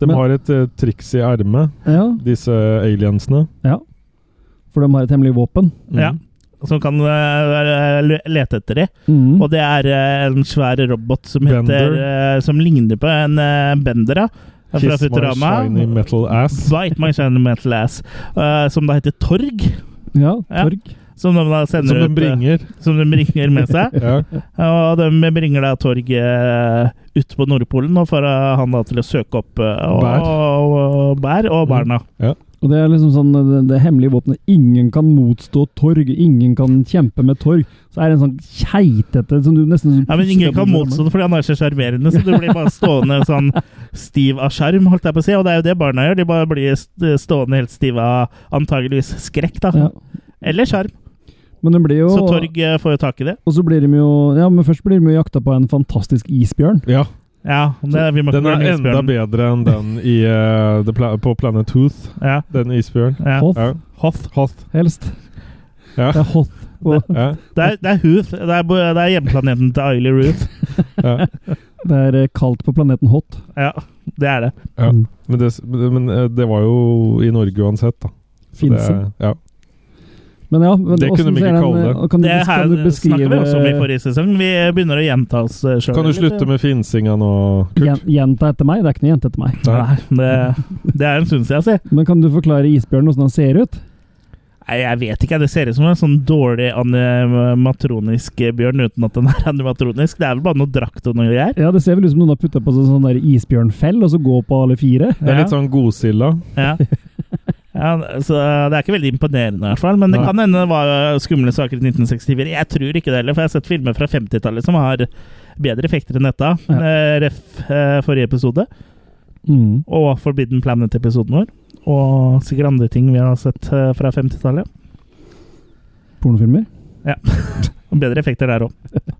S3: de
S4: Men-
S3: har et eh, triks i ermet,
S4: Ja,
S3: disse aliensene.
S4: For de har et hemmelig våpen.
S3: Mm.
S2: Ja. Som kan eh, le- lete etter de.
S4: Mhm.
S2: Og det er eh, en svær robot som, heter, eh, som ligner på en eh, bender, ja. Fra
S3: Kiss my
S2: Futurama.
S3: shiny metal ass.
S2: Bite my shiny metal ass. eh, som da heter Torg.
S4: ja,
S2: Ja.
S4: torg.
S2: Som de da sender
S3: Som de
S2: ut, eh,
S3: bringer.
S2: som de bringer med seg.
S3: Ja.
S2: Og de bringer da Torg eh, ut på Nordpolen og får eh, han da til å søke opp eh, og,
S3: Bær. Mm.
S2: Og, og, bær og barna.
S4: Og det er liksom sånn det, det hemmelige våpenet. Ingen kan motstå torg. Ingen kan kjempe med torg. Så er det en sånn keitete som du nesten
S2: Ja, men Ingen kan motstå det fordi han er så sjarmerende, så du blir bare stående sånn stiv av sjarm, holdt jeg på å si. Og det er jo det barna gjør. De bare blir st- stående helt stive av antageligvis skrekk, da.
S4: Ja.
S2: Eller sjarm.
S4: Men den blir jo
S2: Så Torg eh, får jo tak i det.
S4: Og så blir de jo Ja, men først blir de jo jakta på av en fantastisk isbjørn.
S3: ja.
S2: Ja, det, vi må ikke
S3: Den er
S2: glemme
S3: enda
S2: isbjørnen.
S3: bedre enn den i, eh, the pla på Planet Hooth,
S2: Ja,
S3: den isbjørnen.
S2: ja.
S4: Hoth,
S3: Ja.
S2: Hoth.
S3: Hoth.
S4: helst.
S3: Ja.
S4: Det er hoth. Og
S3: Ja.
S2: Det er, det er Hooth. Det er, bo- det er hjemplaneten til Ailey Ruth.
S3: Ja.
S4: det er eh, kaldt på planeten Hot.
S2: Ja, det er det.
S3: Ja.
S4: Mm.
S3: Men, det, men eh, det var jo i Norge uansett, da. Så
S4: Finsen.
S3: det- Ja.
S4: Men ja, men
S3: Det kunne
S4: hvordan
S3: de ikke
S4: ser den- eh,
S3: kalle det.
S4: Kan du,
S2: Det her
S4: kan du
S2: snakket
S4: beskrive eh,
S2: vi også om i forrige sesong. Vi begynner å gjenta oss eh, sjøl.
S3: Kan du slutte med finsinga nå,
S4: Gjen-
S3: Kurt?
S4: Jenta etter meg? Det er ikke noe jente etter meg.
S2: Nei, det, det er en stund siden, si.
S4: Men kan du forklare isbjørnen hvordan han ser ut?
S2: Nei, jeg vet ikke. Det ser ut som en sånn dårlig animatronisk bjørn uten at den er animatronisk. Det er vel bare noe drakt og noe greier.
S4: Ja, Det ser vel ut som noen har putta på seg sånn der isbjørnfell og så går på alle fire.
S3: Det er litt sånn godsilla.
S2: Ja. Ja, så Det er ikke veldig imponerende, i hvert fall. Men det
S3: Nei.
S2: kan hende det var eh, skumle saker i 1964. Jeg tror ikke det heller, for jeg har sett filmer fra 50-tallet som har bedre effekter enn dette.
S4: Ja.
S2: Eh, Ref eh, forrige episode,
S4: Mm.
S2: og Forbidden Planet-episoden vår. Og sikkert andre ting vi har sett eh, fra 50-tallet.
S4: Pornofilmer.
S2: Og bedre effekter der òg.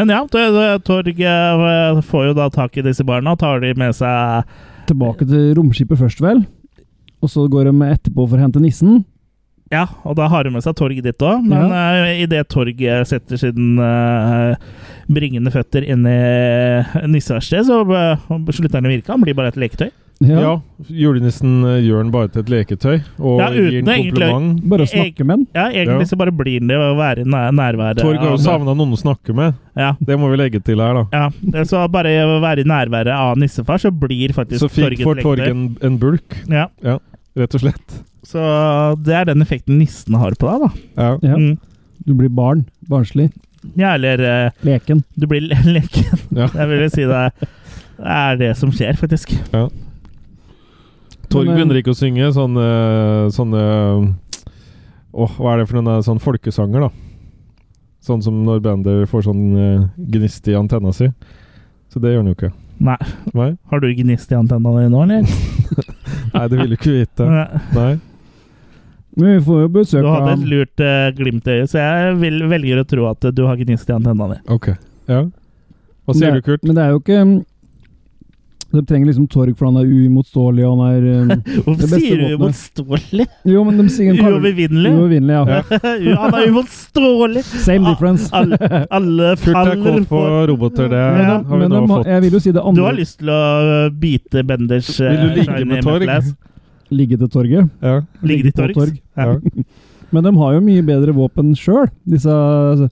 S2: Men ja, Tor- Torg eh, får jo da tak i disse barna og tar de med seg
S3: Eh.
S4: Tilbake til romskipet først, vel. Og så går de etterpå for å hente nissen.
S2: Ja, og da har hun med seg Torg ditt òg, men eh, i idet Torg eh, setter sin eh, bringende føtter inn i nisseverkstedet, så eh, slutter han å virke. Han blir bare et leketøy.
S3: Ja. Julenissen eh, gjør den bare til et leketøy, og
S2: Ja,
S3: gir
S2: uten
S3: en
S2: egentlig-
S3: kompliment.
S4: Bare å snakke med den.
S2: Ja, egentlig
S3: Ja.
S2: så bare blir han det å være i næ- nærværet.
S3: Torg har
S2: av-
S3: jo savna noen å snakke med.
S2: Ja,
S3: Det må vi legge til her, da.
S2: ja. Så bare å være i nærværet av nissefar, så blir faktisk
S3: Så fikk
S2: Torg
S3: for
S2: et
S3: Torg
S2: leketøy.
S3: en, en bulk,
S2: Ja,
S3: rett og slett.
S2: så det er den effekten nissen har på deg, da.
S3: Ja.
S4: Ja.
S2: Mm.
S4: Du blir barn. Barnslig.
S2: Ja, eller eh,
S4: Leken.
S2: du blir le- leken.
S3: Ja.
S2: Jeg vil jo si det er det som skjer, faktisk.
S3: Torg
S4: Men, eh,
S3: begynner ikke å synge sånne sånne Åh, hva er det for noen eh, sånn folkesanger, da? Sånn som når bander får sånn eh, gnist i antenna si. Så det gjør han jo ikke.
S2: Nei.
S3: Nei,
S2: Har du gnist i antenna di nå, eller?
S3: Nei det vil du ikke vite.
S2: Nei.
S3: Nei.
S4: Men vi får jo
S2: Du
S4: besøk av
S2: hadde et
S4: han.
S2: lurt eh, glimt i øyet, så jeg vil, velger å tro at du har gnist i antenna di.
S3: Ok. Ja. Hva sier
S4: Nei,
S3: du, Kurt?
S4: Men det er jo ikke mm, De trenger liksom Torg, for han er uimotståelig, og han er mm, Det
S2: Hvorfor
S4: beste
S2: sier du
S4: våpenet.
S2: motståelig?
S4: Jo, men de sier han kaller-
S2: Uovervinnelig?
S4: Uovervinnelig, ja.
S3: Ja.
S2: Ja, Ah, Han er uimotståelig!
S4: Same difference.
S2: Alle, alle
S3: Kurt er
S2: faller
S3: kåt på
S2: for
S3: roboter, det
S2: Ja,
S3: har vi
S4: men
S3: nå
S4: de har-
S3: fått.
S4: jeg vil jo si det
S2: Du har
S4: andre
S2: lyst til å eh, bite Benders eh,
S3: Vil du ligge
S2: shiny
S3: med Torg?
S2: necklace?
S4: ligge til torget.
S3: Ja.
S2: Ligge i
S4: Ligge på
S2: torgs?
S4: Torg.
S2: Ja.
S3: Ja.
S4: Men de har jo mye bedre våpen sjøl, disse altså,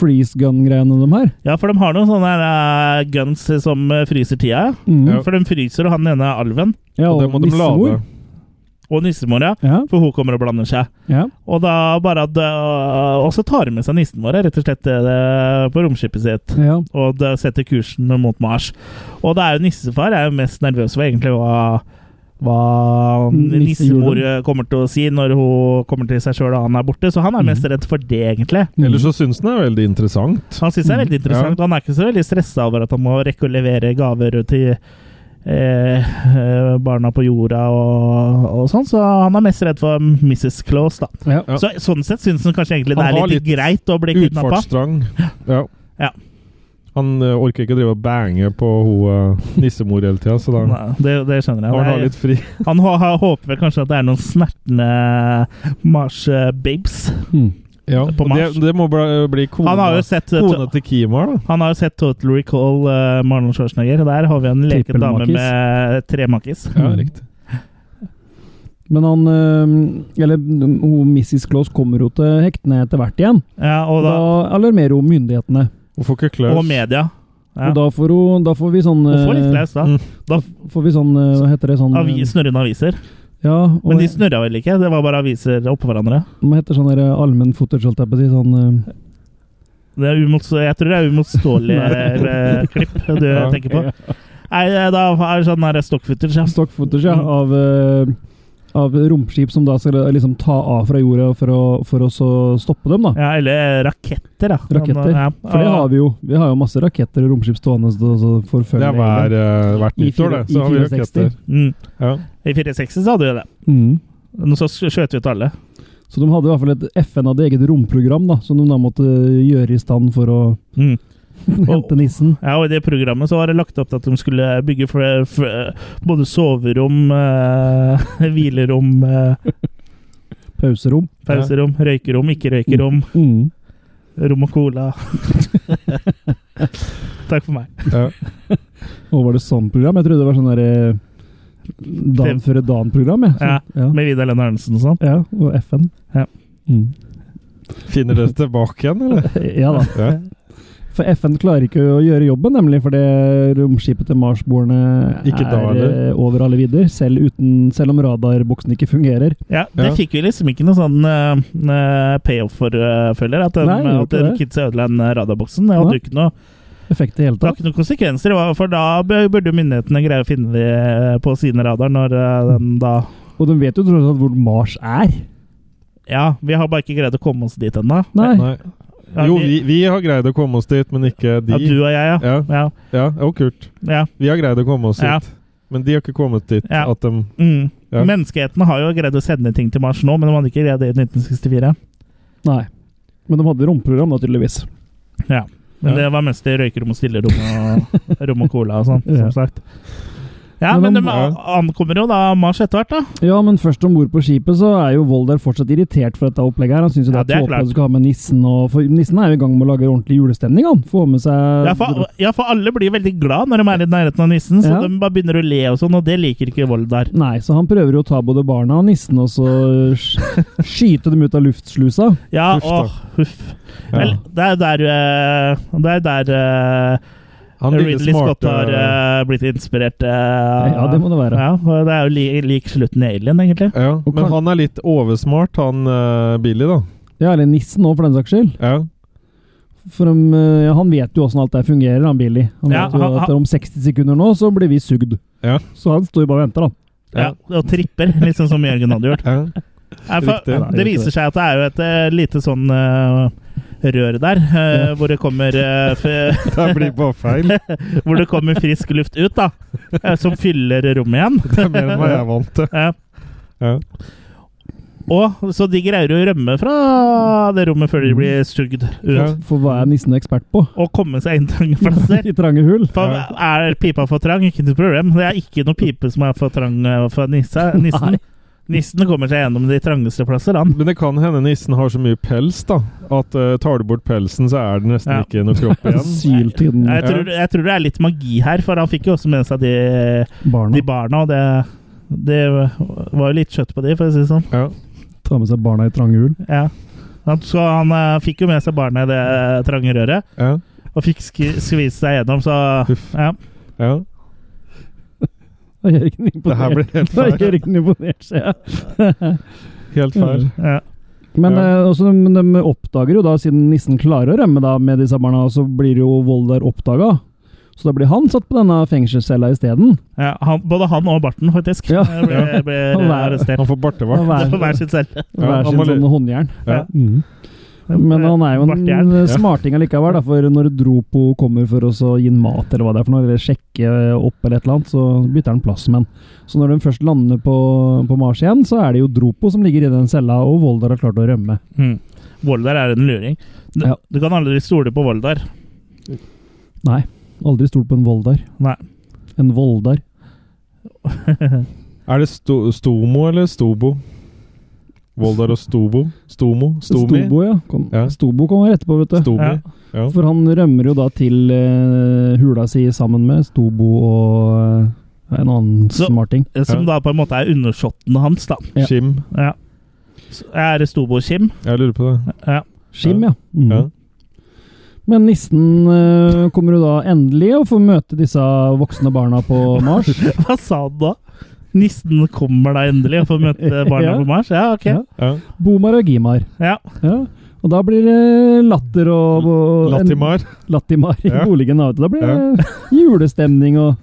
S4: freeze gun-greiene de her.
S2: ja, for de har noen sånne her, eh, guns som eh, fryser tida.
S4: Mm.
S3: Ja.
S2: For de fryser, og han ene er alven.
S4: Ja,
S3: Og det må de
S4: nissemor.
S3: lade.
S2: Og nissemor, ja.
S4: Ja,
S2: For hun kommer og blander seg.
S4: ja.
S2: Og da bare at øh, Og så tar hun med seg nissen vår, rett og slett, øh, på romskipet sitt.
S4: ja.
S2: Og da setter kursen mot Mars. Og det er jo nissefar jeg er jo mest nervøs for egentlig hva hva nissemor
S4: Nissehjulet.
S2: øh, kommer til å si når hun kommer til seg sjøl og han er borte. Så han er
S3: Mhm.
S2: mest redd for det, egentlig.
S3: Ellers så syns den er veldig interessant.
S2: Han syns det er veldig interessant. og Han er ikke så veldig stressa over at han må rekke å levere gaver til eh, eh, barna på jorda og, og sånn, så han er mest redd for Mrs. Claus, da.
S4: Mm. Ja.
S3: Ja.
S2: Så, sånn sett syns han kanskje egentlig det
S3: Han
S2: er
S3: har
S2: litt,
S3: litt
S2: greit å bli kidnappa.
S3: Utfartsdrang. Ja.
S2: Ja.
S3: Han eh, orker ikke drive og bange på ho, eh, nissemor hele tida, så da
S2: Nei, Det, det skjønner jeg.
S3: han har
S2: Det er-
S3: litt fri.
S2: han hå- hå- håper vel kanskje at det er noen snertne Mars-babes
S4: Mm.
S3: Ja,
S2: På
S3: og
S2: Mars.
S3: Det, det må bli, bli kona,
S2: Han har jo sett eh,
S3: kona
S2: to-
S3: til Kimar, da.
S2: han har jo sett Total Recall, eh, Marlon Schwarzenegger. Der har vi en leken dame
S4: Trippelmakis.
S2: med tremakis.
S3: Ja,
S4: Mm.
S3: riktig.
S4: Men han eh, Eller hun Mrs. Claus kommer jo til hektene etter hvert igjen.
S2: Ja, og,
S4: Da,
S2: da,
S4: alarmerer hun myndighetene.
S3: Hvorfor ikke Klaus?
S2: og media. Ja.
S4: Og da får, hun, da får vi sånn
S2: Hun får litt
S4: eh,
S2: klaus, da.
S3: Mm.
S2: da
S4: Får vi sånn eh, Hva heter det? Sånn eh,
S2: avi, snurrende aviser.
S4: Ja, og,
S2: Men de snurra vel ikke? Det var bare aviser oppå hverandre.
S4: Hva heter sånn der allmennfoter, holdt jeg på å si? Sånn eh,
S2: Det er umots- jeg tror det er uimotståelige eh, klipp du
S3: Ja.
S2: tenker på. Nei, eh, da er det sånn der stockfooter. Ja.
S4: stock footage ja,
S2: Mm.
S4: av, eh, av romskip som da skal liksom ta av fra jorda for å, for å så stoppe dem, da.
S2: ja, eller raketter, da. Sånn, eh,
S4: Raketter.
S2: Ja,
S4: For det har vi jo. Vi har jo masse raketter og romskip stående og så
S3: Det
S4: forfølger
S3: er hver, eh, hvert
S4: I
S3: nyttår,
S4: fire-
S3: det.
S4: i
S3: Så har vi
S4: 64.
S3: raketter.
S2: Mm.
S3: Ja.
S2: I 460 så hadde vi det.
S4: Mm.
S2: Men så skjøt vi ut alle.
S4: Så de hadde i hvert fall et FN hadde eget romprogram da, som de da måtte eh, gjøre i stand for å
S2: Mm.
S4: hente nissen.
S2: Ja, og I det programmet så var det lagt opp til at de skulle bygge fl- fl- både soverom, eh, hvilerom, eh,
S4: Pauserom.
S2: pauserom, røykerom, ikke-røykerom,
S4: Mm.
S2: rom og cola. Takk for meg.
S3: Ja.
S4: Og var det sånn program? Jeg trodde det var sånn derre Dan
S2: Det-
S4: før dan-program. jeg.
S2: Ja,
S4: ja.
S2: Med Vidar Lenne Arnesen og sånn.
S4: ja, og FN. Mm.
S3: Finner dere tilbake igjen, eller?
S4: Ja da.
S3: Ja.
S4: For FN klarer ikke å gjøre jobben, nemlig fordi romskipet til Marsboerne
S3: Ikke
S4: er
S3: da, eller?
S4: eh, over alle vidder, selv, uten, selv om radarboksen ikke fungerer.
S2: Ja, det
S3: Ja.
S2: fikk vi liksom ikke noe sånn eh, eh, payoff for, eh, føler jeg. At,
S4: Nei,
S2: de,
S4: gjorde
S2: at de
S4: ikke det.
S2: kidsa ødela den radarboksen. Det hadde
S4: Nei.
S2: jo ikke noe,
S4: Effekt i det hele
S2: det har
S4: tatt.
S2: ikke noen konsekvenser, det var- for da b- burde jo myndighetene greie å finne de eh, på sine radar når eh, den da
S4: Og de vet jo tross alt hvor Mars er.
S2: Ja, vi har bare ikke greid å komme oss dit ennå.
S4: Nei.
S3: Nei.
S2: Ja,
S3: Jo, vi, vi har greid å komme oss dit, men ikke
S2: Ja, du
S3: de.
S2: og jeg, ja.
S3: Ja,
S2: Ja.
S3: ja, og Kurt.
S2: ja,
S3: Vi har greid å komme oss
S2: Ja.
S3: dit, men de har ikke kommet dit
S2: Ja.
S3: at de
S2: Mm.
S3: Ja.
S2: Menneskeheten har jo greid å sende ting til Mars nå, men de hadde ikke greid det i 1964.
S4: Nei. Men de hadde romprogram, da, tydeligvis.
S2: Men
S3: Ja.
S2: det var mest i røykerom og stillerom og rom og cola og sånn, som
S4: Ja.
S2: sagt. Ja,
S4: Men
S2: men
S4: de-
S2: de a- ankommer jo da Mars etter hvert, da.
S4: Ja, men først om bord på skipet, så er jo Volder fortsatt irritert for dette opplegget. her. Han syns jo det
S2: Ja,
S4: er
S2: det er
S4: tåpelig
S2: klart.
S4: at du skal ha med nissen og for Nissen er jo i gang med å lage ordentlig julestemning, han. Få med seg
S2: Ja for, ja, for alle blir veldig glad når de er i nærheten av nissen, så
S4: Ja.
S2: de bare begynner å le og sånn, og det liker ikke Voldar.
S4: Nei, så han prøver jo å ta både barna og nissen, og så sk- skyte dem ut av luftslusa.
S2: Ja,
S3: Huff da.
S2: åh, huff.
S3: ja.
S2: Vel, det er der eh, Det er der eh,
S3: Han lille
S2: Ridley Scott
S3: smarte
S2: har eh, blitt inspirert. eh,
S4: Ja, det må det være.
S2: ja, og det er jo li, lik slutten i Alien, egentlig.
S3: ja.
S4: Og
S3: Men
S4: Carl-
S3: han er litt oversmart, han eh, Billy, da.
S4: Ja, eller nissen òg, for den saks skyld.
S3: Ja.
S4: For om, eh, han vet jo åssen alt det fungerer, han Billy. Han
S2: Ja,
S4: vet jo
S2: han-
S4: at
S2: han-
S4: om 60 sekunder nå, så blir vi sugd.
S3: Ja.
S4: Så han står jo bare og venter, da.
S2: Ja, og tripper, liksom som Jørgen hadde gjort.
S3: ja.
S2: Nei, for,
S3: Riktig.
S2: det viser seg at det er jo et eh, lite sånn eh, rør der, eh, hvor, det kommer, eh, f-
S3: Det blir bare feil.
S2: hvor det kommer frisk luft ut, da. eh, som fyller rommet igjen.
S3: Det er mer enn hva jeg er vant til.
S2: Ja.
S3: Ja.
S2: Og så de greier å rømme fra det rommet før de blir sugd ut.
S3: Ja.
S4: For hva er nissen ekspert på?
S2: Og komme seg inn trange plasser.
S4: I trange hull.
S2: For er pipa for trang? Ikke noe problem. Det er ikke noe pipe som er for trang eh, for nissa, nissen.
S4: Nei.
S2: Nissen kommer seg gjennom de trangeste plasser, han.
S3: Men det kan hende nissen har så mye pels, da. At eh, tar du bort pelsen, så er det nesten
S2: Ja.
S3: ikke noe kropp igjen.
S4: Sylt i den
S2: Jeg tror, jeg tror det er litt magi her, for han fikk jo også med seg de,
S4: barna.
S2: de barna, og det, det var jo litt kjøtt på de, for å si det sånn.
S3: Ja.
S4: Ta med seg barna i trange hull.
S2: Ja. Han- Så han eh, fikk jo med seg barna i det eh, trange røret.
S3: Ja.
S2: og fikk sk skvist seg gjennom, så
S3: Huff.
S2: ja.
S3: ja.
S4: Da gjør ikke den
S3: Det her
S4: imponert.
S3: blir helt
S4: Da
S3: feil.
S4: gjør ikke den imponert, ser jeg.
S3: Helt feil.
S2: ja.
S4: Men
S3: Ja.
S4: eh, også, de, de oppdager jo da, siden nissen klarer å rømme da med disse barna, så blir jo Voldar oppdaga. Så da blir han satt på denne fengselscella isteden.
S2: Ja, han, både han og Barten, faktisk,
S4: Ja.
S2: ble, ble
S4: Han var-
S2: arrestert.
S3: Han får bartevakt.
S4: Han
S2: På hver sitt selv.
S3: Ja,
S4: Hver sin
S3: han var litt-
S4: sånn håndjern.
S3: Ja.
S4: Mm. Men han er jo en
S2: Bartjern.
S4: smarting allikevel, da, for når Dropo kommer for oss å gi han mat eller hva det er for noe, eller sjekke opp eller et eller annet, så bytter han plass med han. Så når de først lander på, på Mars igjen, så er det jo Dropo som ligger i den cella, og Voldar har klart å rømme.
S2: Mm. Voldar er en luring. Du,
S4: Ja.
S2: du kan aldri stole på Voldar.
S4: Nei, aldri stolt på en Voldar.
S2: Nei.
S4: En Voldar.
S3: Er det sto Stomo eller Stobo? Voldar og Stobo? Stomo? Stomi?
S4: Stobo, ja. Kom.
S3: Ja.
S4: Stobo kommer etterpå, vet du.
S3: Stomi.
S2: Ja.
S3: Ja.
S4: For han rømmer jo da til eh, hula si sammen med Stobo og eh, en annen
S2: Så-
S4: smarting.
S2: eh, Som da på en måte er undersåtten hans, da.
S4: Ja.
S3: Skim.
S2: Ja. Så Er det Stobo Kim?
S3: Jeg lurer på det.
S2: Ja.
S4: Skim, ja. Mm.
S3: Ja.
S4: Men nissen eh, kommer jo da endelig å få møte disse voksne barna på Mars.
S2: Hva sa han da? Nissen kommer da endelig og får møte barna
S4: Ja.
S2: på Mars? Ja, ok.
S4: Ja.
S3: ja.
S4: Bomar og Gimar.
S2: Ja.
S4: Ja. Og da blir det latter og, og
S3: Latimar.
S4: En, Latimar i
S3: Ja.
S4: boligen. da, vet du. Da blir det julestemning og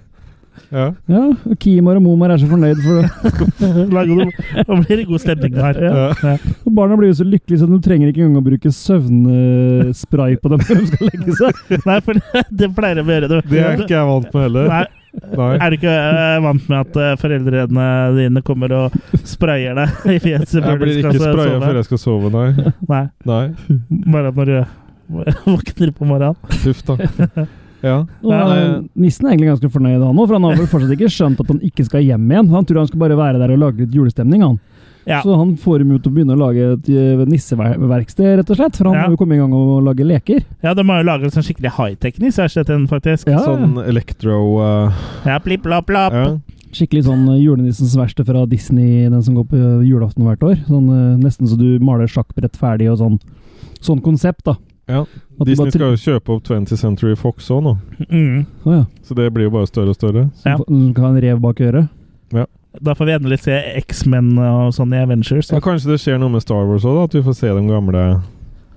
S3: Ja.
S4: Ja, og Kimar og Momar er så fornøyd, for
S2: Da går det- Da blir det god stemning her.
S4: Ja.
S2: Ja.
S4: og barna blir jo så lykkelige så de trenger ikke engang å bruke søvnspray på dem når de skal legge seg.
S2: Nei, for det, det pleier de å gjøre. Du-
S3: Det er ikke jeg vant med heller.
S2: Nei,
S3: Nei.
S2: Er du ikke eh, vant med at eh, foreldrene dine kommer og sprayer deg i fjeset? før
S3: Jeg
S2: du
S3: blir
S2: skal
S3: ikke
S2: sove?
S3: spraya før jeg skal sove, nei.
S2: Nei,
S3: Nei.
S2: Bare når du våkner på morgenen.
S3: Huff da. Ja.
S4: Og
S3: Nei,
S4: Nissen er egentlig ganske fornøyd, han òg, for han har vel fortsatt ikke skjønt at han ikke skal hjem igjen. Han tror han skal bare være der og lage litt julestemning, han.
S2: Ja.
S4: Så han får dem ut og begynner å lage et eh, nisseverksted, rett og slett. For han
S2: Ja.
S4: har jo kommet i gang og lage leker.
S2: Ja, de har jo laget en sånn skikkelig high-tech nisseverksted, faktisk.
S4: Ja,
S3: Sånn electro eh,
S2: Ja, plipp, lapp, lapp.
S3: ja.
S4: Skikkelig sånn eh, julenissens verksted fra Disney, den som går på eh, julaften hvert år. Sånn, eh, nesten så du maler sjakkbrett ferdig og sånn. Sånn konsept, da.
S3: Ja,
S4: At du
S3: Disney
S4: bare tryk-
S3: skal jo kjøpe opp 20th Century Fox òg nå,
S2: Mm.
S4: Å ja.
S3: så det blir jo bare større og større.
S4: Så
S2: Ja.
S4: fa- Du skal ha en rev bak øret.
S2: Da får vi endelig se X-Men og sånn i Avengers.
S3: Ja, kanskje det skjer noe med Star Wars òg, at vi får se de gamle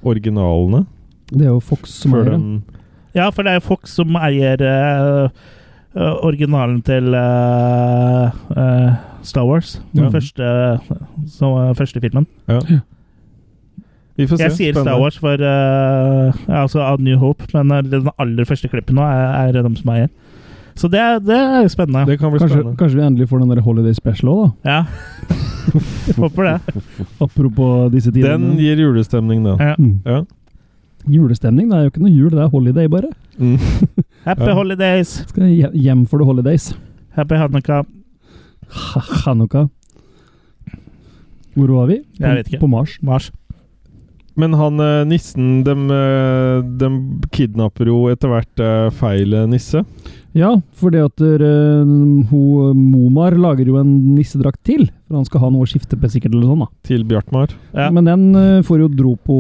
S3: originalene
S4: Det er jo Fox som
S3: før
S4: eier
S3: de
S4: den.
S2: Ja, for det er jo Fox som eier eh, eh, originalen til eh, eh, Star Wars. Den
S4: Ja.
S2: første, som var første filmen.
S3: Vi får se.
S2: Jeg sier
S3: Spennende.
S2: Star Wars for eh, ja, altså av New Hope, men eh, den aller første klippen nå er, er dem som eier. Så det, er- det er jo spennende.
S3: Det kan bli
S4: Kanskje,
S3: spennende.
S4: kanskje vi endelig får den der Holiday Special òg,
S2: Ja. Håper det.
S4: da. Apropos disse
S3: Den
S4: tidene.
S3: gir julestemning, da.
S2: Ja.
S4: Mm.
S3: Ja.
S4: Julestemning? Det er jo ikke noe jul, det er holiday, bare.
S3: Mm.
S2: Happy
S3: Ja.
S2: holidays!
S4: Skal hje- hjem for the holidays.
S2: Happy Hanukka.
S4: Ha- Hanukka. Hvor var vi? På,
S2: Jeg vet ikke.
S4: På Mars.
S2: Mars.
S3: Men han eh, nissen dem, eh, dem kidnapper jo etter hvert eh, feil eh, nisse.
S4: Ja, for det at eh, hun, Momar lager jo en nissedrakt til. For han skal ha noe å skifte på, sikkert. eller sånn da.
S3: Til Bjartmar.
S2: Ja.
S4: Men den eh, får jo dro på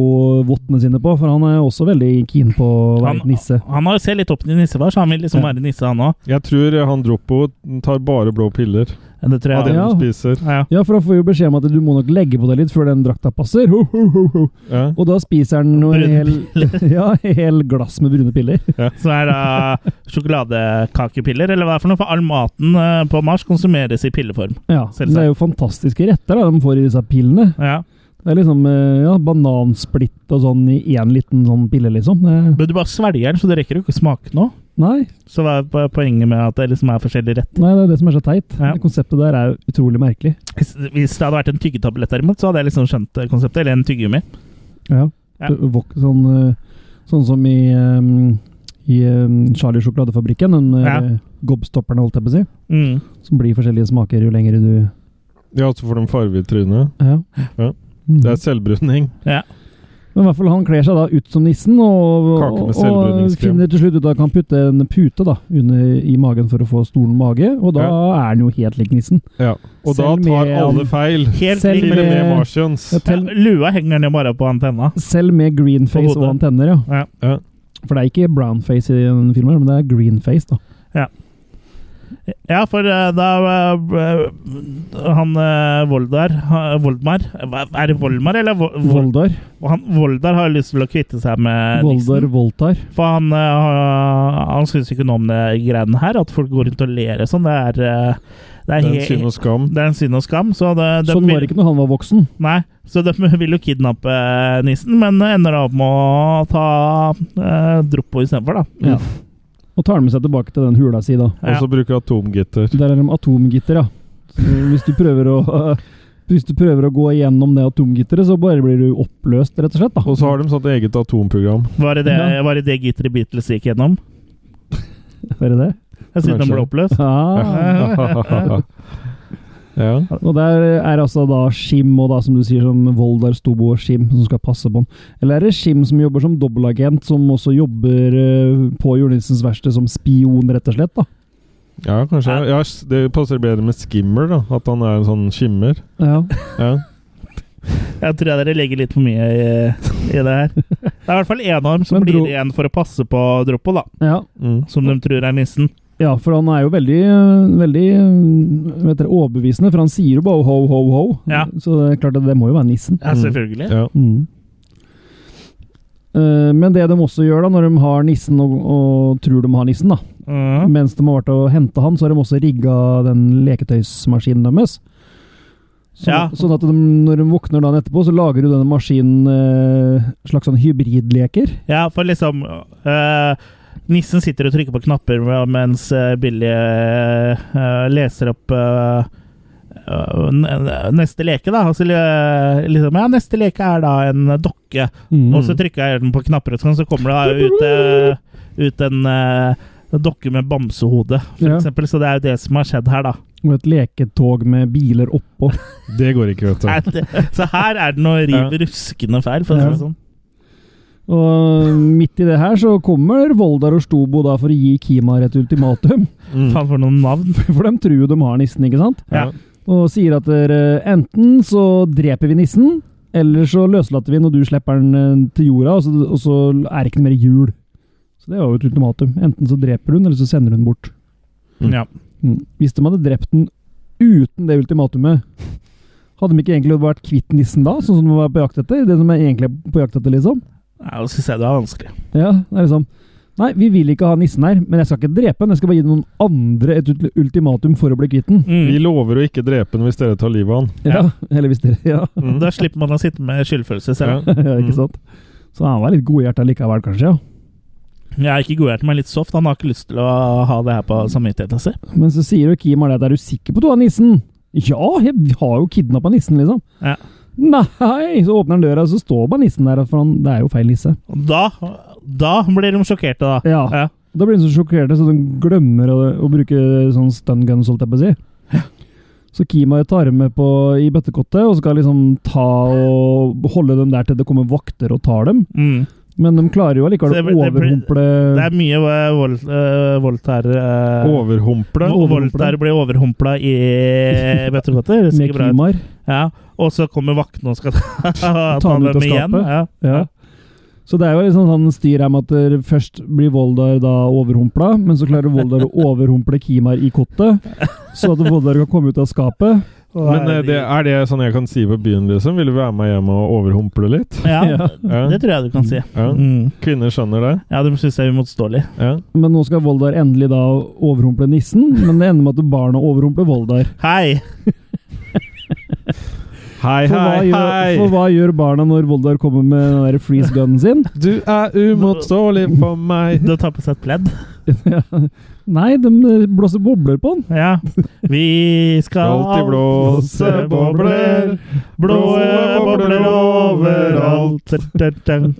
S4: vottene sine på, for han er også veldig keen på å være
S2: Han-
S4: nisse.
S2: Han har jo selv litt opp til nisse, var, så han vil liksom
S4: Ja.
S2: være nisse, han òg.
S3: Jeg tror eh, han Droppo tar bare blå piller
S2: Det tror
S3: av det
S2: jeg.
S4: Ja.
S3: han spiser.
S2: Ja.
S4: Ja, for han får jo beskjed om at du må nok legge på deg litt før den drakta passer. Ho, ho, ho, ho.
S3: Ja.
S4: Og da spiser han noe
S2: Brune
S4: hel, ja, hel glass med brune piller.
S2: Så er det sjokoladekakepiller, eller hva er det for noe? For all maten eh, på Mars konsumeres i pilleform.
S4: Ja,
S2: Selvsagt.
S4: Det er jo fantastiske retter da, de får i disse pillene.
S2: Ja.
S4: Det er liksom eh, ja, banansplitt og sånn i én liten sånn pille, liksom. Det,
S2: Men du bare svelger den, så det rekker jo ikke å smake noe.
S4: nei,
S2: Så hva er po- poenget med at det liksom er forskjellige rett?
S4: nei, det er det som er så teit.
S2: Ja.
S4: Det konseptet der er jo utrolig merkelig.
S2: Hvis hvis det hadde vært en tyggetablett derimot, så hadde jeg liksom skjønt eh, konseptet. Eller en tyggegummi.
S4: Ja.
S2: Ja.
S4: Det vok- Sånn, eh, sånn som i, eh, i eh, Charlie sjokoladefabrikken, den ja.
S2: Ja.
S4: gobstopperne, holdt jeg på å si.
S2: Mm.
S4: Som blir forskjellige smaker jo lenger du
S3: ja, så får de farge i trynet.
S4: Ja.
S3: Ja.
S4: Mm.
S3: Det er selvbruning.
S2: Ja.
S4: Men i hvert fall han kler seg da ut som nissen, og,
S3: Kake med
S4: og, og
S3: selvbruningskrem.
S4: finner til slutt ut at han kan putte en pute da, under, i magen for å få stolen mage, og da er han jo helt lik nissen.
S3: Ja. Og
S4: Selv
S3: da tar
S4: med-
S3: alle feil.
S2: Helt
S4: Selv
S2: lik
S3: Til og
S2: med
S3: med
S4: med-
S3: Martians.
S4: Ja,
S2: ja,
S4: til,
S2: Lua henger ned bare på antenna.
S4: selv med greenface
S2: På hodet.
S4: og antenner, ja.
S2: Ja.
S3: Ja.
S4: For det er ikke brownface i den filmen, her, men det er greenface, da.
S2: Ja, for eh, da eh, Han eh, Voldar ha- Voldmar Hva- Er det Voldmar, eller? Vo- Vold,
S4: Voldar.
S2: han, Voldar har lyst til å kvitte seg med
S4: Voldar
S2: nissen.
S4: Voltar.
S2: For han, uh, han syns ikke noe om det greiene her, at folk går rundt og ler og sånn. Det er, eh, det
S3: Det
S2: er,
S3: er en
S2: he-
S3: synd og skam.
S2: det er en synd og skam. Så, det, de
S4: Sånn var det
S2: vil,
S4: ikke når han var voksen.
S2: nei, så de vil jo kidnappe nissen, men ender da opp med å ta uh, Droppo istedenfor, da.
S4: Ja. Og tar han med seg tilbake til den hula si, da.
S3: Og så bruker atomgitter.
S4: Der er de atomgitter, ja. Så hvis du prøver å hvis du prøver å gå igjennom det atomgitteret, så bare blir du oppløst, rett og slett. da.
S3: Og så har de sånt eget atomprogram.
S2: Var det det,
S4: Ja.
S2: var det, det gitteret Beatles gikk gjennom?
S4: Er det det?
S2: Jeg synes de
S3: Kanskje.
S2: ble oppløst.
S4: Ah.
S3: ja.
S4: Og der er altså da Shim, og da som du sier, som Voldar, Stobo og Shim, som skal passe på han. Eller er det Shim som jobber som dobbeltagent, som også jobber eh, på julenissens verksted som spion, rett og slett? da?
S3: ja, kanskje. Ja, det passer bedre med skimmer, da. At han er en sånn skimmer.
S4: Ja.
S3: Ja.
S2: Jeg tror dere legger litt for mye i, i det her. Det er i hvert fall én arm som
S4: Men
S2: blir
S4: dro-
S2: igjen for å passe på Droppo, da.
S4: ja.
S3: Mm.
S2: Som de tror er nissen.
S4: Ja, for han er jo veldig, eh, veldig eh, vet dere, overbevisende, for han sier jo bare ho, ho, ho.
S2: Ja.
S4: Så det er klart at det må jo være nissen.
S2: Ja,
S3: Mm.
S2: selvfølgelig.
S3: Ja.
S4: Mm. Eh, Men det de også gjør da, når de har nissen og, og tror de har nissen, da,
S2: Mm.
S4: mens de har vært og henta han, så har de også rigga den leketøysmaskinen deres. Så,
S2: Ja.
S4: Sånn at de, når de våkner dagen etterpå, så lager jo denne maskinen eh, slags sånn hybridleker.
S2: Ja, for liksom øh, Nissen sitter og trykker på knapper mens øh, Billy øh, leser opp øh, øh, n- neste leke, da. Altså, øh, liksom, ja, neste leke er da en dokke. Og
S4: Mm.
S2: så trykker jeg den på knapper, og sånn, så kommer det da ut, eh, øh, ut en øh, dokke med bamsehode, for
S4: Ja.
S2: eksempel. Så det er jo det som har skjedd her, da.
S4: med et leketog med biler oppå.
S3: Det går ikke, vet
S2: Er
S3: du.
S2: det, så her er det noe riv
S3: Ja.
S2: ruskende feil, for å si det sånn.
S4: Og midt i det her så kommer Voldar og Stobo da for å gi Kimar et ultimatum.
S3: Mm.
S2: Faen for noen navn.
S4: For de tror jo de har nissen, ikke sant?
S2: Ja.
S4: Og sier at dere, enten så dreper vi nissen, eller så løslater vi den, og du slipper den eh, til jorda, og så, og så er det ikke noe mer jul. Så det var jo et ultimatum. Enten så dreper hun, eller så sender hun bort.
S3: Mm.
S2: Ja.
S4: Mm. Hvis de hadde drept den uten det ultimatumet, hadde de ikke egentlig vært kvitt nissen da, sånn som de var på jakt etter? Det som de egentlig er på jakt etter, liksom?
S2: Ja, Jeg syns jeg det var vanskelig.
S4: Ja, det er liksom Nei, vi vil ikke ha nissen her, men jeg skal ikke drepe den. Jeg skal bare gi noen andre et ulti- ultimatum for å bli kvitt den.
S3: Vi
S2: Mm.
S3: lover å ikke drepe den hvis dere tar livet av han.
S4: Ja. Eller hvis dere Ja.
S3: Mm.
S2: Da slipper man å sitte med skyldfølelse selv.
S3: Ja.
S4: ja, ikke sant? Så han var litt godhjerta likevel, kanskje. ja.
S2: Jeg er ikke godhjertet, men litt soft. Han har ikke lyst til å ha det her på samvittigheten sin.
S4: Men så sier jo Kim Arne at er du sikker på at du har nissen? Ja, jeg har jo kidnappa nissen, liksom.
S2: Ja.
S4: Nei! Så åpner han døra, og så står bare nissen der. For han, det er jo feil nisse.
S2: Og Da, da blir de sjokkerte, da.
S4: Ja.
S2: Ja.
S4: Da blir de så sjokkerte, så de glemmer å, å bruke sånn stun guns, holdt jeg på å si. Så Kimar tar dem med på, i bøttekottet og skal liksom ta og holde dem der til det kommer vakter og tar dem.
S2: Mm.
S4: Men de klarer jo allikevel
S2: Så
S4: å
S2: det- det blir-
S4: overhumple
S2: Det er mye eh, vold, eh, voldt her. eh,
S3: Overhumple.
S4: Nå-
S2: Volt der blir overhumpla i eh, bøttekotter.
S4: med
S2: Sikkert bra. ut.
S4: Kimar.
S2: Ja. Og så kommer vaktene og skal ta, ta,
S4: han ut av
S2: dem igjen.
S4: skapet.
S2: Ja.
S4: Ja. Så det er jo liksom sånn styr her med at der først blir Voldar da overhumpla, men så klarer Voldar å overhumple Kimar i kottet, så at Voldar kan komme ut av skapet.
S3: Men eh, det, er det sånn jeg kan si på byen, liksom? Vil du være med hjem og overhumple litt?
S2: ja,
S3: Ja.
S2: det tror jeg du kan si.
S3: Ja.
S2: Mm.
S3: Kvinner skjønner det?
S2: Ja, de syns jeg er uimotståelig.
S3: Ja.
S4: Men nå skal Voldar endelig da overhumple nissen, men det ender med at barna overhumpler Voldar.
S2: Hei!
S3: Hei,
S4: For hva,
S3: hei,
S4: gjør, for
S3: hei!
S4: hva gjør barna når Voldar kommer med den der freeze gunnen sin?
S3: Du er umotståelig for meg.
S2: Du tar på seg et pledd.
S4: Nei, de blåser bobler på han.
S2: Ja. Vi skal
S3: Alltid blåse bobler.
S2: Blåe bobler overalt.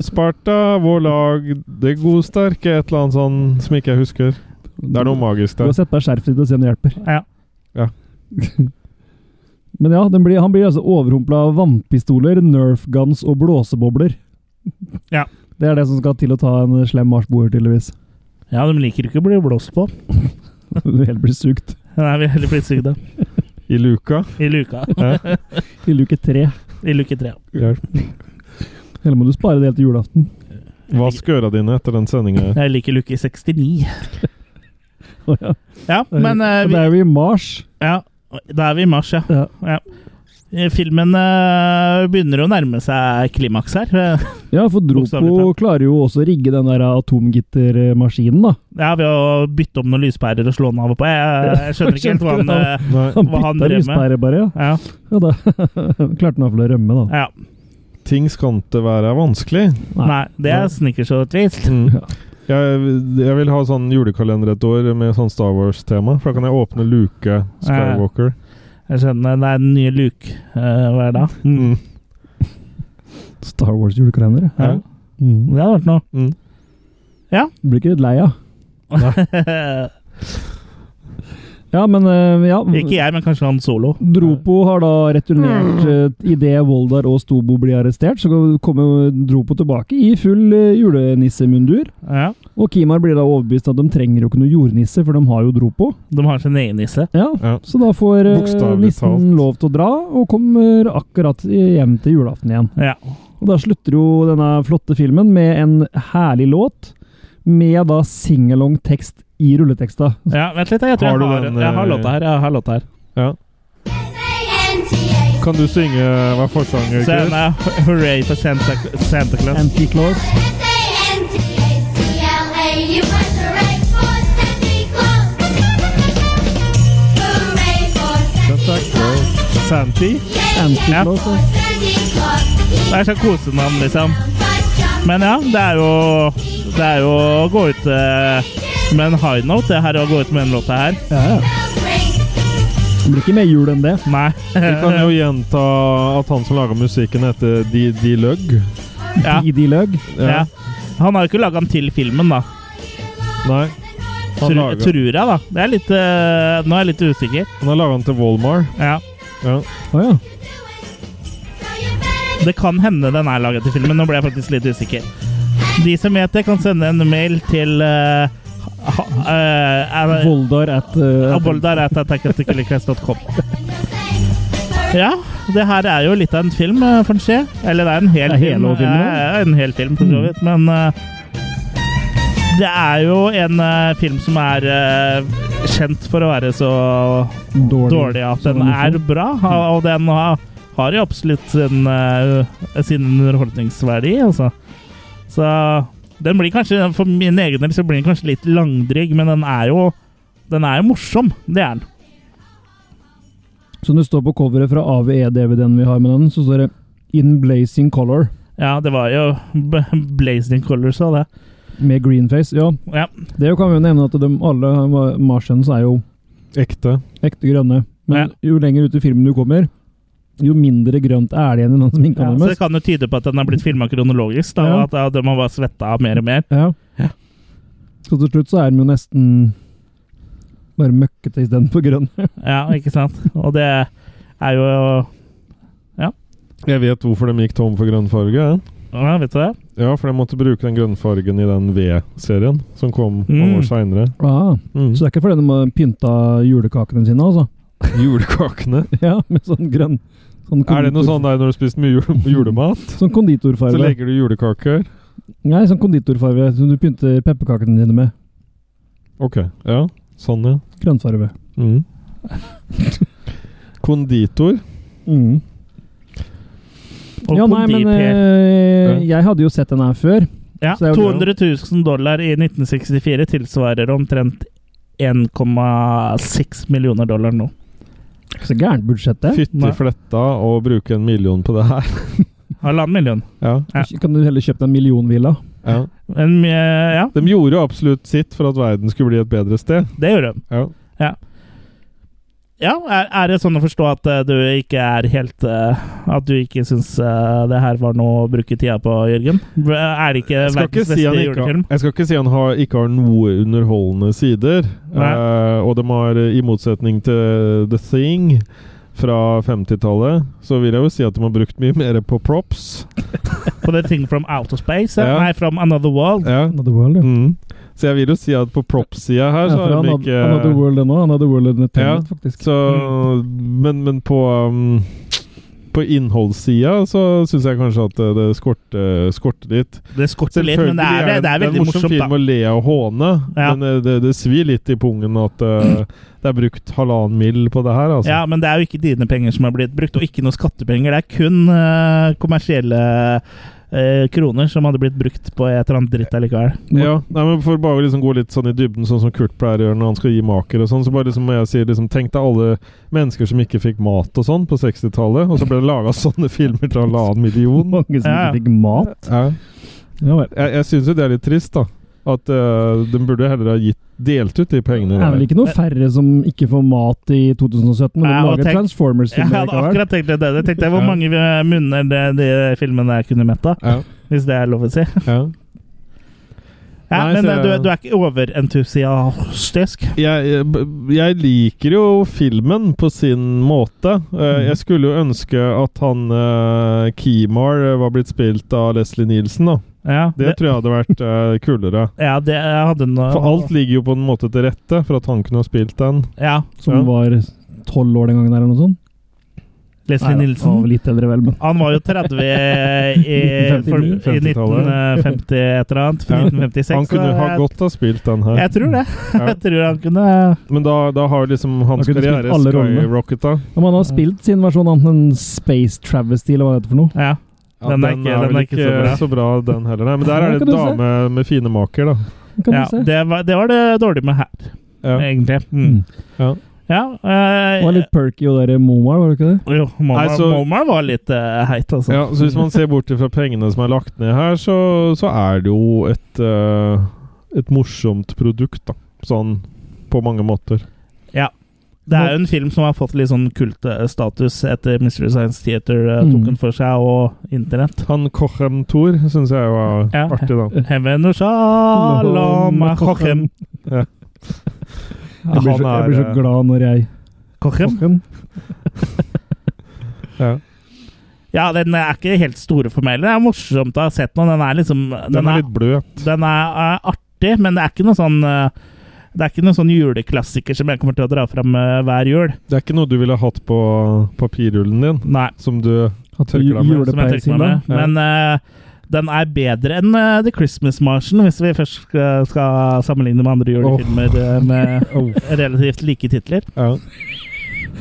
S3: Sparta, vår lag, det godsterke, et eller annet sånn som ikke jeg husker. Det er noe magisk
S4: Du
S3: der.
S4: har sett på deg skjerfet ditt og se om det hjelper.
S2: Ja.
S4: Men ja, den blir, han blir altså overrumpla av vannpistoler, nerf guns og blåsebobler.
S2: Ja.
S4: Det er det som skal til å ta en slem marsboer, tydeligvis.
S2: ja, de liker ikke å bli blåst på.
S4: Du helt blir sugd.
S2: Nei, vi er heller blitt sugd av.
S3: I luka.
S2: I luka.
S3: Ja.
S4: I luke tre.
S2: I luke tre.
S3: Hjelp.
S4: Eller må du spare det helt til julaften?
S3: Vask øra dine etter den sendinga.
S2: Jeg liker luke 69.
S4: Å ja.
S2: Ja, men eh,
S4: Og
S2: vi,
S4: det er jo i mars.
S2: ja, Da er vi i mars, ja.
S4: Ja.
S2: ja. Eh, Filmen eh, begynner å nærme seg klimaks her. Eh,
S4: ja, for
S2: Bokstavelig
S4: Dropo
S2: talt.
S4: klarer jo også å rigge den der atomgittermaskinen, da.
S2: Ja, Ved å bytte om noen lyspærer og slå den av og på. Jeg, jeg skjønner ikke helt hva han eh,
S3: Nei,
S4: Han
S2: Hva han
S4: bytta
S2: drev med?
S4: lyspære, bare. Ja,
S2: ja,
S4: ja da klarte han iallfall å rømme, da.
S2: ja.
S3: ting skal ikke være vanskelig.
S2: Nei, det er snickers og twist.
S3: Mm.
S4: Ja.
S3: Jeg, jeg vil ha sånn julekalender et år med sånn Star Wars-tema, for da kan jeg åpne luke Skywalker.
S2: Jeg skjønner, det er den nye luke eh, hver dag. Mm.
S3: Mm.
S4: Star Wars julekalender.
S2: Ja.
S3: Ja.
S4: Mm.
S2: Det hadde vært noe.
S3: Mm.
S4: Blir ikke litt lei av. Ja, men eh, ja.
S2: ikke jeg, men kanskje han solo.
S4: Dropo har da returnert eh, idet Voldar og Stobo blir arrestert. Så kommer Dropo tilbake i full eh, julenissemundur.
S2: Ja,
S4: Og Kimar blir da overbevist at de trenger jo ikke noe jordnisse, for de har jo Dropo.
S2: De har sin egen nisse.
S4: Ja,
S3: Ja.
S4: Så da får eh,
S3: Bokstavelig
S4: nissen
S3: talt.
S4: lov til å dra, og kommer akkurat hjem til julaften igjen.
S2: Ja.
S4: Og da slutter jo denne flotte filmen med en herlig låt, med da singalong-tekst i rulleteksta.
S2: ja, vent litt, jeg tror jeg
S3: Har du
S2: har,
S3: den,
S2: jeg har
S3: eh,
S2: låta her. Jeg har låta her.
S3: Ja. Kan du synge hva er forsanger
S2: Så den
S3: Chris?
S2: er Hooray for Santa, Santa Claus.
S4: Anti-Claus.
S2: Santi?
S4: Anti-Claus, ja.
S2: Det er sånn kosenavn, liksom. Men ja, det er jo Det er jo å gå ut eh, med en high note, det her å gå ut med den låta her.
S4: ja, ja. Det blir ikke mer jul enn det.
S2: Nei.
S3: Vi kan jo gjenta at han som laga musikken, heter De, De Lug.
S2: ja,
S4: Didi Løg.
S2: ja. Han har jo ikke laga den til filmen, da.
S3: Nei. Han
S2: Tru,
S3: lager-
S2: tror jeg, da. Det er litt, eh, nå er jeg litt usikker.
S3: Han har laga den til Walmart.
S2: Ja.
S3: Ja.
S4: Å ja.
S2: Det kan hende den er laget til filmen. Nå ble jeg faktisk litt usikker. De som vet det, kan sende en mail til uh, ha, eh, er-
S4: Voldar at eh,
S2: Aboldar at attackatthecullycast.com. Ja, det her er jo litt av en film, eh, får en se. Eller det er en hel
S4: Det er hele
S2: film.
S4: filmen, Mm.
S2: Ja, ja, en hel film, for så vidt. Men eh, det er jo en eh, film som er eh, kjent for å være så
S4: dårlig.
S2: dårlig at
S4: Så
S2: den er bra. ha-
S4: Mm.
S2: Og den har, har jo absolutt sin, eh, sin underholdningsverdi, altså. Så den blir kanskje, for min egen del, så blir den kanskje litt langdrygg, men den er jo den er jo morsom, det er den.
S4: Så når det står på coveret fra AVE-DVD-en vi har med den, så står det In Blazing Color
S2: Ja, det var jo b- Blazing Colors og det.
S4: med greenface. Ja,
S2: Ja,
S4: det kan vi jo nevne at de, alle Martians er jo
S3: Ekte.
S4: ekte grønne. Men jo lenger ut i filmen du kommer, jo mindre grønt er det igjen i den som
S2: ja, så det
S4: innkalles.
S2: kan jo tyde på at den har blitt filma kronologisk, da, og
S4: Ja.
S2: at ja, de har bare svetta av mer og mer.
S4: Ja.
S2: Ja.
S4: Så til slutt så er de jo nesten bare møkkete istedenfor grønne.
S2: Ja, ikke sant? Og det er jo
S3: Jeg vet hvorfor de gikk tom for grønnfarge. Ja.
S2: ja, Vet du det?
S3: Ja, for de måtte bruke den grønnfargen i den V-serien som kom noen
S2: Mm.
S3: år seinere.
S4: Ah,
S3: Mm.
S4: så det er ikke fordi de har pynta julekakene sine, altså?
S3: Julekakene.
S4: Ja, med sånn grønn sånn
S3: Er det noe
S4: konditor-
S3: sånn der når du har spist mye jule julemat?
S4: Sånn
S3: Så
S4: konditorfarge.
S3: legger du julekaker.
S4: Nei, sånn konditorfarge som du pynter pepperkakene dine med.
S3: Ok. Ja, sånn, ja.
S4: Grønnfarge.
S3: Mm. Konditor.
S4: Mm.
S2: Og
S4: Ja, nei, men
S2: kondiper.
S4: eh, jeg hadde jo sett den her før.
S2: Ja,
S4: så det er jo
S2: 200 000 dollar i 1964 tilsvarer omtrent 1,6 millioner dollar nå.
S4: Ikke så gærent budsjett, det.
S3: Fytti fletta og bruke en million på det her.
S2: Halvannen million.
S3: Ja,
S2: Ja.
S4: Kan du heller kjøpe deg en millionvilla?
S3: ja.
S2: Men eh, ja,
S3: De gjorde jo absolutt sitt for at verden skulle bli et bedre sted.
S2: det gjorde de.
S3: Ja.
S2: Ja, er, er det sånn å forstå at eh, du ikke er helt eh, At du ikke syns eh, det her var noe å bruke tida på, Jørgen? B- Er det ikke
S3: Jeg skal ikke
S2: verdens
S3: si
S2: beste
S3: han ikke,
S2: julefilm?
S3: jeg skal ikke si han har, ikke har noe underholdende sider.
S2: Nei.
S3: Eh, og de har, i motsetning til The Thing fra 50-tallet, så vil jeg jo si at de har brukt mye mer på props.
S2: På The Thing From Outer Space? eh?
S3: Ja.
S2: Nei, From Another World?
S3: Ja.
S4: Another World, ja.
S3: Mm. Så jeg vil jo si at på props-sida her, så
S4: for
S3: har
S4: han
S3: de
S4: hadde, han hadde
S3: ikke
S4: World ennå. Han hadde World Entertainment, faktisk.
S3: så,
S4: Mm.
S3: men, men på um, på innholdssida så syns jeg kanskje at det, det skorter skorter litt.
S2: Det skorter litt, men det er, det, det er veldig
S3: en morsom
S2: morsomt,
S3: film
S2: da.
S3: å le og håne,
S2: Ja. Mm.
S3: men eh, det, det svir litt i pungen at eh, det er brukt halvannen mill. på det her. Altså.
S2: Ja, men det er jo ikke dine penger som er blitt brukt, og ikke noe skattepenger. Det er kun eh, kommersielle eh, kroner som hadde blitt brukt på et eller annet dritt allikevel.
S3: Ja, nei, men For bare å liksom gå litt sånn i dybden, sånn som Kurt pleier å gjøre når han skal gi maker, og sånn, så bare liksom må jeg si liksom, Tenk deg alle mennesker som ikke fikk mat og sånn på 60-tallet, og så ble det laga sånne filmer til halvannen million.
S4: Mange som
S2: Ja.
S4: ikke fikk mat.
S3: Ja.
S4: Ja vel.
S3: Jeg, jeg syns jo det er litt trist, da. At eh, de burde heller ha gitt, delt ut de
S4: Det
S3: pengene.
S4: er vel ikke noe færre som ikke får mat i 2017, men de
S2: Ja, og
S4: lager
S2: tenk- Jeg
S4: Transformers-filmer
S2: hadde
S4: likevel.
S2: akkurat tenkt det. Jeg tenkte hvor
S3: Ja.
S2: mange eh, munner de, de filmene der kunne metta,
S3: Ja,
S2: hvis det er lov å si.
S3: ja.
S2: Ja,
S3: Nei,
S2: men
S3: så-
S2: eh, du, du er ikke overentusiastisk.
S3: jeg, jeg, jeg liker jo filmen på sin måte. Eh, Jeg skulle jo ønske at han uh, Kimar eh, var blitt spilt av Leslie Nielsen, da.
S2: Ja,
S3: Det
S2: det,
S3: tror jeg hadde vært eh, kulere.
S2: ja, det jeg hadde noe
S3: For alt ligger jo på en måte til rette for at han kunne ha spilt den.
S2: Ja.
S4: Som
S3: Ja.
S4: var tolv år den gangen, eller noe sånt.
S2: Leslie
S4: Nei, Han var
S2: Nilsen.
S4: litt eldre, vel, men
S2: Han var jo 30 i, for, i
S3: 1950-tallet.
S2: 1950 et eller annet.
S3: Ja.
S2: 1956.
S3: Han kunne
S2: så
S3: ha
S2: jeg-
S3: godt ha spilt den her.
S2: Jeg tror det.
S3: Ja.
S2: Jeg tror han kunne
S3: Men da, da har liksom hans
S4: Da kunne du spilt
S3: karriere
S4: alle rollene.
S3: skyrocketa.
S4: Ja, men han har spilt sin versjon av en Space Travesty, eller hva det heter for noe.
S2: Ja.
S3: Ja,
S2: Den er ikke- den
S3: vel
S2: er ikke så bra.
S3: den heller, nei. Men der
S4: Ja,
S3: er det
S4: kan du se.
S3: dame med fine maker, da.
S4: Kan
S2: ja
S4: du se.
S2: det, var, det var det dårlige med her,
S3: Ja.
S2: egentlig. Mm.
S4: Mm.
S3: Ja.
S2: Ja, eh,
S4: Han var litt perky og der Momar, var det ikke det?
S2: jo, Momar,
S3: Nei, så-
S2: Momar var litt eh, heit, altså.
S3: Ja, så hvis man ser bort fra pengene som er lagt ned her, så, så er det jo et eh, Et morsomt produkt, da. Sånn på mange måter.
S2: Det er jo en film som har fått litt sånn kultstatus etter Mystery Science Theater eh,
S4: Mm.
S2: tok den for seg, og internett.
S3: Han Cochem Tour syns jeg var
S2: Ja.
S3: artig, da.
S2: Heaven og shalom, eh, Kochem.
S3: Ja.
S4: Jeg blir, så, jeg blir så glad når jeg
S2: Cochem?
S4: Kokken.
S3: Ja.
S2: Ja, den er ikke helt store for meg. heller. Det er morsomt å ha sett noe. Den er liksom Den,
S3: Den er
S2: er,
S3: litt bløt.
S2: den er, eh, artig, men det er ikke noe sånn eh, det er ikke noen sånn juleklassiker som jeg kommer til å dra fram eh, hver jul.
S3: Det er ikke noe du ville hatt på papirrullen din,
S2: Nei,
S3: som du
S4: At
S3: Tørker deg med,
S2: som jeg tenker meg med.
S3: Ja.
S2: Men eh, den er bedre enn eh, The Christmas Marchen, hvis vi først skal- skal sammenligne med andre julefilmer eh, med
S3: Oh.
S2: relativt like titler.
S3: Ja,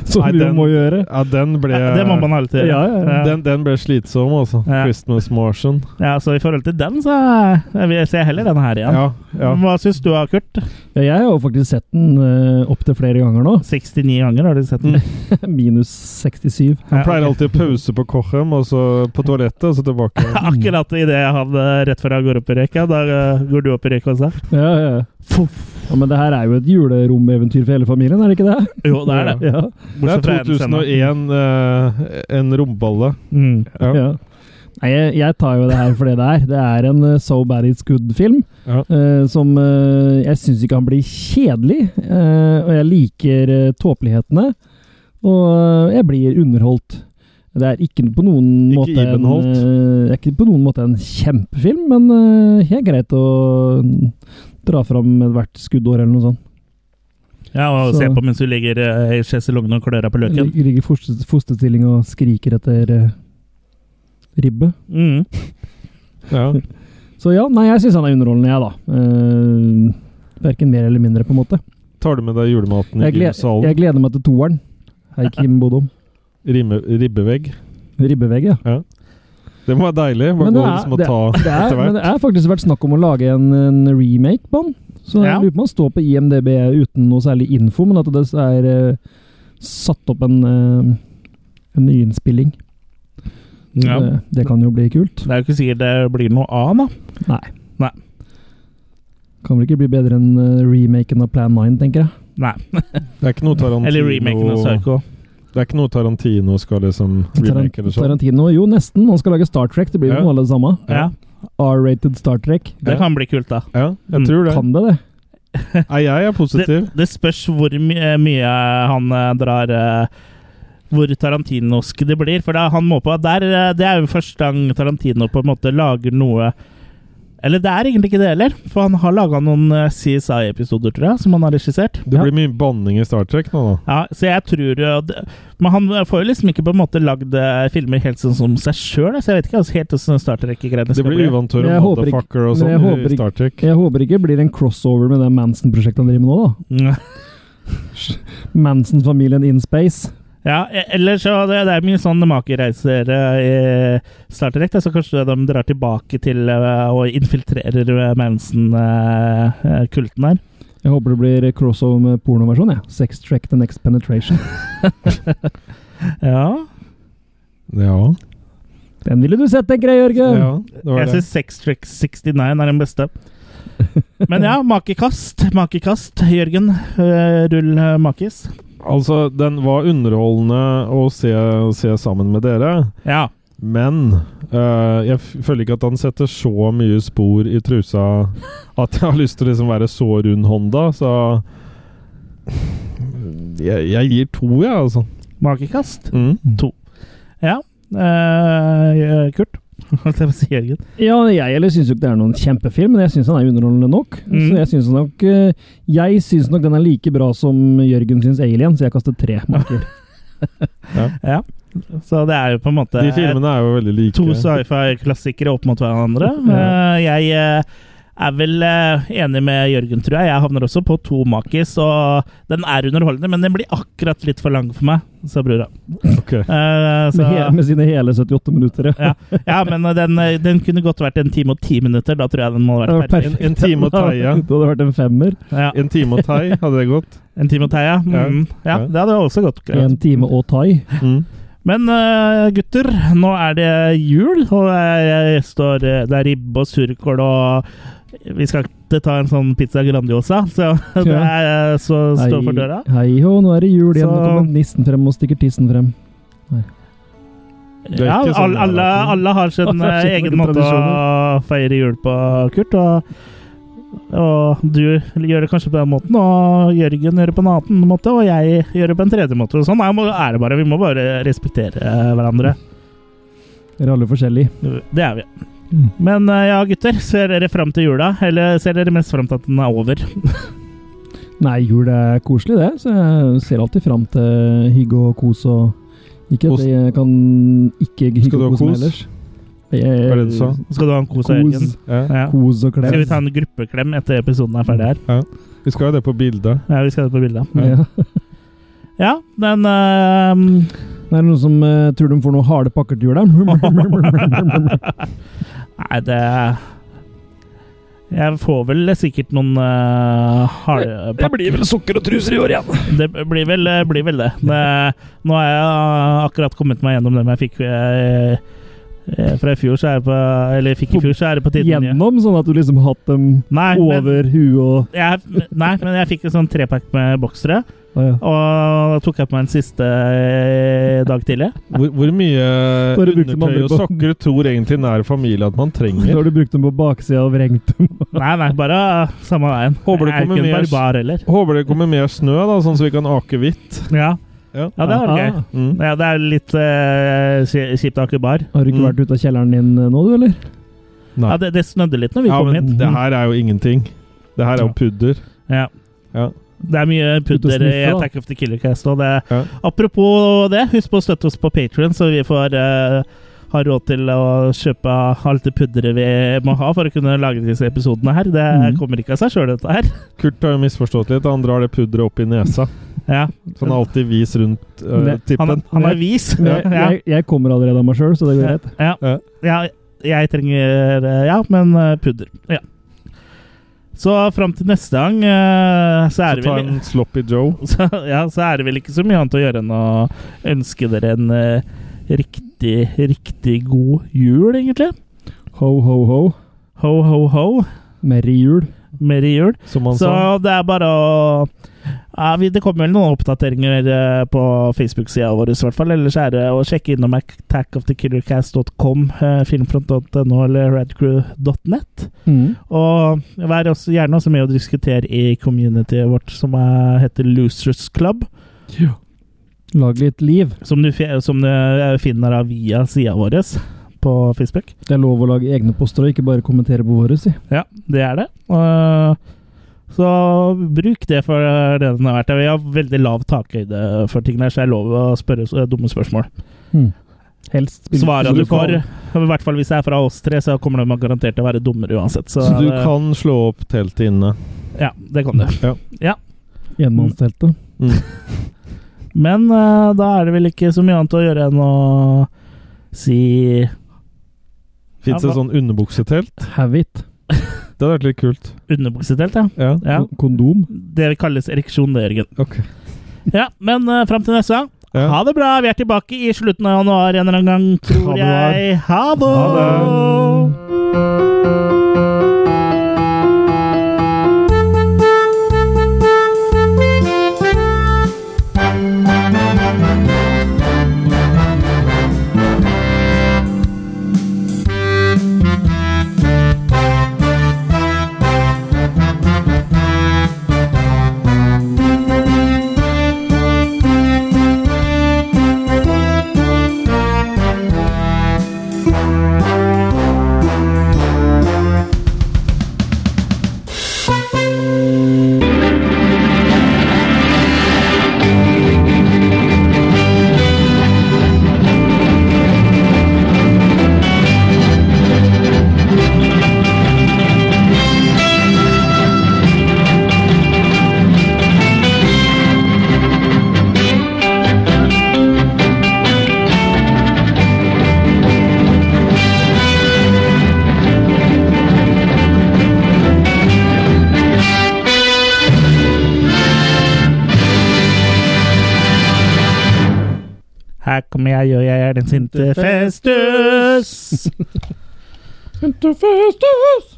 S4: Som
S3: Nei,
S4: du jo
S3: den-
S4: må gjøre.
S3: ja den ble
S2: Ja, det må man alltid gjøre.
S3: eh,
S4: Ja, ja, ja.
S3: den, den ble slitsom, altså.
S2: Ja.
S3: Christmas Martian.
S2: Ja, så i forhold til den, så eh, vil jeg se heller den her igjen.
S3: Ja, ja.
S2: Hva syns du, Kurt?
S4: Ja, jeg har jo faktisk sett den uh, opptil flere ganger nå.
S2: 69 ganger har du sett den.
S4: Minus 67.
S3: Han pleier alltid å pause på Cochem, og så på toalettet, og så tilbake.
S2: Akkurat idet han eh, rett før han går opp i røyka, da eh, går du opp i røyka også.
S4: Ja, ja, ja. ja, Men det her er jo et juleromeventyr for hele familien, er det ikke det?
S2: Jo, det er det.
S4: Ja.
S3: Det
S2: Bortsett fra
S3: er
S2: en scene.
S3: 2001, eh, en romballe.
S2: Mm.
S3: Ja.
S4: ja. Nei, jeg, jeg tar jo det her for det det er. Det er en eh, So Bad It's Good-film.
S3: Ja.
S4: eh, som eh, jeg syns ikke han blir kjedelig. eh, og jeg liker eh, tåpelighetene. Og eh, jeg blir underholdt. Det er ikke på noen
S3: Ikke
S4: måte en,
S3: ibenholdt.
S4: eh, det er ikke på noen måte en kjempefilm, men eh, helt greit å mm, dra fram ethvert skuddår eller noe sånt.
S2: Ja, og
S4: Så-
S2: se på mens du ligger eh, i sjeselongen og klør deg på løken.
S4: Lig- Ligger i foster, fosterstilling og skriker etter eh, ribbe.
S2: Mm.
S3: Ja.
S4: Så ja, nei, jeg syns han er underholdende, jeg, da. Uh, Verken mer eller mindre, på en måte.
S3: Tar du med deg julematen i
S4: Jeg, gled,
S3: gymsalen?
S4: jeg gleder meg til toeren. Hei, Kim Bodom.
S3: Rimme- Ribbevegg.
S4: Ribbevegg, ja.
S3: Det må være deilig. Bare
S4: Men det
S3: gå
S4: er-
S3: liksom og
S4: det-
S3: ta
S4: Det er,
S3: etter
S4: men
S3: hvert.
S4: det er faktisk vært snakk om å lage en, en remake på den. Så jeg
S2: Ja.
S4: lurer på om han står på IMDb uten noe særlig info, men at det er eh, satt opp en, eh, en nyinnspilling.
S2: Ja.
S4: Det, det kan jo bli kult.
S2: Det er jo ikke sikkert det blir noe av, da.
S4: Nei.
S2: Nei.
S4: Kan vel ikke bli bedre enn eh, remaken av Plan 9, tenker jeg.
S2: Nei.
S3: Det er ikke noe Tarantino
S2: Eller remaken av Psycho.
S3: Det er ikke noe Tarantino skal liksom remake eller sånn.
S4: Tarantino, jo nesten. Han skal lage Star Trek, det blir jo
S3: Ja.
S4: noe av det samme.
S2: Ja,
S4: R-rated Star Trek.
S2: Det
S3: Ja.
S2: kan bli kult, da.
S3: Ja,
S2: Mm.
S3: jeg tror det.
S4: Kan det det?
S3: Nei, jeg er
S2: Det,
S3: positiv.
S2: det spørs hvor my mye han eh, drar eh, Hvor tarantinosk det blir. For da, han må på der, eh, Det er jo første gang Tarantino på en måte lager noe Eller det er egentlig ikke det heller, for han har laga noen eh, CSI-episoder, tror jeg, som han har regissert.
S3: Det blir mye banning i Star Trek nå, da.
S2: Ja, så jeg tror jo det- Men han får jo liksom ikke på en måte lagd eh, filmer helt sånn som seg sjøl, så jeg vet ikke altså, helt hvordan Star Trek-greiene
S3: Det
S2: skal bli.
S3: blir uvantur og
S4: Men jeg håper ikke-
S3: motherfucker og
S4: men jeg
S3: sånn
S4: håper
S3: i
S4: ikke-
S3: Star Trek.
S4: Jeg håper ikke det blir en crossover med det Manson-prosjektet han driver med nå, da. Manson-familien in space.
S2: Ja, e- ellers så det, det er mye sånn makereiser eh, i Star Trek. da, Så kanskje de drar tilbake til eh, og infiltrerer eh, Manson-kulten her.
S4: Jeg håper det blir crossover med pornoversjon, jeg. Sex Track The Next Penetration.
S2: Ja.
S3: Ja.
S4: Den ville du sett, tenker jeg, Jørgen!
S3: ja, det var
S2: Jeg
S3: det.
S2: syns Sex Trick 69 er den beste. Men ja, makekast. Makekast, Jørgen. Eh, Rull eh, makis.
S3: Altså, den var underholdende å se, se sammen med dere.
S2: Ja.
S3: Men øh, jeg f- føler ikke at han setter så mye spor i trusa at jeg har lyst til å liksom være så rund hånda, så jeg, jeg gir to, jeg, altså.
S2: Makekast
S3: Mm.
S2: to. Ja. eh, Kurt. Holdt jeg på å si Jørgen.
S4: Ja, jeg eller syns jo ikke det er noen kjempefilm, men jeg syns han er underholdende nok.
S2: Mm.
S4: Så jeg syns nok eh, Jeg synes nok den er like bra som Jørgen syns Alien, så jeg kaster tre marker.
S2: Ja. Så det er jo på en måte
S3: De filmene er jo veldig like.
S2: To sci-fi-klassikere opp mot hverandre. Eh, jeg eh, er vel eh, enig med Jørgen, tror jeg. Jeg havner også på to makis. Og den er underholdende, men den blir akkurat litt for lang for meg, sa brura.
S3: Ok.
S2: Eh,
S3: Altså-
S4: Med, he,
S2: så,
S4: med sine hele 78 minutter.
S2: ja, ja, men den, eh, den kunne godt vært en time og ti minutter. Da tror jeg den må ha vært perfekt.
S3: En, en time og teie.
S4: Det hadde vært en femmer.
S2: Ja,
S3: En time og tei, hadde det gått?
S2: en time og ti, ja. Mm, ja. Det hadde også gått greit.
S4: En time og thai.
S3: Mm.
S2: Men eh, gutter, nå er det jul, og jeg står, eh, det er ribbe og surkål og Vi skal ikke ta en sånn pizza Grandiosa, så det er eh, så står for døra.
S4: Hei hei, hå, nå er det jul igjen.
S2: Så-
S4: Nå kommer nissen frem og stikker tissen frem.
S3: er
S2: Ja,
S3: ikke sånn
S2: alle,
S3: det er,
S2: alle,
S3: Martin.
S2: alle har sin
S4: Alle har
S2: eh,
S4: sine
S2: egen
S4: tradisjoner.
S2: måte å feire jul på, Kurt. Og Og du gjør det kanskje på den måten, og Jørgen gjør det på en annen måte, og jeg gjør det på en tredje måte. Sånn er må- er det bare. Vi må bare respektere eh, hverandre.
S4: Dere er alle forskjellige.
S2: Det er vi.
S4: Mm.
S2: Men eh, ja, gutter. Ser dere fram til jula? Eller ser dere mest fram til at den er over?
S4: Nei, jul er koselig, det. Så jeg ser alltid fram til hygge og kos og Ikke at
S3: Kos.
S4: jeg kan ikke hygge
S3: Skal du
S4: og
S3: ha
S4: kose meg
S3: kos?
S4: ellers.
S3: Hva er det du sa?
S2: Skal du ha en kos av Jørgen?
S4: Kos,
S3: Ja.
S2: Ja.
S4: kos og klem.
S2: Skal vi ta en gruppeklem etter episoden er ferdig her?
S3: Vi skal ha det på bildet.
S2: Ja, vi skal ha det på bildet.
S4: Ja.
S2: Ja, den eh,
S4: Det er noen som eh, tror de får noen harde pakker til jul der.
S2: Nei, det Jeg får vel sikkert noen uh, harde
S4: vel sukker og truser i år igjen.
S2: Det blir vel, eh, blir vel det. det. Nå har jeg eh, akkurat kommet meg gjennom dem jeg fikk eh, eh, fra i fjor, så er det på Eller fikk i fjor, så er det på tide med nye.
S4: Gjennom, sånn at du liksom har hatt dem
S2: Nei, men,
S4: over huet og
S2: jeg, nei, men jeg fikk en sånn trepack med boksere,
S4: Å ja.
S2: og da tok jeg på meg en siste eh, dag tidlig.
S3: Hvor, hvor mye
S4: Bare bruk dem
S3: undertøy
S4: andre
S3: og
S4: på.
S3: sokker tror egentlig nær familie at man
S4: Da
S3: trenger?
S4: har du brukt dem på baksida og vrengt dem.
S2: Nei, nei, bare samme veien.
S3: Håper det
S2: jeg er
S3: kommer
S2: ikke en
S3: mer.
S2: barbar heller.
S3: Håper det kommer mer snø, da, sånn så vi kan ake hvitt.
S2: Ja,
S3: Ja.
S2: ja det var gøy.
S4: Ah,
S3: Mm.
S2: Ja, det er litt eh, ki- kjipt å ha ikke bar.
S4: Har du ikke
S3: Mm.
S4: vært ute av kjelleren din eh, nå, du, eller?
S3: Nei.
S2: Ja, det, det snødde litt når vi
S3: Ja,
S2: kom
S3: men
S2: hit.
S3: det her er jo ingenting. Det her er jo
S2: Ja.
S3: pudder.
S2: Ja.
S3: Ja.
S2: Det er mye
S4: Ut og
S2: pudder i
S4: sniffe, da.
S2: Attack of the Killer Cast. Og det,
S3: Ja.
S2: Apropos det, husk på å støtte oss på Patrion, så vi får eh, ha råd til å kjøpe alt det pudderet vi må ha for å kunne lage disse episodene her. Det
S4: Mhm.
S2: kommer ikke av seg sjøl, dette her.
S3: Kurt har jo misforstått litt. Han drar det pudderet opp i nesa.
S2: Ja.
S3: Så han er alltid vis rundt øh,
S4: Det-
S3: tippen.
S2: Han, han er vis.
S4: Jeg,
S2: Ja.
S4: jeg, jeg kommer allerede av meg sjøl, så det går
S2: Ja.
S4: greit.
S2: Ja. ja. Jeg trenger eh, Ja, men eh, pudder. Ja. Så fram til neste gang, eh, så
S3: Så
S2: er det
S3: ta
S2: vel
S3: en sloppy joe.
S2: så, ja, så er det vel ikke så mye annet å gjøre enn å ønske dere en eh, riktig, riktig god jul, egentlig.
S4: Ho, ho, ho.
S2: Ho, ho, ho.
S4: Merry jul.
S2: Mer i jul.
S3: Sånn Som han
S2: Så
S3: sa.
S2: det er bare å ja, vi, Det kommer vel noen oppdateringer eh, på Facebook-sida vår, i hvert fall. Ellers er det å sjekke innom attackofthekillercast.com, eh, filmfront.no eller radcrew.net. Og vær også, gjerne også med å diskutere i communityet vårt, som eh, heter Losers Club.
S4: Lag litt liv.
S2: Som du, fi- som du eh, finner da via sida vår på Facebook.
S4: Det er lov å lage egne poster og ikke bare kommentere på våre, si.
S2: Ja, det er det. Og, så bruk det for eh, det den er verdt. Vi har veldig lav takhøyde for tingene, her, så det er lov å spørre så- dumme spørsmål. Mm.
S4: Helst. spill-
S2: Svara
S3: så
S2: du
S3: du kan-
S2: får, i hvert fall hvis det er fra oss tre, så kommer de garantert til å være dummere uansett. Så,
S3: Så du
S2: det-
S3: kan slå opp teltet inne.
S2: Ja, det kan du.
S3: Ja.
S4: Enmannsteltet.
S3: Mm.
S2: Men eh, da er det vel ikke så mye annet å gjøre enn å si
S3: Fins
S2: Ja,
S3: det sånn underbuksetelt?
S4: Have it.
S3: Det hadde vært litt kult.
S2: underbuksetelt, ja.
S3: Ja.
S2: ja.
S4: Kondom.
S2: Det kalles ereksjon, det, Jørgen.
S3: Ok.
S2: Ja, men uh, fram til neste gang.
S3: Ja.
S2: Ha det bra. Vi er tilbake i slutten av januar en eller annen gang, tror
S3: Ha det bra.
S2: jeg. Ha det!
S3: Ha det.
S2: Her kommer jeg, og jeg er den sinte festus.
S4: Interfestus!